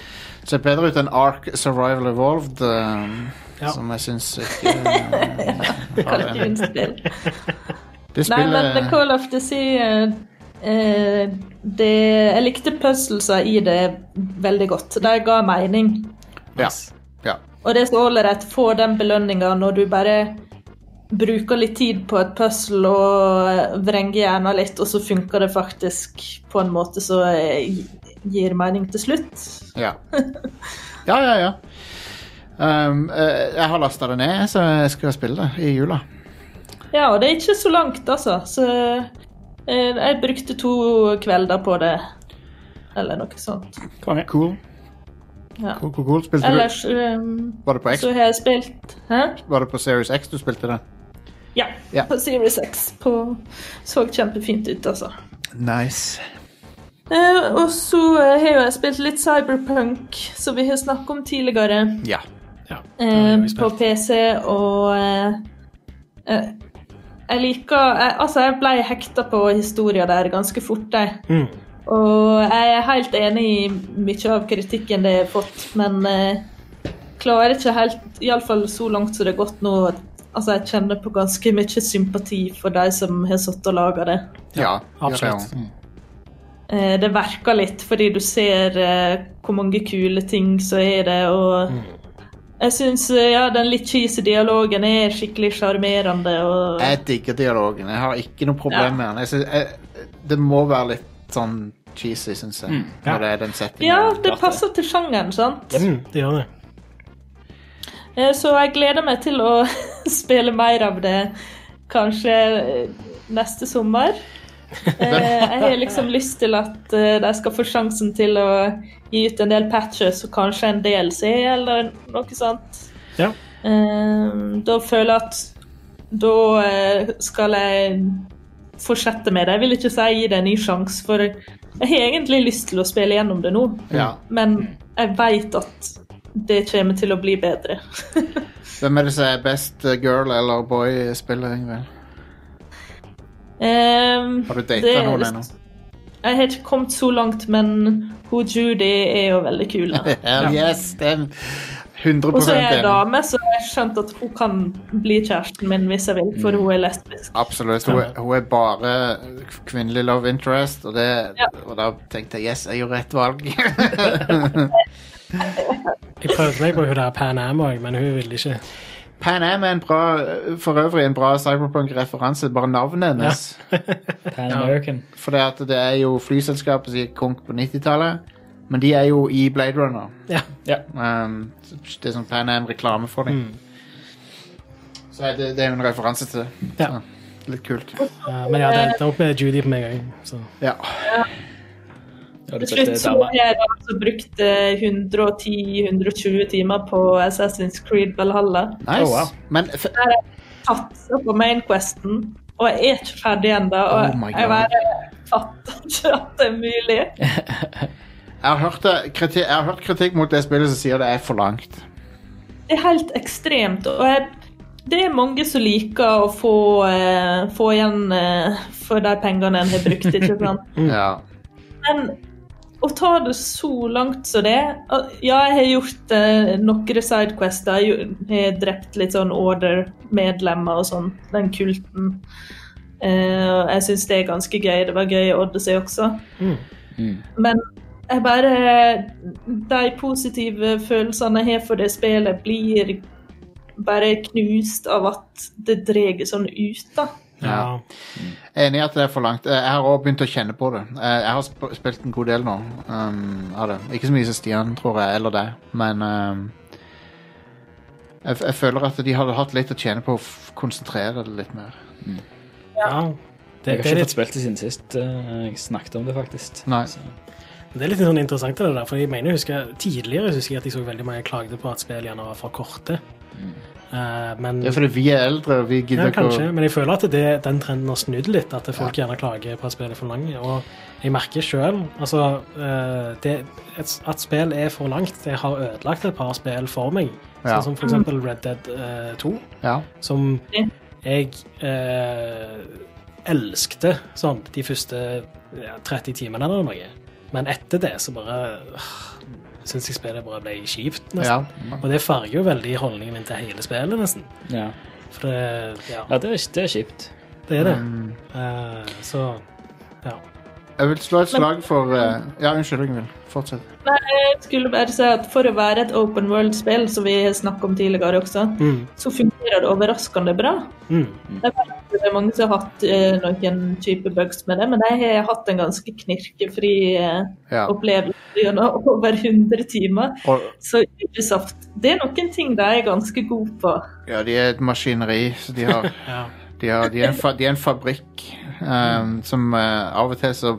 Speaker 1: Det ser bedre ut enn Ark Survival Evolved, eh,
Speaker 2: Ja.
Speaker 1: som jeg syns ikke eh, har det.
Speaker 4: Kunstspill.
Speaker 1: Det
Speaker 4: Nei, men
Speaker 1: spillet
Speaker 4: Call of the Sea eh, det, Jeg likte puzzleser i det veldig godt. De ga mening.
Speaker 1: ja, ja.
Speaker 4: Og det er så ålreit å få den belønninga når du bare bruker litt tid på et puzzle og vrenger hjernen litt, og så funker det faktisk på en måte som eh, gir mening til slutt.
Speaker 1: Ja, ja, ja. ja. Um, eh, jeg har lasta det ned, så jeg skal spille det i jula.
Speaker 4: Ja, og det er ikke så langt, altså. Så eh, jeg brukte to kvelder på det. Eller noe sånt.
Speaker 3: Konge.
Speaker 1: Cool.
Speaker 4: Ja.
Speaker 1: Cool, cool, cool. Spilte
Speaker 4: Ellers ehm,
Speaker 1: du Var det på X?
Speaker 4: så har jeg spilt Hæ?
Speaker 1: Var det på Series X du spilte det?
Speaker 4: Ja.
Speaker 1: Ja.
Speaker 4: På Series X. På, så kjempefint ut, altså.
Speaker 1: Nice.
Speaker 4: Eh, og så eh, har jo jeg spilt litt Cyberpunk, som vi har snakket om tidligere,
Speaker 1: Ja.
Speaker 2: Ja, det har
Speaker 4: eh,
Speaker 2: vi
Speaker 4: på
Speaker 2: spilt.
Speaker 4: PC, og eh, eh, Jeg liker jeg, Altså, jeg ble hekta på historien der ganske fort, jeg.
Speaker 2: Mm.
Speaker 4: Og jeg er helt enig i mye av kritikken det har fått, men eh, klarer ikke helt, iallfall så langt som det har gått nå Altså, jeg kjenner på ganske mye sympati for de som har sittet og laga det.
Speaker 1: Ja,
Speaker 2: absolutt.
Speaker 1: gjør det,
Speaker 4: Eh, Det verker litt, fordi du ser eh, hvor mange kule ting som er det, og jeg syns ja, den litt cheesy dialogen er skikkelig sjarmerende. Og...
Speaker 1: ja. Jeg digger dialogen. Jeg har ikke noe problem
Speaker 4: Ja.
Speaker 1: med den. Jeg synes, jeg, det må være litt sånn cheesy, syns jeg.
Speaker 2: Ja.
Speaker 1: Når det er den settingen.
Speaker 4: Ja, det passer til sjangeren, sant?
Speaker 2: Mm, det gjør det.
Speaker 4: Eh, Så jeg gleder meg til å spille mer av det kanskje eh, neste sommer. Eh, Jeg har liksom lyst til at eh, de skal få sjansen til å gi ut en del patches og kanskje en DLC eller noe sånt.
Speaker 2: Ja.
Speaker 4: Eh, Da føler jeg at da eh, skal jeg fortsette med det. Jeg vil ikke si gi det en ny sjanse, for jeg har egentlig lyst til å spille gjennom det nå.
Speaker 1: Ja.
Speaker 4: Men jeg veit at det kommer til å bli bedre.
Speaker 1: Hvem er det som er best eh, girl eller boy spiller, Ingvild?
Speaker 4: Ehm,
Speaker 1: Har du
Speaker 4: det
Speaker 1: data
Speaker 4: er
Speaker 1: noen
Speaker 4: det-
Speaker 1: ennå?
Speaker 4: Jeg har ikke kommet så langt, men hun Judy er jo veldig kul. da.
Speaker 1: Hell yes! Det er 100
Speaker 4: Og så er jeg
Speaker 1: enig.
Speaker 4: dame, så jeg har skjønt at hun kan bli kjæresten min hvis jeg vil,
Speaker 1: Mm.
Speaker 4: for hun er lesbisk.
Speaker 1: Absolutt. Hun, er- hun er bare kvinnelig love interest, og, det,
Speaker 4: Ja.
Speaker 1: og da tenkte jeg yes, jeg gjorde rett valg.
Speaker 2: Jeg prøvde meg på hun der Pan Am òg, men hun ville ikke.
Speaker 1: Pan Am er en bra, for øvrig en bra cyberpunk-referanse, bare navnet hennes.
Speaker 3: Pan American.
Speaker 1: For det, at det er jo flyselskapet som gikk konk på 90-tallet, men de er jo i Blade Runner.
Speaker 2: Ja.
Speaker 1: Um, det er sånn Pan Am-reklame for dem. Så er det, det er jo en referanse til det.
Speaker 2: Ja.
Speaker 1: Så, litt kult.
Speaker 2: Eh, men ja, det endte opp med Judy på meg òg, så
Speaker 1: Ja.
Speaker 3: Ja, du
Speaker 4: Til slutt
Speaker 3: spilte
Speaker 4: så
Speaker 3: dama.
Speaker 4: har jeg altså brukt eh, 110-120 timer på Assassin's Creed Valhalla.
Speaker 1: Nice.
Speaker 3: Oh, wow.
Speaker 1: Men f
Speaker 4: Satser på mainquesten, og jeg er ikke ferdig ennå. Og
Speaker 1: Oh my
Speaker 4: jeg
Speaker 1: God.
Speaker 4: bare fatter ikke at det er mulig.
Speaker 1: jeg har, hørt det, kriti jeg har hørt kritikk mot det spillet som sier det er for langt.
Speaker 4: Det er helt ekstremt. Og jeg, det er mange som liker å få, eh, få igjen eh, for de pengene en har brukt. ikke sant?
Speaker 2: Mm.
Speaker 1: Ja.
Speaker 4: Men å ta det så langt som det og Ja, jeg har gjort eh, noen sidequester. Jeg har drept litt sånn Order-medlemmer og sånn. Den kulten. Eh, og jeg syns det er ganske gøy. Det var gøy i Odyssey også. Men jeg bare De positive følelsene jeg har for det spillet, blir bare knust av at det drar sånn ut, da.
Speaker 2: Ja.
Speaker 1: Jeg er enig i at det er for langt. Eh, Jeg har også begynt å kjenne på det. Eh, Jeg har sp spilt en god del nå um, av det. Ikke så mye som Stian, tror jeg, eller deg, men um, jeg, f- jeg føler at de hadde hatt litt å tjene på å f konsentrere det litt mer.
Speaker 2: ja. Det,
Speaker 3: Jeg
Speaker 2: det,
Speaker 3: har
Speaker 2: er
Speaker 3: ikke
Speaker 2: litt,
Speaker 3: fått spilt det siden sist. eh, Jeg snakket om det, faktisk.
Speaker 1: Nei.
Speaker 3: Så-
Speaker 2: det er litt sånn interessant, det der. For jeg mener, jeg husker, tidligere husker jeg at jeg så veldig mange klagde på at spill gjerne var for korte.
Speaker 3: Mm.
Speaker 2: Eh, men
Speaker 1: Det er fordi vi er eldre, og vi
Speaker 2: Ja,
Speaker 1: gidder ikke
Speaker 2: kanskje,
Speaker 1: å
Speaker 2: men jeg føler at det, den trenden har snudd litt. At folk gjerne klager på at spill er for lange. Og jeg merker sjøl altså, eh, det, et- at spill er for langt, det har ødelagt et par spill for meg.
Speaker 1: Ja.
Speaker 2: Sånn som for eksempel Red Dead eh, 2,
Speaker 1: Ja.
Speaker 2: som
Speaker 4: Ja.
Speaker 2: jeg uh, elskte sånn de første ja, 30 timene eller noe. Men etter det så bare uh, syns jeg spillet bare ble kjipt,
Speaker 1: ja.
Speaker 2: nesten. Og det farger jo veldig holdningen min til hele spillet, nesten.
Speaker 3: Ja,
Speaker 2: For det, ja.
Speaker 3: ja det, er, det er kjipt.
Speaker 2: Det er det.
Speaker 1: Mm.
Speaker 2: Eh, så ja.
Speaker 1: Jeg vil slå et slag for eh, Ja, unnskyld, Ingvild. Fortsett.
Speaker 4: Jeg skulle bare si at for å være et open world-spill, som vi har snakket om tidligere også,
Speaker 2: Mm.
Speaker 4: så fungerer det overraskende bra.
Speaker 2: Mm.
Speaker 4: Jeg vet at det er mange som har hatt eh, noen type bugs med det, men jeg har hatt en ganske knirkefri eh,
Speaker 1: Ja.
Speaker 4: opplevelse gjennom over 100 timer.
Speaker 1: Og,
Speaker 4: Så Ubisoft, det er noen ting de er ganske gode på.
Speaker 1: ja, de er et maskineri, så de har
Speaker 2: ja.
Speaker 1: De, har, de, er, en fa de er en fabrikk ehm, som eh, av og til så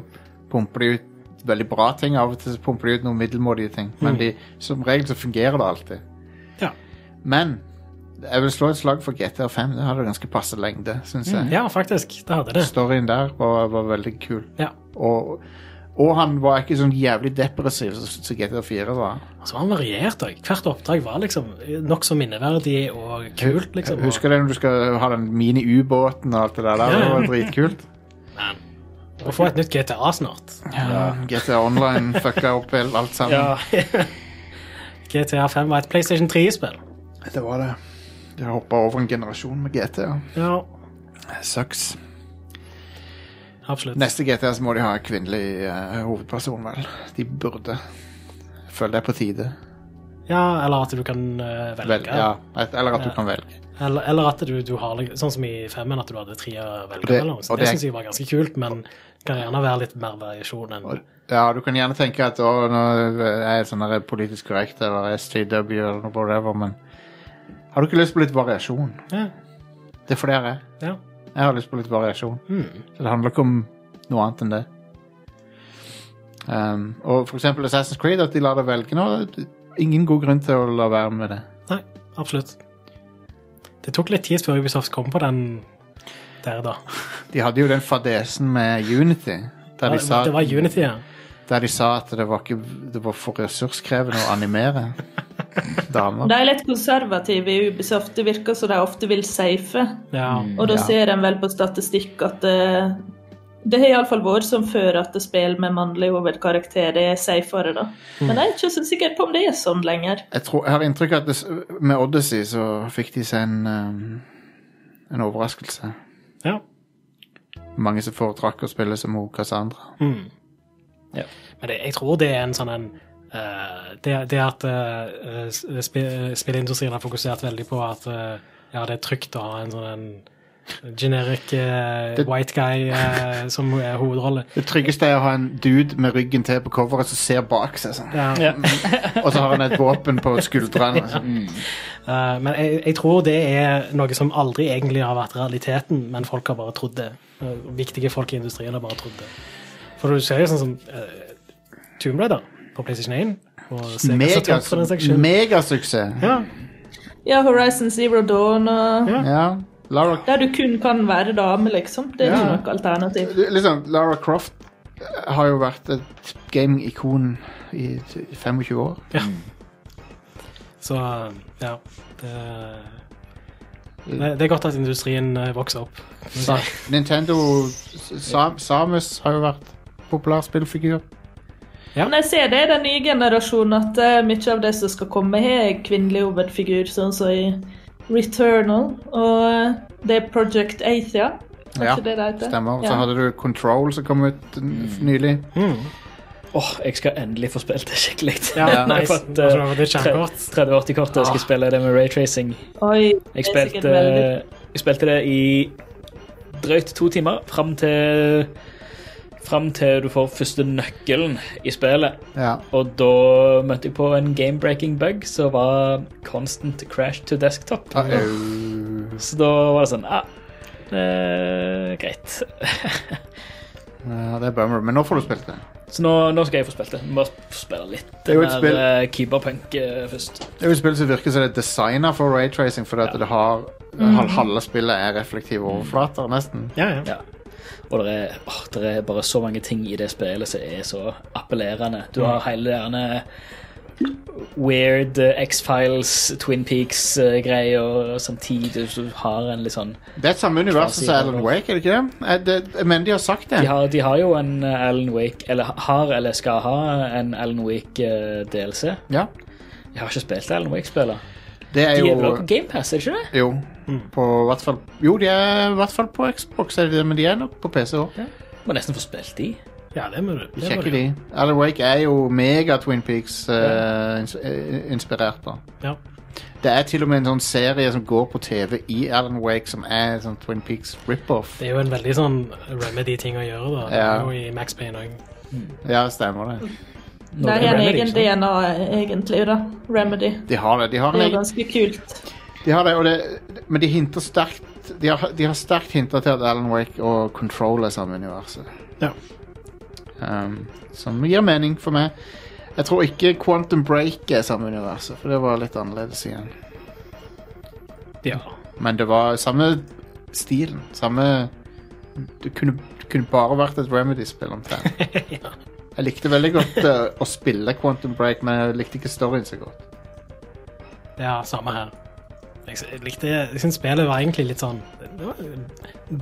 Speaker 1: pumper de ut veldig bra ting, av og til så pumper de ut noen middelmådige ting. Men de, som regel så fungerer det alltid.
Speaker 2: Ja.
Speaker 1: Men jeg vil slå et slag for GTR5. Det hadde ganske passe lengde, syns jeg.
Speaker 2: Mm, ja, faktisk. Det hadde det.
Speaker 1: Storyen der var, var veldig kul.
Speaker 2: Ja.
Speaker 1: Og, og han var ikke sånn jævlig depressiv som som GTR4 var.
Speaker 2: Så han varierte òg. Hvert oppdrag var liksom nokså minneverdig og kult, liksom. Og,
Speaker 1: Husker du når du skal ha den mini-ubåten og alt det der? der? Det var dritkult.
Speaker 2: og få et nytt GTA snart.
Speaker 1: Ja. GTA Online fucka opp alt sammen.
Speaker 2: GTA 5 var et PlayStation 3-spill.
Speaker 1: Det var det. De har hoppa over en generasjon med GTA.
Speaker 2: Ja,
Speaker 1: Sucks.
Speaker 2: absolutt.
Speaker 1: Neste GTA så må de ha en kvinnelig eh, hovedperson, vel. De burde. Føler det er på tide.
Speaker 2: Ja, eller at du kan eh, velge.
Speaker 1: Vel, ja. Et- Eller at du kan velge.
Speaker 2: Eller, eller at du, du har litt- sånn som i femmen, at du hadde tre å velge
Speaker 1: det-
Speaker 2: mellom. Så
Speaker 1: og
Speaker 2: det,
Speaker 1: det-
Speaker 2: synes syns jeg var ganske kult, men kan gjerne være litt mer variasjon enn
Speaker 1: Ja, du kan gjerne tenke at å, nå er jeg sånn der politisk korrekt eller SJW eller noe whatever, men har du ikke lyst på litt variasjon?
Speaker 2: Ja.
Speaker 1: Det er for det jeg er.
Speaker 2: ja. Mm.
Speaker 1: Jeg har lyst på litt variasjon. Så det handler ikke om noe annet enn det. Um, og for eksempel Assassin's Creed, at de lar deg velge nå det- Ingen god grunn til å la være med det.
Speaker 2: Nei, absolutt. Det tok litt tid før Ubisoft kom på den der, da.
Speaker 1: De hadde jo den fadesen med Unity, der de
Speaker 2: Det,
Speaker 1: sa,
Speaker 2: var Unity, ja.
Speaker 1: der de sa at det var, ikke, det var for ressurskrevende å animere damer.
Speaker 4: De er litt konservative i Ubisoft. Det virker som de ofte vil safe.
Speaker 2: ja.
Speaker 4: Og da
Speaker 1: Ja.
Speaker 4: ser en vel på statistikk at eh, det har iallfall vært som før at spill med mannlig hovedkarakter er safere, da.
Speaker 1: Mm.
Speaker 4: Men jeg er ikke så sikker på om det er sånn lenger.
Speaker 1: Jeg, tror, jeg har inntrykk av at det, s- med Odyssey så fikk de seg en, um, en overraskelse.
Speaker 2: ja.
Speaker 1: Mange som foretrakk å spille som hun Cassandra.
Speaker 2: Mm. Men det, jeg tror det er en sånn en eh, det, det at eh, s- spi- spillindustrien har fokusert veldig på at eh, ja, det er trygt å ha en sånn en generic eh,
Speaker 1: Det-
Speaker 2: white guy eh, som er hovedrolle.
Speaker 1: Det tryggeste er å ha en dude med ryggen til på coveret som ser bak seg. sånn.
Speaker 2: Ja.
Speaker 1: Og så har han et våpen på skuldrene. sånn.
Speaker 2: Eh, men jeg, jeg tror det er noe som aldri egentlig har vært realiteten, men folk har bare trodd det. Eh, viktige folk i industrien har bare trodd det. For du ser jo sånn som eh, Tomb Raider på PlayStation 1. Og Sega Saturn for den saks
Speaker 1: Megas-
Speaker 2: skyld.
Speaker 1: Megasuksess.
Speaker 2: Ja,
Speaker 4: Ja, Horizon Zero Dawn og
Speaker 2: Ja.
Speaker 1: Ja. Lara,
Speaker 4: Der du kun kan være dame, liksom. Det er
Speaker 1: Ja.
Speaker 4: ikke noe alternativ.
Speaker 1: liksom, Lara Croft eh, har jo vært et gaming-ikon i 25 år.
Speaker 2: så eh, ja. Det, Nei, det er godt at industrien eh, vokser opp.
Speaker 1: Sa Nintendo Sa Samus har jo vært populær spillfigur.
Speaker 4: Men jeg ser det i den nye generasjonen at eh, mye av det som skal komme, har kvinnelig hovedfigur, sånn som i Returnal og eh, det er Project Athia.
Speaker 1: Ja,
Speaker 4: ikke det det heter?
Speaker 1: Stemmer. Så
Speaker 4: Ja.
Speaker 1: hadde du Control som kom ut n- nylig.
Speaker 2: Mm.
Speaker 3: Åh, jeg skal endelig få spilt det skikkelig.
Speaker 2: Ja,
Speaker 1: Ja.
Speaker 3: Jeg har
Speaker 2: nice.
Speaker 3: fått, eh,
Speaker 2: Altså, det er kjempekort.
Speaker 3: 3080-kortet. Jeg skal spille det med raytracing.
Speaker 4: Oi,
Speaker 3: Jeg
Speaker 4: det er sikkert
Speaker 3: spilte,
Speaker 4: veldig-
Speaker 3: jeg spilte det i drøyt to timer, fram til Fram til du får første nøkkelen i spillet.
Speaker 1: Ja.
Speaker 3: Og da møtte jeg på en game-breaking bug som var constant crash to desktop.
Speaker 1: Ah. Au.
Speaker 3: Så da var det sånn ah, eh, Greit.
Speaker 1: Ja, det er bummer. Men nå får du spilt det.
Speaker 3: Så nå, nå skal jeg få spilt det. Vi må spille litt
Speaker 1: Det er jo et
Speaker 3: mer,
Speaker 1: spill.
Speaker 3: eh, Cyberpunk eh, først.
Speaker 1: Det er jo et spill som virker som det er designa for raytracing, fordi at det har hal- halve spillet er reflektive overflater, nesten.
Speaker 2: Ja, ja.
Speaker 3: Ja. Og det er, åh, det er bare så mange ting i det spillet som er så appellerende. Du har hele denne weird eh, X-Files, Twin Peaks-greier samtidig. Så du har en litt sånn
Speaker 1: Det er et samme univers som Alan Wake, er det ikke det? Eh, det? Jeg mener de har sagt det.
Speaker 3: de har, de har jo en eh, Alan Wake, eller har eller skal ha en Alan eh, Wake-DLC.
Speaker 1: Ja.
Speaker 3: Jeg har ikke spilt Alan Wake-spiller.
Speaker 1: Det er
Speaker 3: De er vel
Speaker 1: jo
Speaker 3: også på GamePass, er det ikke det?
Speaker 1: Jo. På hvert fall Jo, de er i hvert fall på Xbox, er de det, men de er nok på PC òg.
Speaker 3: Må nesten få spilt de.
Speaker 2: ja det må du. det må
Speaker 1: Sjekker
Speaker 2: du.
Speaker 1: de. Alan Wake er jo mega Twin eh, Peaks-inspirert, da.
Speaker 2: Ja.
Speaker 1: Det er til og med en sånn serie som går på TV i Alan Wake, som er en sånn Twin Peaks rip-off.
Speaker 2: Det er jo en veldig sånn remedy-ting å gjøre, da. Det
Speaker 1: Ja.
Speaker 2: er jo i Max Payne òg.
Speaker 1: Ja, stemmer det.
Speaker 4: Det
Speaker 3: Noe
Speaker 4: er en
Speaker 3: Remedy,
Speaker 1: liksom.
Speaker 3: sant?
Speaker 4: egen DNA, egentlig, da. Remedy.
Speaker 1: De har det. De har
Speaker 4: Det
Speaker 1: en
Speaker 4: er jo
Speaker 1: egen
Speaker 4: ganske kult.
Speaker 1: De har det, og det, men de hinter sterkt de har, de har sterkt hintet til at Alan Wake og Control er samme universet.
Speaker 2: Ja.
Speaker 1: Um, som gir mening for meg. Jeg tror ikke Quantum Break er samme universet, for det var litt annerledes igjen.
Speaker 2: Ja.
Speaker 1: Men det var samme stilen. Samme Det kunne, det kunne bare vært et Remedy-spill omtrent. Jeg likte veldig godt eh, å spille Quantum Break, men jeg likte ikke storyen så godt.
Speaker 2: Det er samme her. Jeg s- jeg likte, jeg syns spillet var egentlig litt sånn det var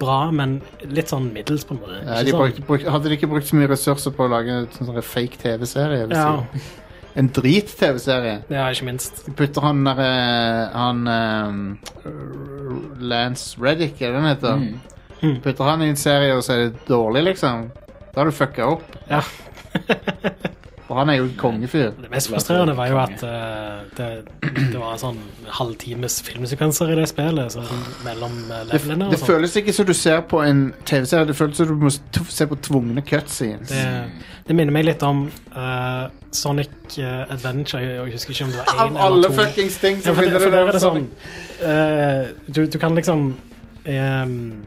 Speaker 2: bra, men litt sånn middels, på en måte.
Speaker 1: Eh,
Speaker 2: Ikke
Speaker 1: De
Speaker 2: sånn-
Speaker 1: brukte, bruk- hadde de ikke brukt så mye ressurser på å lage en sånn fake TV-serie? vil
Speaker 2: sånn- ja,
Speaker 1: si. En drit-TV-serie.
Speaker 2: ja, ikke minst.
Speaker 1: De putter han der eh, Han eh, Lance Reddick, er det han heter?
Speaker 2: Mm.
Speaker 1: Putter han i en serie, og så er det dårlig, liksom? Da har du fucka opp.
Speaker 2: Ja.
Speaker 1: For han er jo kongefyr.
Speaker 2: Det mest frustrerende var jo at eh, det, det var sånn halvtimes filmsekvenser i det spillet, så mellom eh,
Speaker 1: Det,
Speaker 2: levelene og
Speaker 1: det
Speaker 2: sånn.
Speaker 1: føles ikke som du ser på en TV-serie. Det føles som du må t- se på tvungne cutscenes.
Speaker 2: Det, det minner meg litt om eh, Sonic eh, Adventure. Jeg husker ikke om det var én
Speaker 1: Av
Speaker 2: eller
Speaker 1: alle
Speaker 2: to.
Speaker 1: fuckings ting
Speaker 2: Ja,
Speaker 1: som
Speaker 2: for,
Speaker 1: begynner
Speaker 2: det-
Speaker 1: det
Speaker 2: for der
Speaker 1: der
Speaker 2: er det sånn
Speaker 1: sånn.
Speaker 2: eh, du, du kan liksom ehm,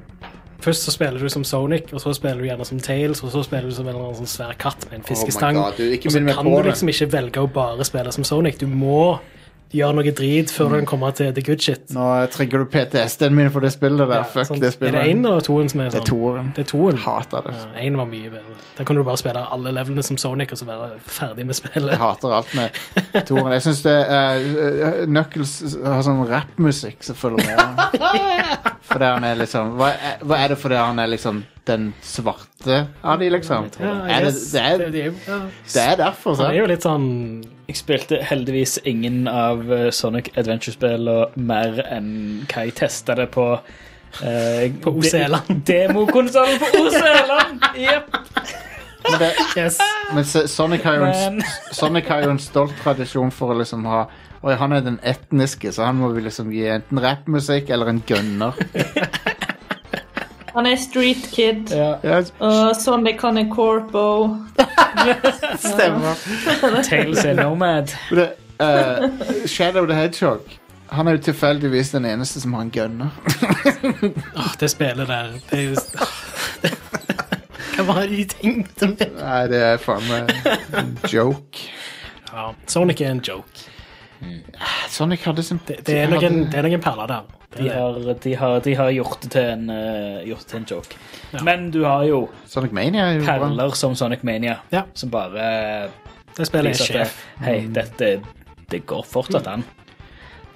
Speaker 2: Først så spiller du som Sonic, og så spiller du gjerne som Tails, og så spiller du som en eller annen sånn svær katt med en fiskestang.
Speaker 1: Oh God, du, ikke
Speaker 2: og så
Speaker 1: minn meg
Speaker 2: kan
Speaker 1: på
Speaker 2: du
Speaker 1: det.
Speaker 2: liksom ikke velge å bare spille som Sonic. Du må gjøre noe drit før du kan komme til the good shit.
Speaker 1: Nå eh, trigger du PTSD-en min for det spillet der.
Speaker 2: Ja,
Speaker 1: Fuck
Speaker 2: sånn.
Speaker 1: det
Speaker 2: Er
Speaker 1: spillet.
Speaker 2: det én eller toen som er
Speaker 1: Det
Speaker 2: sånn?
Speaker 1: er toeren.
Speaker 2: Det er toen.
Speaker 1: Hater det.
Speaker 2: Ja, Én var mye bedre. Der kunne du bare spille alle levelene som Sonic og så være ferdig med
Speaker 1: Jeg
Speaker 2: spillet.
Speaker 1: hater alt med Toren. Jeg syns det er eh, Knuckles har sånn rappmusikk som følger med. Fordi han er liksom hva er, hva er det fordi han er liksom den svarte av de, liksom?
Speaker 2: jeg
Speaker 1: Er det,
Speaker 2: guess.
Speaker 1: det, er,
Speaker 2: det, er jo- ja.
Speaker 1: det er derfor,
Speaker 2: det er
Speaker 1: sant?
Speaker 2: jo litt sånn
Speaker 3: Jeg spilte heldigvis ingen av eh, Sonic Adventure-spillene mer enn hva jeg testa det på eh,
Speaker 2: På Oseland.
Speaker 3: de- Demokonsollen på Oseland! Jepp.
Speaker 1: Men, det,
Speaker 2: Yes.
Speaker 1: men S- Sonic har jo en,
Speaker 3: Men-
Speaker 1: s- Sonic har jo en stolt tradisjon for å liksom ha Oi, han er den etniske, så han må vi liksom gi enten rappmusikk eller en gunner.
Speaker 4: Han er street kid,
Speaker 1: Ja,
Speaker 4: og Sonic han er corpo.
Speaker 1: stemmer.
Speaker 3: Tales er nomad.
Speaker 1: Men Det, eh, Shadow the Hedgehog. Han er jo tilfeldigvis den eneste som har en gunner.
Speaker 2: Åh, det spillet der det er jo... Hva var det de tenkte med?
Speaker 1: Nei, det er faen meg en joke.
Speaker 2: Ja, Sonic er en joke.
Speaker 1: Sonic hadde sin
Speaker 2: Det, det, er, noen, det er noen perler der. Det
Speaker 3: De
Speaker 2: er det.
Speaker 3: har, de har, de har gjort det til en, eh, gjort det til en joke. Men du har jo
Speaker 1: Sonic Mania er jo bra.
Speaker 3: perler som Sonic Mania,
Speaker 2: Ja.
Speaker 3: som bare eh,
Speaker 2: Det spillet er
Speaker 3: viser at det,
Speaker 2: sjef. Mm.
Speaker 3: hei, dette det går fortsatt an.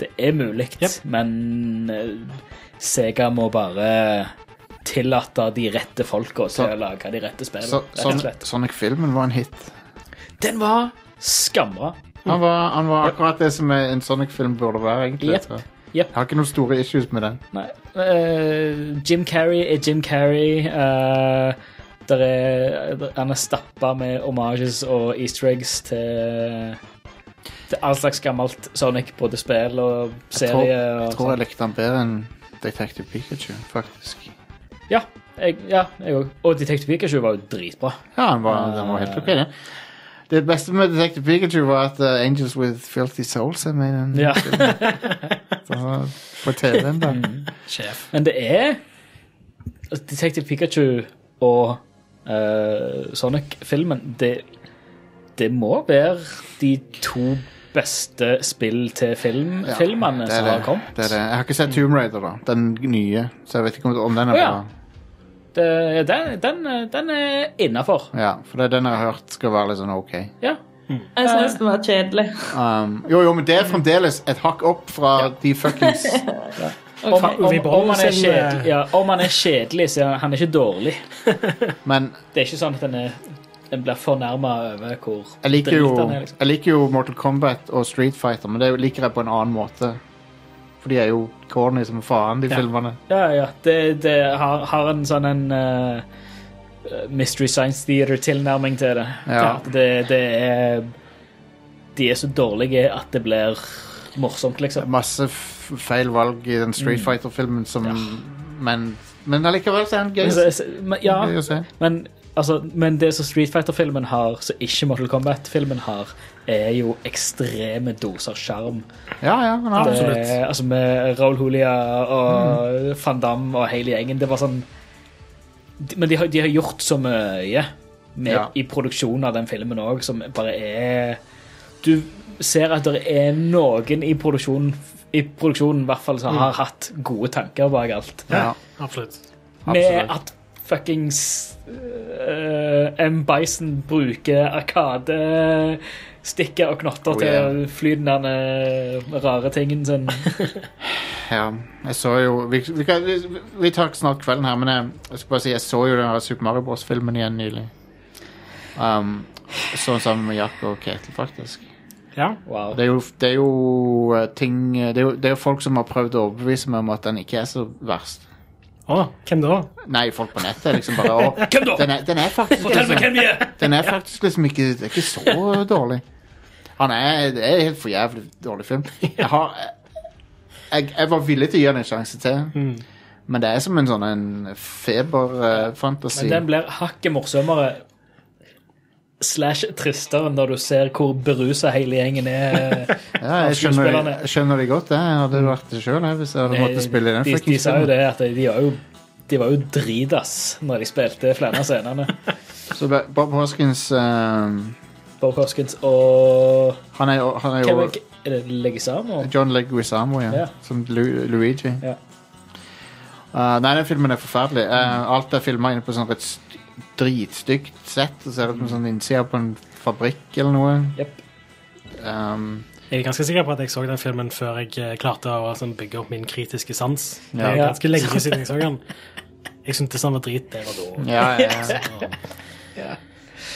Speaker 3: Det er mulig,
Speaker 2: Jep.
Speaker 3: men eh, Sega må bare tillate de rette folka til å lage de rette
Speaker 1: Så, sånn-
Speaker 3: spillene. Rett og
Speaker 1: Son
Speaker 3: slett.
Speaker 1: Sonic-filmen var en hit.
Speaker 3: Den var skamra.
Speaker 1: Han var, han var akkurat det som er en Sonic-film burde være, egentlig.
Speaker 3: Jep.
Speaker 1: tror jeg. Jeg har ikke noen store issues med den.
Speaker 3: Nei. Eh, Jim Carrey er Jim Carrey. Eh, der er, der- han er stappa med homages og easter eggs til, til all slags gammelt Sonic, både spill og
Speaker 1: Jeg tror,
Speaker 3: serie.
Speaker 1: jeg,
Speaker 3: og
Speaker 1: tror jeg
Speaker 3: sånt.
Speaker 1: likte den bedre enn Detective Pikachu, faktisk.
Speaker 3: Ja, jeg òg. Ja, jeg også. og Detective Pikachu var jo dritbra.
Speaker 1: Ja, den var, den var helt ok, den. Det beste med Detective Pikachu var at eh, Angels with Filthy Souls er med i den.
Speaker 3: Ja.
Speaker 1: Så- På TV-en, da.
Speaker 2: Sjef.
Speaker 3: Men det er altså, Detective Pikachu og eh, Sonic-filmen det, det må være de to beste spill til film,
Speaker 1: Ja,
Speaker 3: filmene
Speaker 1: det er
Speaker 3: som
Speaker 1: det.
Speaker 3: har kommet.
Speaker 1: Det er det. Jeg har ikke sett Tomb Raider, da. Den nye. Så jeg vet ikke om, om den er
Speaker 3: Å, ja.
Speaker 1: bra.
Speaker 3: Det- Den, den, den er innafor.
Speaker 1: Ja, for det er den jeg har hørt skal være litt sånn ok.
Speaker 3: Ja.
Speaker 4: Jeg synes den var kjedelig.
Speaker 1: Um, jo, jo, men det er fremdeles et hakk opp fra de fuckings
Speaker 3: Om, om,
Speaker 2: Vi beholder
Speaker 3: om, han er
Speaker 2: sin,
Speaker 3: kjedelig,
Speaker 2: eh,
Speaker 3: ja, om han er kjedelig, så er han er ikke dårlig.
Speaker 1: Men
Speaker 3: Det er ikke sånn at den, er, den blir fornærma over hvor
Speaker 1: jeg liker, jo,
Speaker 3: drit han er. Liksom.
Speaker 1: jeg liker jo Mortal Kombat og Street Fighter, men det liker jeg på en annen måte. For de er jo corny som faen, de filmene.
Speaker 3: Ja, ja. Det, det har, har en sånn en eh, Mystery Science Theater-tilnærming til det.
Speaker 1: Ja.
Speaker 3: At Det, det er De er så dårlige at det blir morsomt, liksom.
Speaker 1: Masse f feil valg i den
Speaker 3: Mm.
Speaker 1: Street Fighter-filmen som Men Men allikevel så er den gøy. å
Speaker 3: Men
Speaker 1: se.
Speaker 3: så- men- Ja,
Speaker 1: Gøy å se.
Speaker 3: Men, altså, men det som Street Fighter-filmen har, som ikke Mortal Kombat-filmen har, er jo ekstreme doser sjarm.
Speaker 1: Ja, ja, men
Speaker 3: Det-
Speaker 1: absolutt. Mm.
Speaker 3: Altså med Raoul Julia og Van Damme og hele gjengen. Det var sånn de- Men de har, de har gjort så mye med,
Speaker 1: Ja.
Speaker 3: i produksjonen av den filmen òg, som bare er Du ser at det er noen i produksjonen i produksjonen i hvert fall
Speaker 1: Mm.
Speaker 3: som har hatt gode tanker bak alt.
Speaker 1: Ja,
Speaker 2: Absolutt.
Speaker 3: Med
Speaker 1: absolutt.
Speaker 3: at fuckings eh, M. Bison bruker arkade stikker og knotter
Speaker 1: Oh,
Speaker 3: til å fly den der eh, rare tingen sånn, sin.
Speaker 1: Ja, jeg så jo vi, vi, kan, vi, vi tar ikke snart kvelden her, men jeg, jeg skal bare si jeg så jo den her Super Mario Bros.-filmen igjen nylig. Um, sånn sammen med Jack og Ketil, faktisk.
Speaker 2: Ja.
Speaker 3: Wow.
Speaker 1: Det er jo, det er jo eh, ting det er jo, det er jo folk som har prøvd å overbevise meg om at den ikke er så verst.
Speaker 2: Å, hvem da?
Speaker 1: Nei, folk på nettet er liksom bare å,
Speaker 3: Hvem da?
Speaker 1: den, er, den er faktisk
Speaker 3: Fortell meg
Speaker 1: liksom,
Speaker 3: hvem de er!
Speaker 1: Den er faktisk liksom ikke, det er ikke så dårlig. Han er, det er en helt for jævlig dårlig film. Jeg, har, jeg, jeg var villig til å gi han en sjanse til.
Speaker 3: Mm.
Speaker 1: Men det er som en sånn en eh, feberfantasi.
Speaker 3: Men den blir hakket morsommere slash tristere når du ser hvor berusa hele gjengen er.
Speaker 1: ja, jeg, skjønner, jeg skjønner det godt. Jeg hadde vært det sjøl hvis jeg hadde måttet spille i den.
Speaker 3: Mm. de, de
Speaker 1: fucking
Speaker 3: sa jo
Speaker 1: filmen.
Speaker 3: det, at de var jo, de var jo dritass når de spilte flere av scenene.
Speaker 1: Så Ba- Bob Hoskins ehm,
Speaker 3: Bob Hoskins og
Speaker 1: han, er, jo- han er
Speaker 3: Hvem
Speaker 1: jo
Speaker 3: er, er det Leguizamo?
Speaker 1: John Leguizamo, ja.
Speaker 3: Ja.
Speaker 1: Som Lu Luigi.
Speaker 3: Ja.
Speaker 1: Uh, nei, den filmen er forferdelig. Uh, alt er filma inne på sånn et st- dritstygt sett. Og ser ut som sånn innsida på en fabrikk eller noe.
Speaker 3: Jep.
Speaker 1: Um,
Speaker 2: Jeg er ganske sikker på at jeg så den filmen før jeg eh, klarte å sånn, bygge opp min kritiske sans. Det er
Speaker 1: Ja.
Speaker 2: ganske lenge siden jeg så den. Jeg syntes den var drit der og da.
Speaker 1: ja, ja, ja.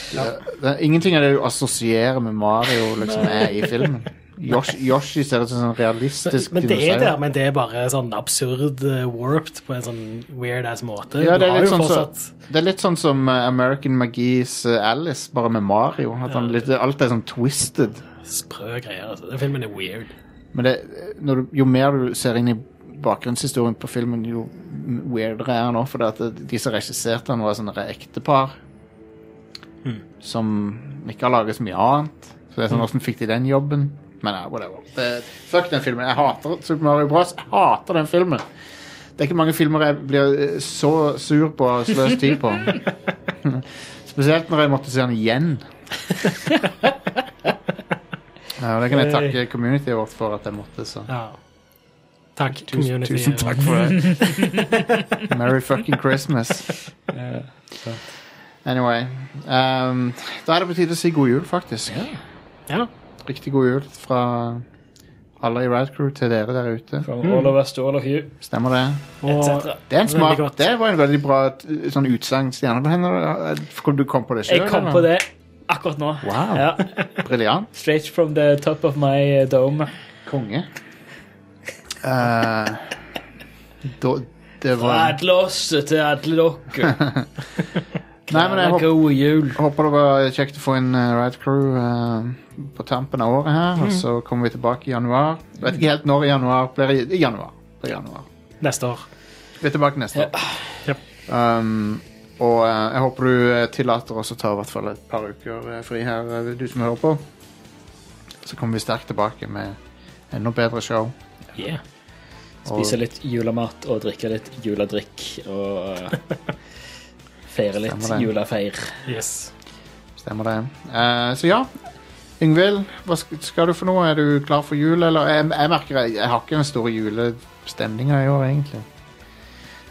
Speaker 1: Det er Ingenting av det du assosierer med Mario, liksom, er i filmen. Yoshi, Yoshi ser ut som en sånn realistisk
Speaker 2: Men det er
Speaker 1: dinosaur.
Speaker 2: der, men det er bare sånn absurd eh, warped på en sånn weird ass måte.
Speaker 1: Ja, det
Speaker 2: Du
Speaker 1: er,
Speaker 2: har
Speaker 1: litt
Speaker 2: jo
Speaker 1: sånn
Speaker 2: fortsatt-
Speaker 1: som- det er litt sånn som eh, American Magis eh, Alice, bare med Mario. At han litt, alt er sånn twisted.
Speaker 2: sprø greier. Altså. Den filmen er weird.
Speaker 1: Men det, når du, jo mer du ser inn i bakgrunnshistorien på filmen, jo weirdere er han òg. For det at det- de som regisserte han, var sånne ektepar som ikke har laget så mye annet. Så det er sånn, Hvordan fikk de den jobben? Men ja, whatever. Det, fuck den filmen. Jeg hater Super Mario Bros. Jeg hater den filmen. Det er ikke mange filmer jeg blir eh, så sur på og sløst tid på. Spesielt når jeg måtte se den igjen. Ja, og det kan jeg takke communityet vårt for at jeg måtte. så
Speaker 2: Ja. Takk,
Speaker 1: Tusen,
Speaker 2: community.
Speaker 1: tusen takk for det. Merry fucking Christmas. Anyway. ehm, da er det på tide å si god jul, faktisk.
Speaker 2: Ja.
Speaker 1: Riktig god jul fra alle i Rad Crew til dere der ute.
Speaker 3: From
Speaker 2: Hmm.
Speaker 3: all of us to all of you,
Speaker 1: Stemmer det?
Speaker 2: Og
Speaker 3: etc.
Speaker 1: Det, er en
Speaker 2: Veldig
Speaker 1: smart,
Speaker 2: godt.
Speaker 1: det var en veldig bra t- sånn utsagn. Stjerne på hender. Du kom på det sjøl?
Speaker 3: Jeg kom på det akkurat nå.
Speaker 1: Wow.
Speaker 3: Ja.
Speaker 1: Briljant.
Speaker 3: Straight from the top of my eh, dome.
Speaker 1: Konge. Eh, da, det var
Speaker 3: til alle dere.
Speaker 1: Nei, men jeg håper,
Speaker 3: God jul.
Speaker 1: håper det var kjekt å få inn uh, Ride Crew eh, på tampen av året her.
Speaker 3: Mhm.
Speaker 1: Og så kommer vi tilbake i januar. Vet ikke helt når i januar. Blir i, i januar. Blir i januar.
Speaker 2: Neste år.
Speaker 1: Vi er tilbake neste år. Um, og eh, jeg håper du eh, tillater oss å ta i hvert fall et par uker eh, fri her, eh, du som hører på. Så kommer vi sterkt tilbake med enda bedre show.
Speaker 3: Yeah. Spise litt julemat og drikke litt juledrikk og eh, feire litt
Speaker 1: Stemmer det.
Speaker 3: julefeir.
Speaker 2: Yes.
Speaker 1: Stemmer det. Eh, så ja. Yngvild, hva sk- skal du for noe? Er du klar for jul, eller? Jeg, jeg merker jeg, jeg har ikke den store julestemninga i år, egentlig.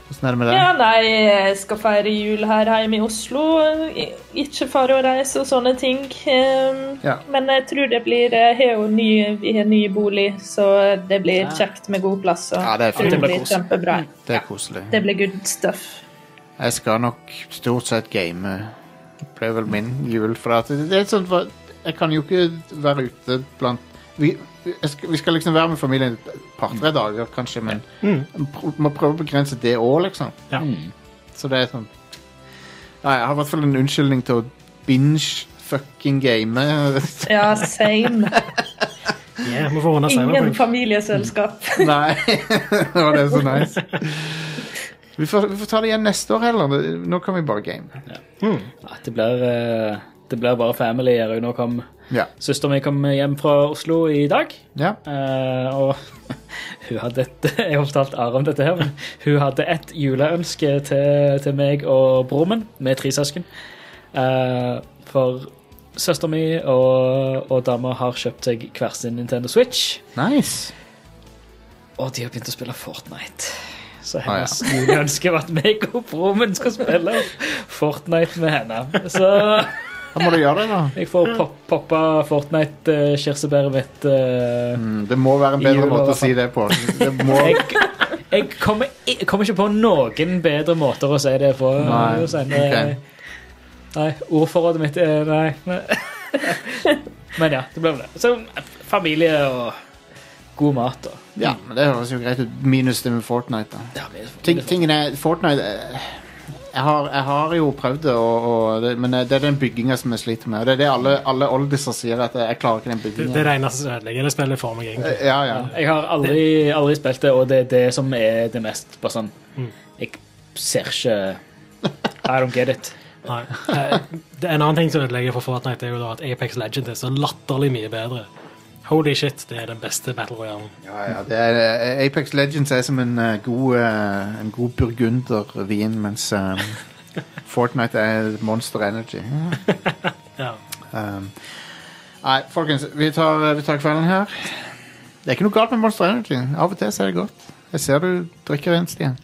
Speaker 1: Åssen er det med det?
Speaker 4: Ja, nei, jeg skal feire jul her hjemme i Oslo. I- Ikke fare å reise og sånne ting. Ehm,
Speaker 1: Ja.
Speaker 4: Men jeg tror det blir Jeg har jo ny, vi har ny bolig, så det blir kjekt med god plass. Og
Speaker 1: Ja, det er
Speaker 4: jeg tror
Speaker 1: fint.
Speaker 4: det blir Mm. kjempebra.
Speaker 1: Det er koselig.
Speaker 4: Det blir good stuff.
Speaker 1: Jeg skal nok stort sett game. Det ble vel min jul. For at det er et sånt, hva- jeg kan jo ikke være ute blant vi, jeg skal, vi skal liksom være med familien et par-tre dager, kanskje, men pr- må prøve å begrense det òg, liksom.
Speaker 2: Ja.
Speaker 1: Så det er sånn Nei, jeg har i hvert fall en unnskyldning til å binge-fucking game.
Speaker 4: Ja, same.
Speaker 2: Yeah, vi får ordne
Speaker 4: Ingen
Speaker 2: seilerpoeng.
Speaker 4: familieselskap.
Speaker 1: Nei. Og det er så nice. Vi får, vi får ta det igjen neste år heller. Nå kan vi bare game.
Speaker 3: Ja, det blir, eh, det blir bare family her. og Nå kom
Speaker 1: Ja.
Speaker 3: søsteren min kom hjem fra Oslo i dag.
Speaker 1: ja.
Speaker 3: Eh, og hun hadde et Jeg har fortalt Are om dette, her men hun hadde et juleønske til, til meg og broren min. Vi er tre søsken. Eh, for søsteren min og, og dama har kjøpt seg hver sin Nintendo Switch.
Speaker 1: Nice.
Speaker 3: Og de har begynt å spille Fortnite. Så
Speaker 1: Ah, ja.
Speaker 3: hennes juleønske var at meg og broren min skal spille Fortnite med henne. Så
Speaker 1: Da må du gjøre det, da.
Speaker 3: jeg får pop poppa Fortnite-kirsebæret mitt. eh,
Speaker 1: Mm, Det må være en bedre
Speaker 3: Jula,
Speaker 1: måte å
Speaker 3: hvertfall.
Speaker 1: si det på. Det må,
Speaker 3: Jeg, jeg, kommer, jeg kommer ikke på noen bedre måter å si det på.
Speaker 1: Nei,
Speaker 3: Jostein. Det- nei ordforrådet mitt er Nei. Men, men ja, det ble vel det. Så familie og god mat og
Speaker 1: ja, men det høres jo greit ut. Minus det med Fortnite, da.
Speaker 3: ja, men-
Speaker 1: Ting, tingen er, Fortnite eh, jeg har, jeg har jo prøvd det, og, og det, men eh, det er den bygginga som jeg sliter med. Og det er det alle, alle oldiser sier, at eh, jeg klarer ikke den
Speaker 2: Det, det er
Speaker 1: bygginga.
Speaker 2: det eneste som ødelegger det spillet for meg, egentlig.
Speaker 1: Ja, ja.
Speaker 3: Jeg har aldri, aldri spilt det, og det er det som er det mest bare sånn Jeg ser ikke I don't get it.
Speaker 2: Nei. Eh, Det er en annen ting som ødelegger for Fortnite, er jo da at Apex Legend er så latterlig mye bedre. Holy shit, det er den beste Battle Royale.
Speaker 1: ja, ja det er, eh, Apex Legends er som en eh, god, eh, en god burgundervin, mens eh, Fortnite er Monster Energy.
Speaker 2: Ja.
Speaker 1: Um, nei, folkens, vi tar, vi tar kvelden her. Det er ikke noe galt med Monster Energy. Av og til så er det godt. Jeg ser du drikker en, Stian.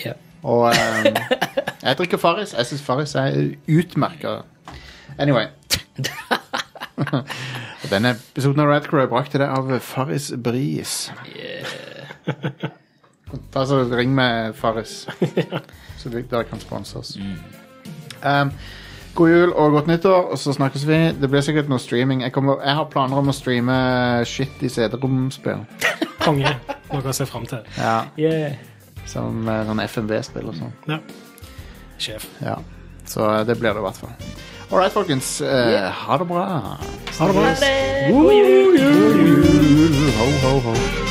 Speaker 3: Ja.
Speaker 1: Og um, jeg drikker Farris. Jeg syns Farris er utmerka. Anyway. Og Denne episoden av Radcrow er brakt til deg av Farris Bris. Ta så Ring med Farris, så du- dere kan sponse oss. Um, God jul og godt nyttår, og så snakkes vi. Det blir sikkert noe streaming. Jeg, kommer, jeg har planer om å streame shit i CD-romspill.
Speaker 2: Konge. Noe å se fram til.
Speaker 1: Ja.
Speaker 3: Yeah.
Speaker 1: Som eh, sånn FMV-spill og sånn.
Speaker 2: Ja. Sjef.
Speaker 1: Ja. Så eh, det blir det i hvert fall. All right, folkens. Eh, Ha det bra.
Speaker 4: Mm.
Speaker 2: Ha det bra.
Speaker 4: Men, eh,
Speaker 1: God jul! Ho, ho, ho.